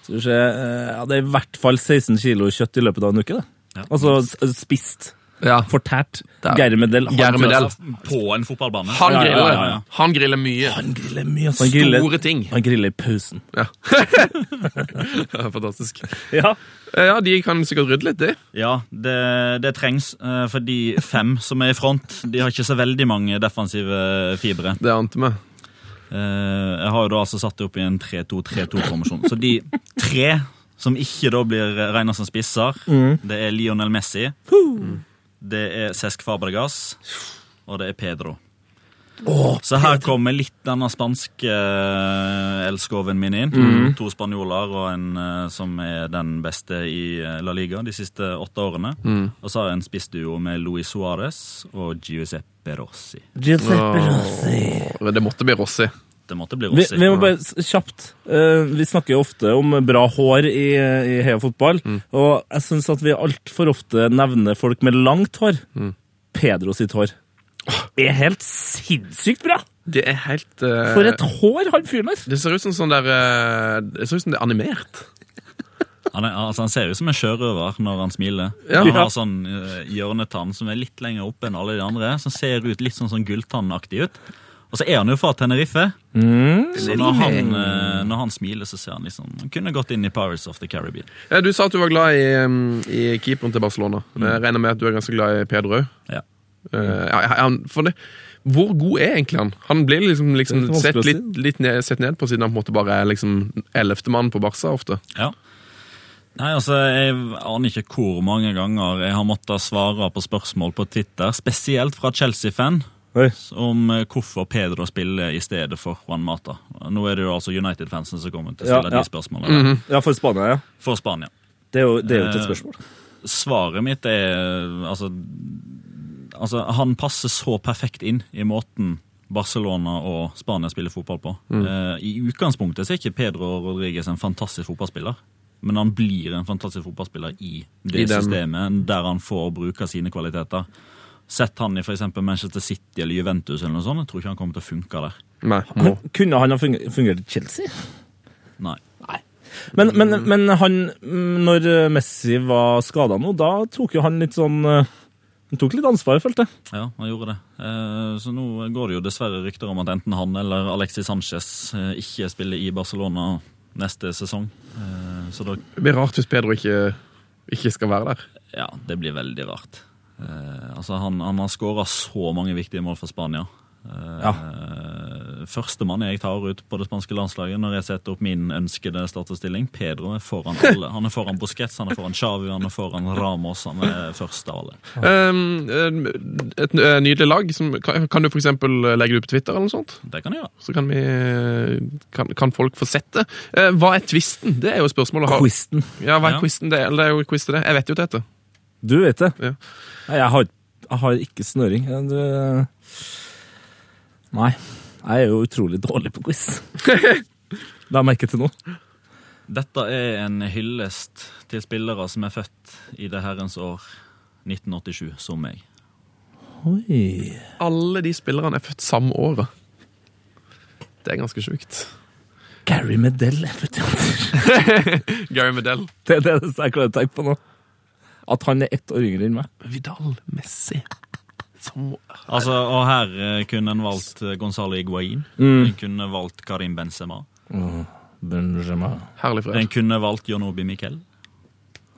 D: Skal vi se eh, ja, Det er i hvert fall 16 kilo kjøtt i løpet av en uke. da.
E: Ja.
D: Altså s- spist.
C: Ja.
D: Fortært.
C: Der.
D: Geirmedel.
C: Geir Medel.
E: På en fotballbane.
C: Han
D: Ja, ja,
C: griller.
D: ja, ja.
C: Han griller mye.
D: Han griller mye. altså. Han griller,
C: Store ting.
D: han griller i pausen.
C: Ja. Fantastisk.
D: Ja.
C: Eh, Ja, de kan sikkert rydde litt, de.
E: Ja, det, det trengs, eh, for de fem som er i front, de har ikke så veldig mange defensive fibre.
C: Det ante vi.
E: Eh, Jeg har jo da altså satt det opp i en 3-2-3-2-formasjon. Så de tre som ikke da blir regna som spisser,
D: Mm.
E: det er Lionel Messi, det er Cesc Fabregas, og det er Pedro. så her kommer litt denne spanske eh, elskoven min inn.
D: Mm.
E: To spanjoler og en eh, som er den beste i eh, La Liga de siste åtte årene.
D: Mm.
E: Og så har jeg en spissduo med Luis Suárez og Giuseppe Rossi.
D: Giuseppe
C: Åh, Det måtte bli Rossi.
E: Det måtte bli
D: Vi,
E: Rossi.
D: vi må bare s- kjapt eh, Vi snakker jo ofte om bra hår i, i Heia fotball, og jeg syns at vi altfor ofte nevner folk med langt hår. Pedro sitt hår er helt sinnssykt bra!
C: Det er helt eh,
D: For et hår han fyren har!
C: Det ser ut som sånn der eh, Det ser ut som det er animert.
E: Han, er, altså han ser ut som en sjørøver når han smiler.
C: Ja.
E: Han har sånn eh, hjørnetann som er litt lenger oppe enn alle de andre, som ser ut litt sånn, sånn gulltannaktig ut. Og så er han jo fra Tenerife,
D: Mm.
E: så når han, eh, når han smiler, så ser han liksom Han kunne gått inn i Pirates of the Caribbean.
C: Eh, Du sa at du var glad i, um, i keeperen til Barcelona.
D: Mm.
C: Jeg regner med at du er ganske glad i Pedro òg.
E: Ja.
C: Eh, ja, ja, han, for det, hvor god er egentlig han? Han blir liksom, liksom
D: Det er vanskelig
C: sett,
D: å si.
C: litt, litt ned, sett ned på siden han på en måte bare er liksom ellevtemann på Barca ofte.
E: Ja. Nei, altså, Jeg aner ikke hvor mange ganger jeg har måttet svare på spørsmål på Twitter, spesielt fra Chelsea-fan,
D: Oi.
E: om eh, hvorfor Pedro spiller i stedet for Juan Mata. Nå er det jo altså United-fansen som kommer til
D: Ja,
E: å stille
D: ja. Mm.
E: de spørsmålene
D: Ja, for Spania, ja.
E: for Spania.
D: Det er jo, det er jo ikke
E: Eh,
D: et spørsmål.
E: Svaret mitt er altså, altså, han passer så perfekt inn i måten Barcelona og Spania spiller fotball på.
C: Mm.
E: Eh, I utgangspunktet så er ikke Pedro Rodriguez en fantastisk fotballspiller, men han blir en fantastisk fotballspiller i det
C: I den-
E: systemet der han får bruke sine kvaliteter. Sett han i for eksempel Manchester City eller Juventus, eller noe sånt, jeg tror ikke han kommer til å funke der.
C: Nei,
D: Men
C: må.
D: kunne han ha funger- fungert i Chelsea?
E: Nei.
D: Men, men, men han, mm, når eh, Messi var skada nå, da tok jo han litt sånn eh, Han tok litt ansvar, følte jeg.
E: Ja, han gjorde det. Eh, Så nå går det jo dessverre rykter om at enten han eller Alexis Sanchez eh, ikke spiller i Barcelona neste sesong. Eh, Så da
C: Det blir rart hvis Pedro ikke, ikke skal være der.
E: Ja, det blir veldig rart. Eh, Altså, han, han har skåra så mange viktige mål for Spania. Eh,
D: Ja.
E: Førstemann jeg tar ut på det spanske landslaget når jeg setter opp min ønskede starterstilling. Pedro er foran alle. Han er foran Busquets, han er foran Xavi, han er foran Ramos. Han er først av alle.
C: Um, um, et n- eh, nydelig lag. Som, kan, kan du for eksempel legge det ut på Twitter, eller noe sånt?
E: Det kan jeg gjøre.
C: Så kan, vi, kan, kan folk få sett det. Eh, hva er twisten? Det er jo spørsmålet. Har-
D: Quisten.
C: Ja, hva er
E: Ja.
C: quizen det? Eller det er jo quiz til det. Jeg vet jo det heter.
D: Du vet det.
C: Ja.
D: Nei, Jeg, har, jeg har ikke snøring. Jeg- Du... Nei. Jeg er jo utrolig dårlig på quiz. La merke til nå.
E: Dette er en hyllest til spillere som er født i det herrens år 1987, som meg.
D: Oi.
C: Alle de spillerne er født samme året. Det er ganske sjukt.
D: Gary Medell er født i år.
C: Gary Medell.
D: Det er det jeg klarer å tenke på nå. At han er ett år yngre enn meg.
C: Vidal Messi. Samme år.
E: Altså, og
C: Mm.
E: her eh, kunne en valgt eh, Gonzalo Higuain. En kunne valgt Karim Benzema.
D: Benjamin.
C: Herlig fred.
E: En kunne valgt Jonobi Miquel.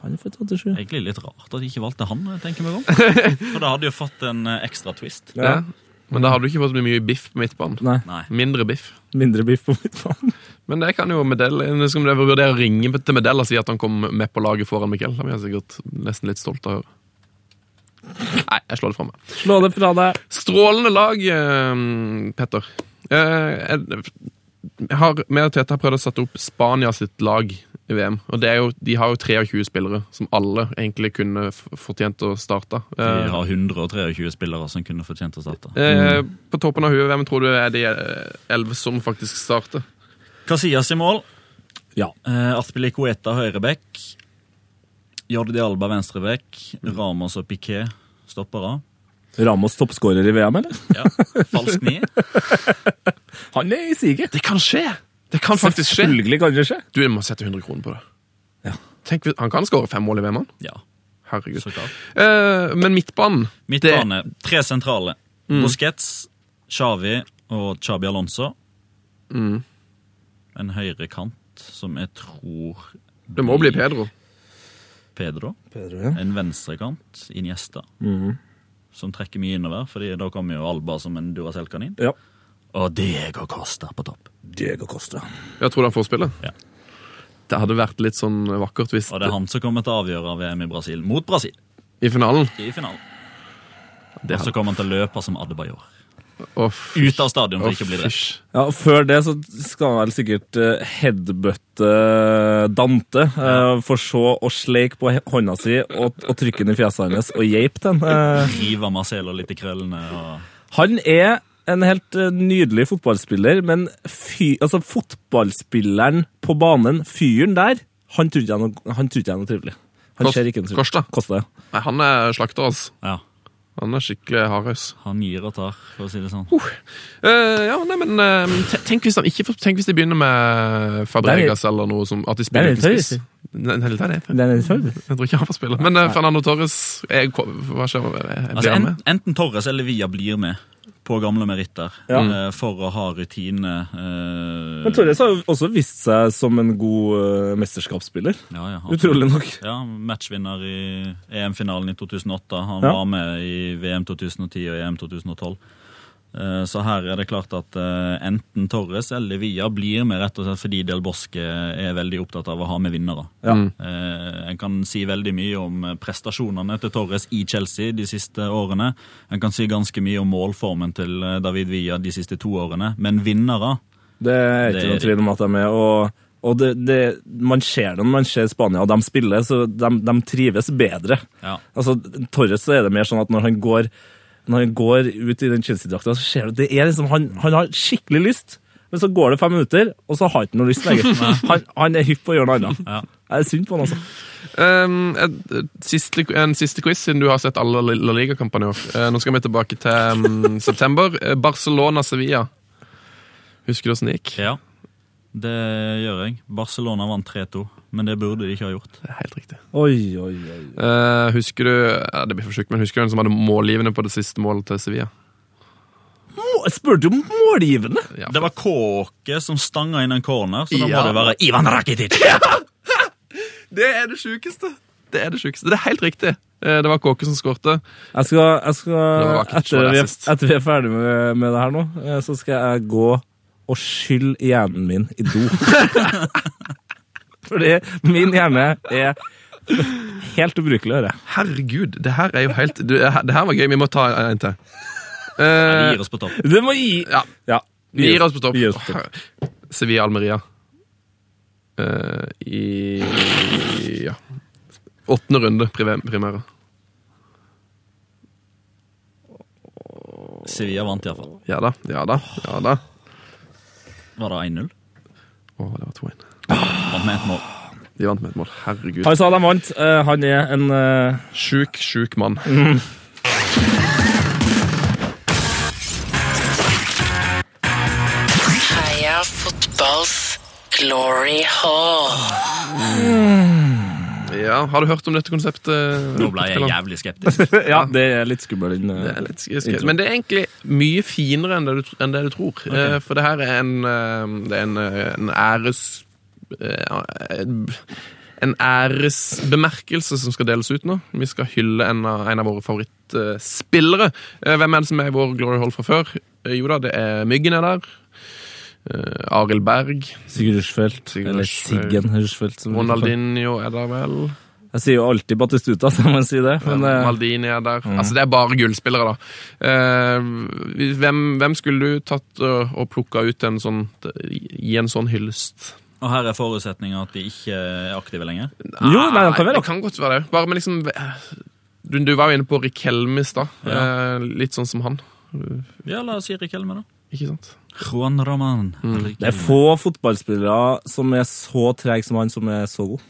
D: Han er født 87.
E: Egentlig litt rart at de ikke valgte han, tenker jeg meg om. For da hadde de jo fått en eh, ekstra twist.
C: Ja. Men da hadde du ikke fått så mye biff på midtbanen.
D: Nei.
E: Nei.
C: Mindre biff.
D: Mindre biff på midtbanen.
C: Men det kan jo Medell Nå skal vi vurdere å ringe til Medell og si at han kom med på laget foran Mikkel. Da blir han sikkert nesten litt stolt av å høre. Nei, jeg slår det fra meg.
D: Slå det fra deg.
C: Strålende lag, eh, Petter. Eh, jeg- jeg har, vi og Tete har prøvd å sette opp Spania sitt lag i VM. Og det er jo, De har jo 23 spillere som alle egentlig kunne f- fortjent å starte.
E: De
C: Eh,
E: har 123 spillere som kunne fortjent å starte.
C: eh, på toppen av huet, hvem tror du er de eh, elleve som faktisk starter?
E: Casillas i mål.
D: Ja.
E: Eh, Aspilicueta høyreback. Jordi Alba venstreback.
C: Mm.
E: Ramos og Piqué stoppere.
D: Ramos toppskårer i VM, eller?
E: Ja. Falsk ni.
D: Han er i siget.
C: Det kan skje! Det kan faktisk skje.
D: Selvfølgelig kan det skje.
C: Du må sette 100 kroner på det.
D: Ja.
C: Tenk, hvis- han kan skåre fem mål i VM, han.
E: Ja,
C: Herregud.
E: så klart.
C: Eh, men midtbanen
E: Midtbane. Tre sentrale.
C: Mm.
E: Busquets, Xavi og Chabi Alonso.
C: Mm.
E: En høyre kant som jeg tror
C: Det, det må bli Pedro.
E: Pedro.
D: Pedro, ja. Mm.
E: En venstrekant, Iniesta, som trekker mye innover, fordi da kommer jo Alba som en Duracell-kanin.
D: Ja.
E: Og Diego Costa på topp.
D: Diego Costa.
C: Jeg tror han får spille.
E: Ja.
C: Det hadde vært litt sånn vakkert hvis
E: Og det er han som kommer til å avgjøre VM i Brasil, mot Brasil,
C: I finalen.
E: i finalen.
C: Det
E: Og så
C: hadde,
E: kommer han til å løpe som Adebayor.
C: Å, fy-
E: Ut av stadion for
C: å,
E: ikke å bli drept.
C: fysj.
D: Ja, og Før det så skal han vel sikkert eh, headbutte Dante, eh, for så å sleike på he- hånda si og, og trykke den i fjeset hans og geipe den. Eh,
E: Rive Marcelo litt i krøllene og
D: Han er en helt eh, nydelig fotballspiller, men fy, altså fotballspilleren på banen, fyren der, han tror ikke jeg er noe, han tror ikke jeg er noe trivelig. Han
C: Kost-
D: ser ikke noe trivelig.
C: Kosta?
D: Kosta, ja.
C: Nei, han er slakter, altså.
E: Ja.
C: Han er skikkelig hardhaus.
E: Han gir og tar, for å si det sånn.
C: Eh, ja, nei, men eh, te- tenk, hvis han ikke, får- tenk hvis de begynner med Fabregas eller noe som At de spiller
D: Det er
C: uten
D: litt
C: spiss. Nei, nei, det er det.
D: Den er trivelig.
C: Jeg tror ikke han får spille. Men eh, Fernando Torres jeg, kom- Hva skjer? Jeg,
E: Altså,
C: han
E: en,
C: med?
E: enten Torres eller Via blir med på gamle meritter
D: Ja.
E: eh, for å ha rutine. eh,
D: Men Torres har jo også vist seg som en god eh, mesterskapsspiller.
E: ja, ja, absolutt.
D: Utrolig nok.
E: Ja, matchvinner i EM-finalen i 2008. Han
D: Ja.
E: var med i VM 2010 og E EM 2012. Eh, Så her er det klart at eh, enten Torres eller Via blir med rett og slett fordi Del Bosque er veldig opptatt av å ha med vinnere.
D: Ja.
E: Eh, En kan si veldig mye om eh, prestasjonene til Torres i Chelsea de siste årene. En kan si ganske mye om målformen til eh, David Via de siste to årene. Men vinnere
D: Det er ikke
E: Det er
D: noen tvil om at de er med. Og, og det, det, man ser det når man ser Spania, og de spiller, så de, de trives bedre.
E: Ja.
D: Altså, Torres så er det mer sånn at når han går, når han går ut i den Chelsea-drakta, så ser du det er liksom, han, han har skikkelig lyst. Men så går det fem minutter, og så har han ikke noe lyst lenger. Han, han er hypp på å gjøre noe annet.
E: Ja.
D: Jeg er synd på han, altså.
C: Um, et, et, siste, en siste quiz, siden du har sett alle La- La Liga-kampene i år. Eh, nå skal vi tilbake til um, september. Eh, Barcelona-Sevilla. Husker du åssen det gikk?
E: Ja, det gjør jeg. Barcelona vant 3-2, men det burde de ikke ha gjort.
C: Det er helt riktig.
D: Oi, oi, oi.
C: Eh, husker du ja, det blir for sjukt, men husker du hvem som hadde målgivende på det siste målet til Sevilla?
D: Må- Jeg spurte jo om målgivende!
C: Ja,
E: Det var Kåke som stanga inn en corner, så da
C: Ja.
E: må det være Ivan Rakitic!
C: det er det sjukeste! Det er det sjukeste. Det er helt riktig. Eh, det var Kåke som skårte.
D: Jeg skal, jeg skal
C: var ikke
D: etter, vi er,
C: sist.
D: etter vi er ferdig med, med det her nå, eh, så skal jeg gå og skylle hjernen min i do. Fordi min hjerne er helt ubrukelig, hører jeg.
C: Herregud, det her er jo helt du, Det her var gøy. Vi må ta en til.
E: Vi
C: Eh,
E: gir oss på topp.
D: Du må gi
C: Ja. Vi gir oss på topp.
D: Vi gir oss på topp.
C: Sevilla Almeria. Eh, I ja. åttende runde prive- primære.
E: Sevilla vant iallfall.
C: Ja da, ja da. ja da.
E: Var det 1-0?
C: Å, det var 2-1.
E: Vant med ett mål.
C: De vant med et mål. Herregud.
D: Han sa de vant. Eh, Han er en eh,
C: Sjuk, sjuk mann.
H: Heia fotballs glory hall.
C: Ja, Har du hørt om dette konseptet?
E: Nå ble jeg
C: Spilleren?
E: jævlig skeptisk.
D: Ja, det er litt skummel, den. eh,
C: Det er litt skrevet. Men det er egentlig mye finere enn det du, enn det du tror. Eh, For det her er en, eh, det er en, eh, en æres eh, en æresbemerkelse som skal deles ut nå. Vi skal hylle en av, en av våre favorittspillere. Eh, Hvem er det som er i vår Glory Hall fra før? Eh, Jo da, det er Myggen er der. Eh, Arild Berg.
D: Sigurd Rushfeldt.
C: Sigurd
D: Eller
C: Rushfeldt.
D: Siggen Rushfeldt. som vi kaller han.
C: Ronaldinho er der vel.
D: Jeg sier jo alltid Batistuta, så jeg må si det. Men
C: Eh,
D: eh,
C: Maldini er der. Altså, det er bare gullspillere, da. Eh, vi- hvem, hvem skulle du tatt og, og plukka ut en sånn Gi en sånn hyllest?
E: Og her er forutsetninga at de ikke er aktive lenger.
D: jo, nei, han kan
C: Nei,
D: være
C: det kan godt være det. Bare med liksom du, du var jo inne på Rikelme i stad. Eh, litt sånn som han,
E: Ja, la oss si Rik Helme, da. Mm.
C: ikke sant?
E: Juan Roman. Eller
D: Det er
E: Riquelme.
D: få fotballspillere som er så treg som han, som er så god.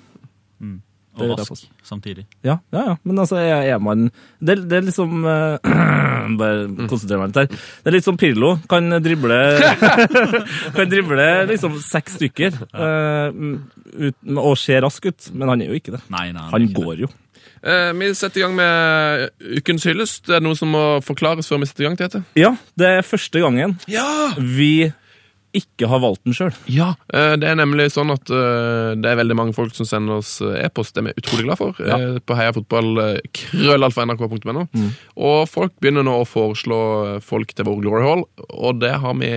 D: det er
E: Og
D: derfor.
E: Rask samtidig.
D: Ja, ja, ja. Men altså, er, er man Det, er- det er liksom eh, Bare konsentrer meg litt her. Det er litt som Pirlo. Kan drible Kan drible liksom seks stykker eh, ut, og se rask ut, men han er jo ikke det.
E: Nei, nei,
D: Han
E: ikke det.
D: går jo.
C: Eh, vi setter i gang med ukens hyllest. Er det noe som må forklares før vi setter i gang, Tete?
D: Ja, det er første gangen
C: Ja!
D: vi ikke har valgt den sjøl.
C: Ja, eh, Det er nemlig sånn at eh, det er veldig mange folk som sender oss eh, e-post. Det er vi utrolig glad for.
D: Ja. Mm.
C: eh, På heiafotball.krøllalfa.nrk.no. Og folk begynner nå å foreslå eh, folk til vår Glory Hall, og det har vi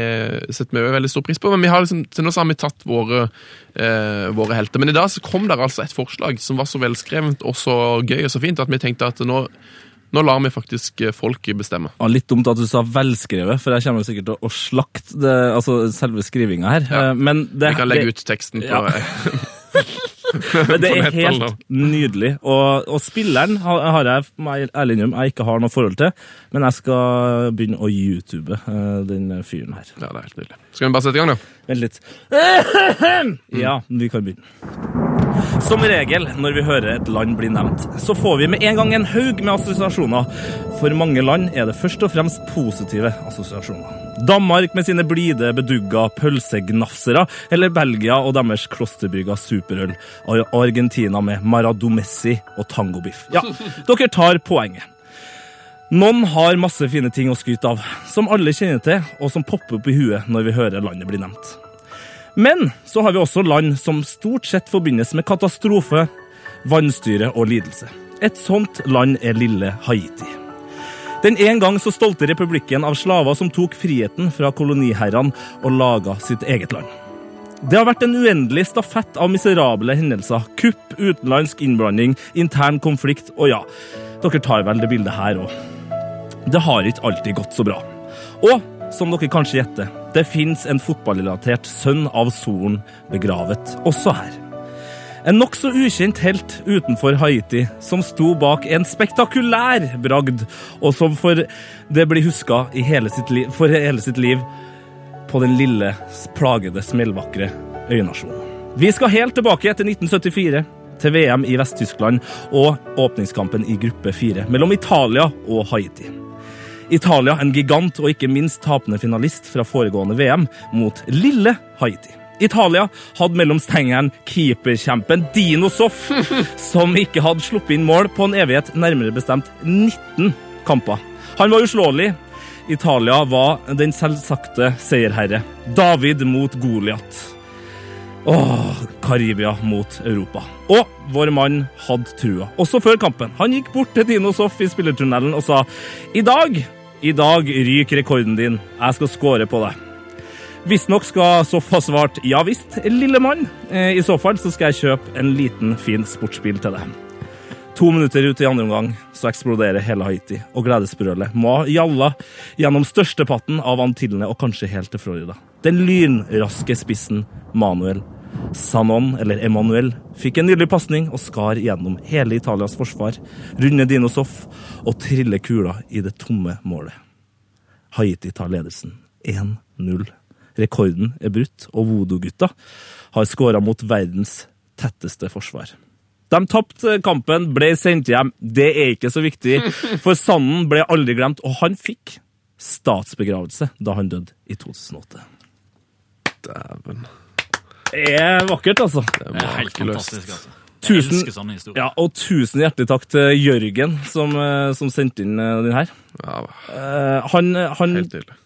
C: sett med veldig stor pris på. Men vi har liksom, til nå så har vi tatt våre, eh, våre helter. Men i dag så kom det altså et forslag som var så velskrevent og så gøy og så fint at vi tenkte at nå, nå lar vi faktisk eh, folket bestemme.
D: Ja, litt dumt at du sa velskrevet, for jeg kommer jo sikkert til å slakte det, altså selve skrivinga her. Eh, Men det,
C: Vi kan
D: det-
C: legge ut teksten på
D: Ja. Men det
C: på
D: er
C: nettet,
D: helt nydelig. Og, og spilleren har, har jeg må jeg ærlig innrømme, jeg ikke har noe forhold til, men jeg skal begynne å youtube eh, den fyren her.
C: Ja, det er helt nydelig. Skal vi bare sette i gang, da?
D: Vent litt. Ja, vi kan begynne. Som regel når vi hører et land bli nevnt, så får vi med en gang en haug med assosiasjoner. For mange land er det først og fremst positive assosiasjoner. Danmark med sine blide, bedugga pølsegnafsere, eller Belgia og deres klosterbygga superøl. Ar- Argentina med maradomessi og tangobiff. Ja, dere tar poenget. Noen har masse fine ting å skryte av, som alle kjenner til, og som popper opp i huet når vi hører landet bli nevnt. Men så har vi også land som stort sett forbindes med katastrofe, vannstyre og lidelse. Et sånt land er lille Haiti. Den en gang så stolte republikken av slaver som tok friheten fra koloniherrene og laga sitt eget land. Det har vært en uendelig stafett av miserable hendelser. Kupp, utenlandsk innblanding, intern konflikt og ja, dere tar vel det bildet her òg. Det har ikke alltid gått så bra. Og som dere kanskje gjetter, det fins en fotballrelatert sønn av solen begravet også her. En nokså ukjent helt utenfor Haiti som sto bak en spektakulær bragd, og som for det blir huska i hele sitt liv, for hele sitt liv på den lille, plagede, smellvakre øynasjonen. Vi skal helt tilbake til 1974, til VM i Vest-Tyskland og åpningskampen i gruppe fire mellom Italia og Haiti. Italia en gigant og ikke minst tapende finalist fra foregående VM mot lille Haiti. Italia hadde mellom stengeren keeperkjempen Dino Soff, som ikke hadde sluppet inn mål på en evighet, nærmere bestemt 19 kamper. Han var uslåelig. Italia var den selvsagte seierherre. David mot Goliat. Åh, Karibia mot Europa. Og vår mann hadde trua, også før kampen. Han gikk bort til Dino Soff i spillertunnelen og sa I dag, i dag ryker rekorden din. Jeg skal score på deg. Visstnok skal Soff ha svart ja visst, lille mann. Eh, I så fall så skal jeg kjøpe en liten, fin sportsbil til deg. To minutter ut i andre omgang så eksploderer hele Haiti, og gledesbrølet må ha gjalla gjennom størsteparten av Antillene og kanskje helt til Florida. Den lynraske spissen Manuel Sanon, eller Emanuel, fikk en nydelig pasning og skar gjennom hele Italias forsvar, runde Dino Soff og trille kula i det tomme målet. Haiti tar ledelsen 1-0. Rekorden er brutt, og Vodo-gutta har skåra mot verdens tetteste forsvar. De tapte kampen, ble sendt hjem. Det er ikke så viktig, for Sanden ble aldri glemt, og han fikk statsbegravelse da han døde i 2008.
C: Dæven.
D: Det er vakkert, altså.
E: Det er helt
C: Makeløst.
E: fantastisk, altså. Jeg
D: Tusen,
E: elsker sånne historier.
D: ja, og tusen hjertelig takk til Jørgen, som, eh, som sendte inn eh, den her.
C: Ja,
D: Eh, Han, han
C: helt nydelig.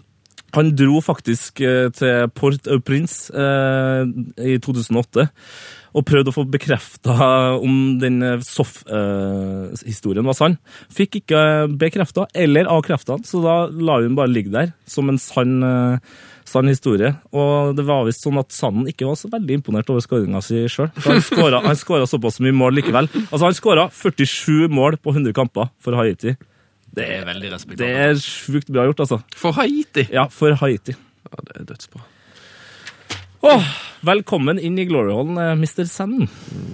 D: Han dro faktisk eh, til Port-au-Prince eh, i 2008 og prøvde å få bekrefta om den eh, SOF-historien var sann. Fikk ikke bekrefta eller avkrefta den, så da la hun bare ligge der som en sann, eh, sann historie. Og det var visst sånn at Sanden ikke var så veldig imponert over skåringa si sjøl. Han skåra han skåra såpass mye mål likevel. Altså, han skåra 47 mål på 100 kamper for Haiti.
E: Det er veldig
D: Det
E: respektabelt.
D: er sjukt bra gjort, altså.
C: For Haiti!
D: Ja, for Haiti.
C: Ja, det er dødsbra.
D: Åh, velkommen inn i Glory Hall, eh, Mr. Sand.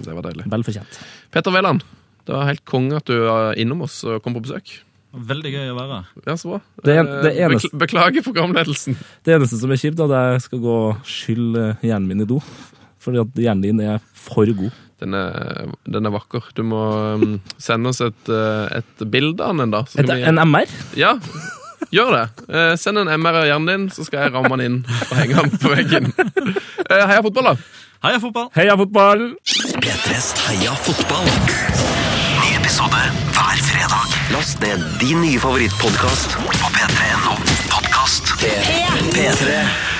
C: Det var deilig.
D: Vel fortjent.
C: Petter Wæland, det var helt konge at du var innom oss og kom på besøk.
E: Veldig gøy å være her.
C: Ja, så bra.
D: Det en- det
C: Eh,
D: eneste-
C: bekl- Beklager programledelsen.
D: Det eneste som er kjipt, da, det er at jeg skal gå og skylle eh, hjernen min i do. Fordi at hjernen din er for god.
C: Den er, den er vakker. Du må mm, sende oss et, eh, et bilde av den, da. så
D: Et,
C: skal vi-
D: en MR?
C: Ja, gjør det. Eh, send en MR av hjernen din, så skal jeg ramme den inn og henge den på veggen. Eh, heia fotball, da!
E: Heia fotball!
D: Heia fotballen!
B: P3s Heia fotball. Ny episode hver fredag. Last ned din nye favorittpodkast på p3.no podkast. P3.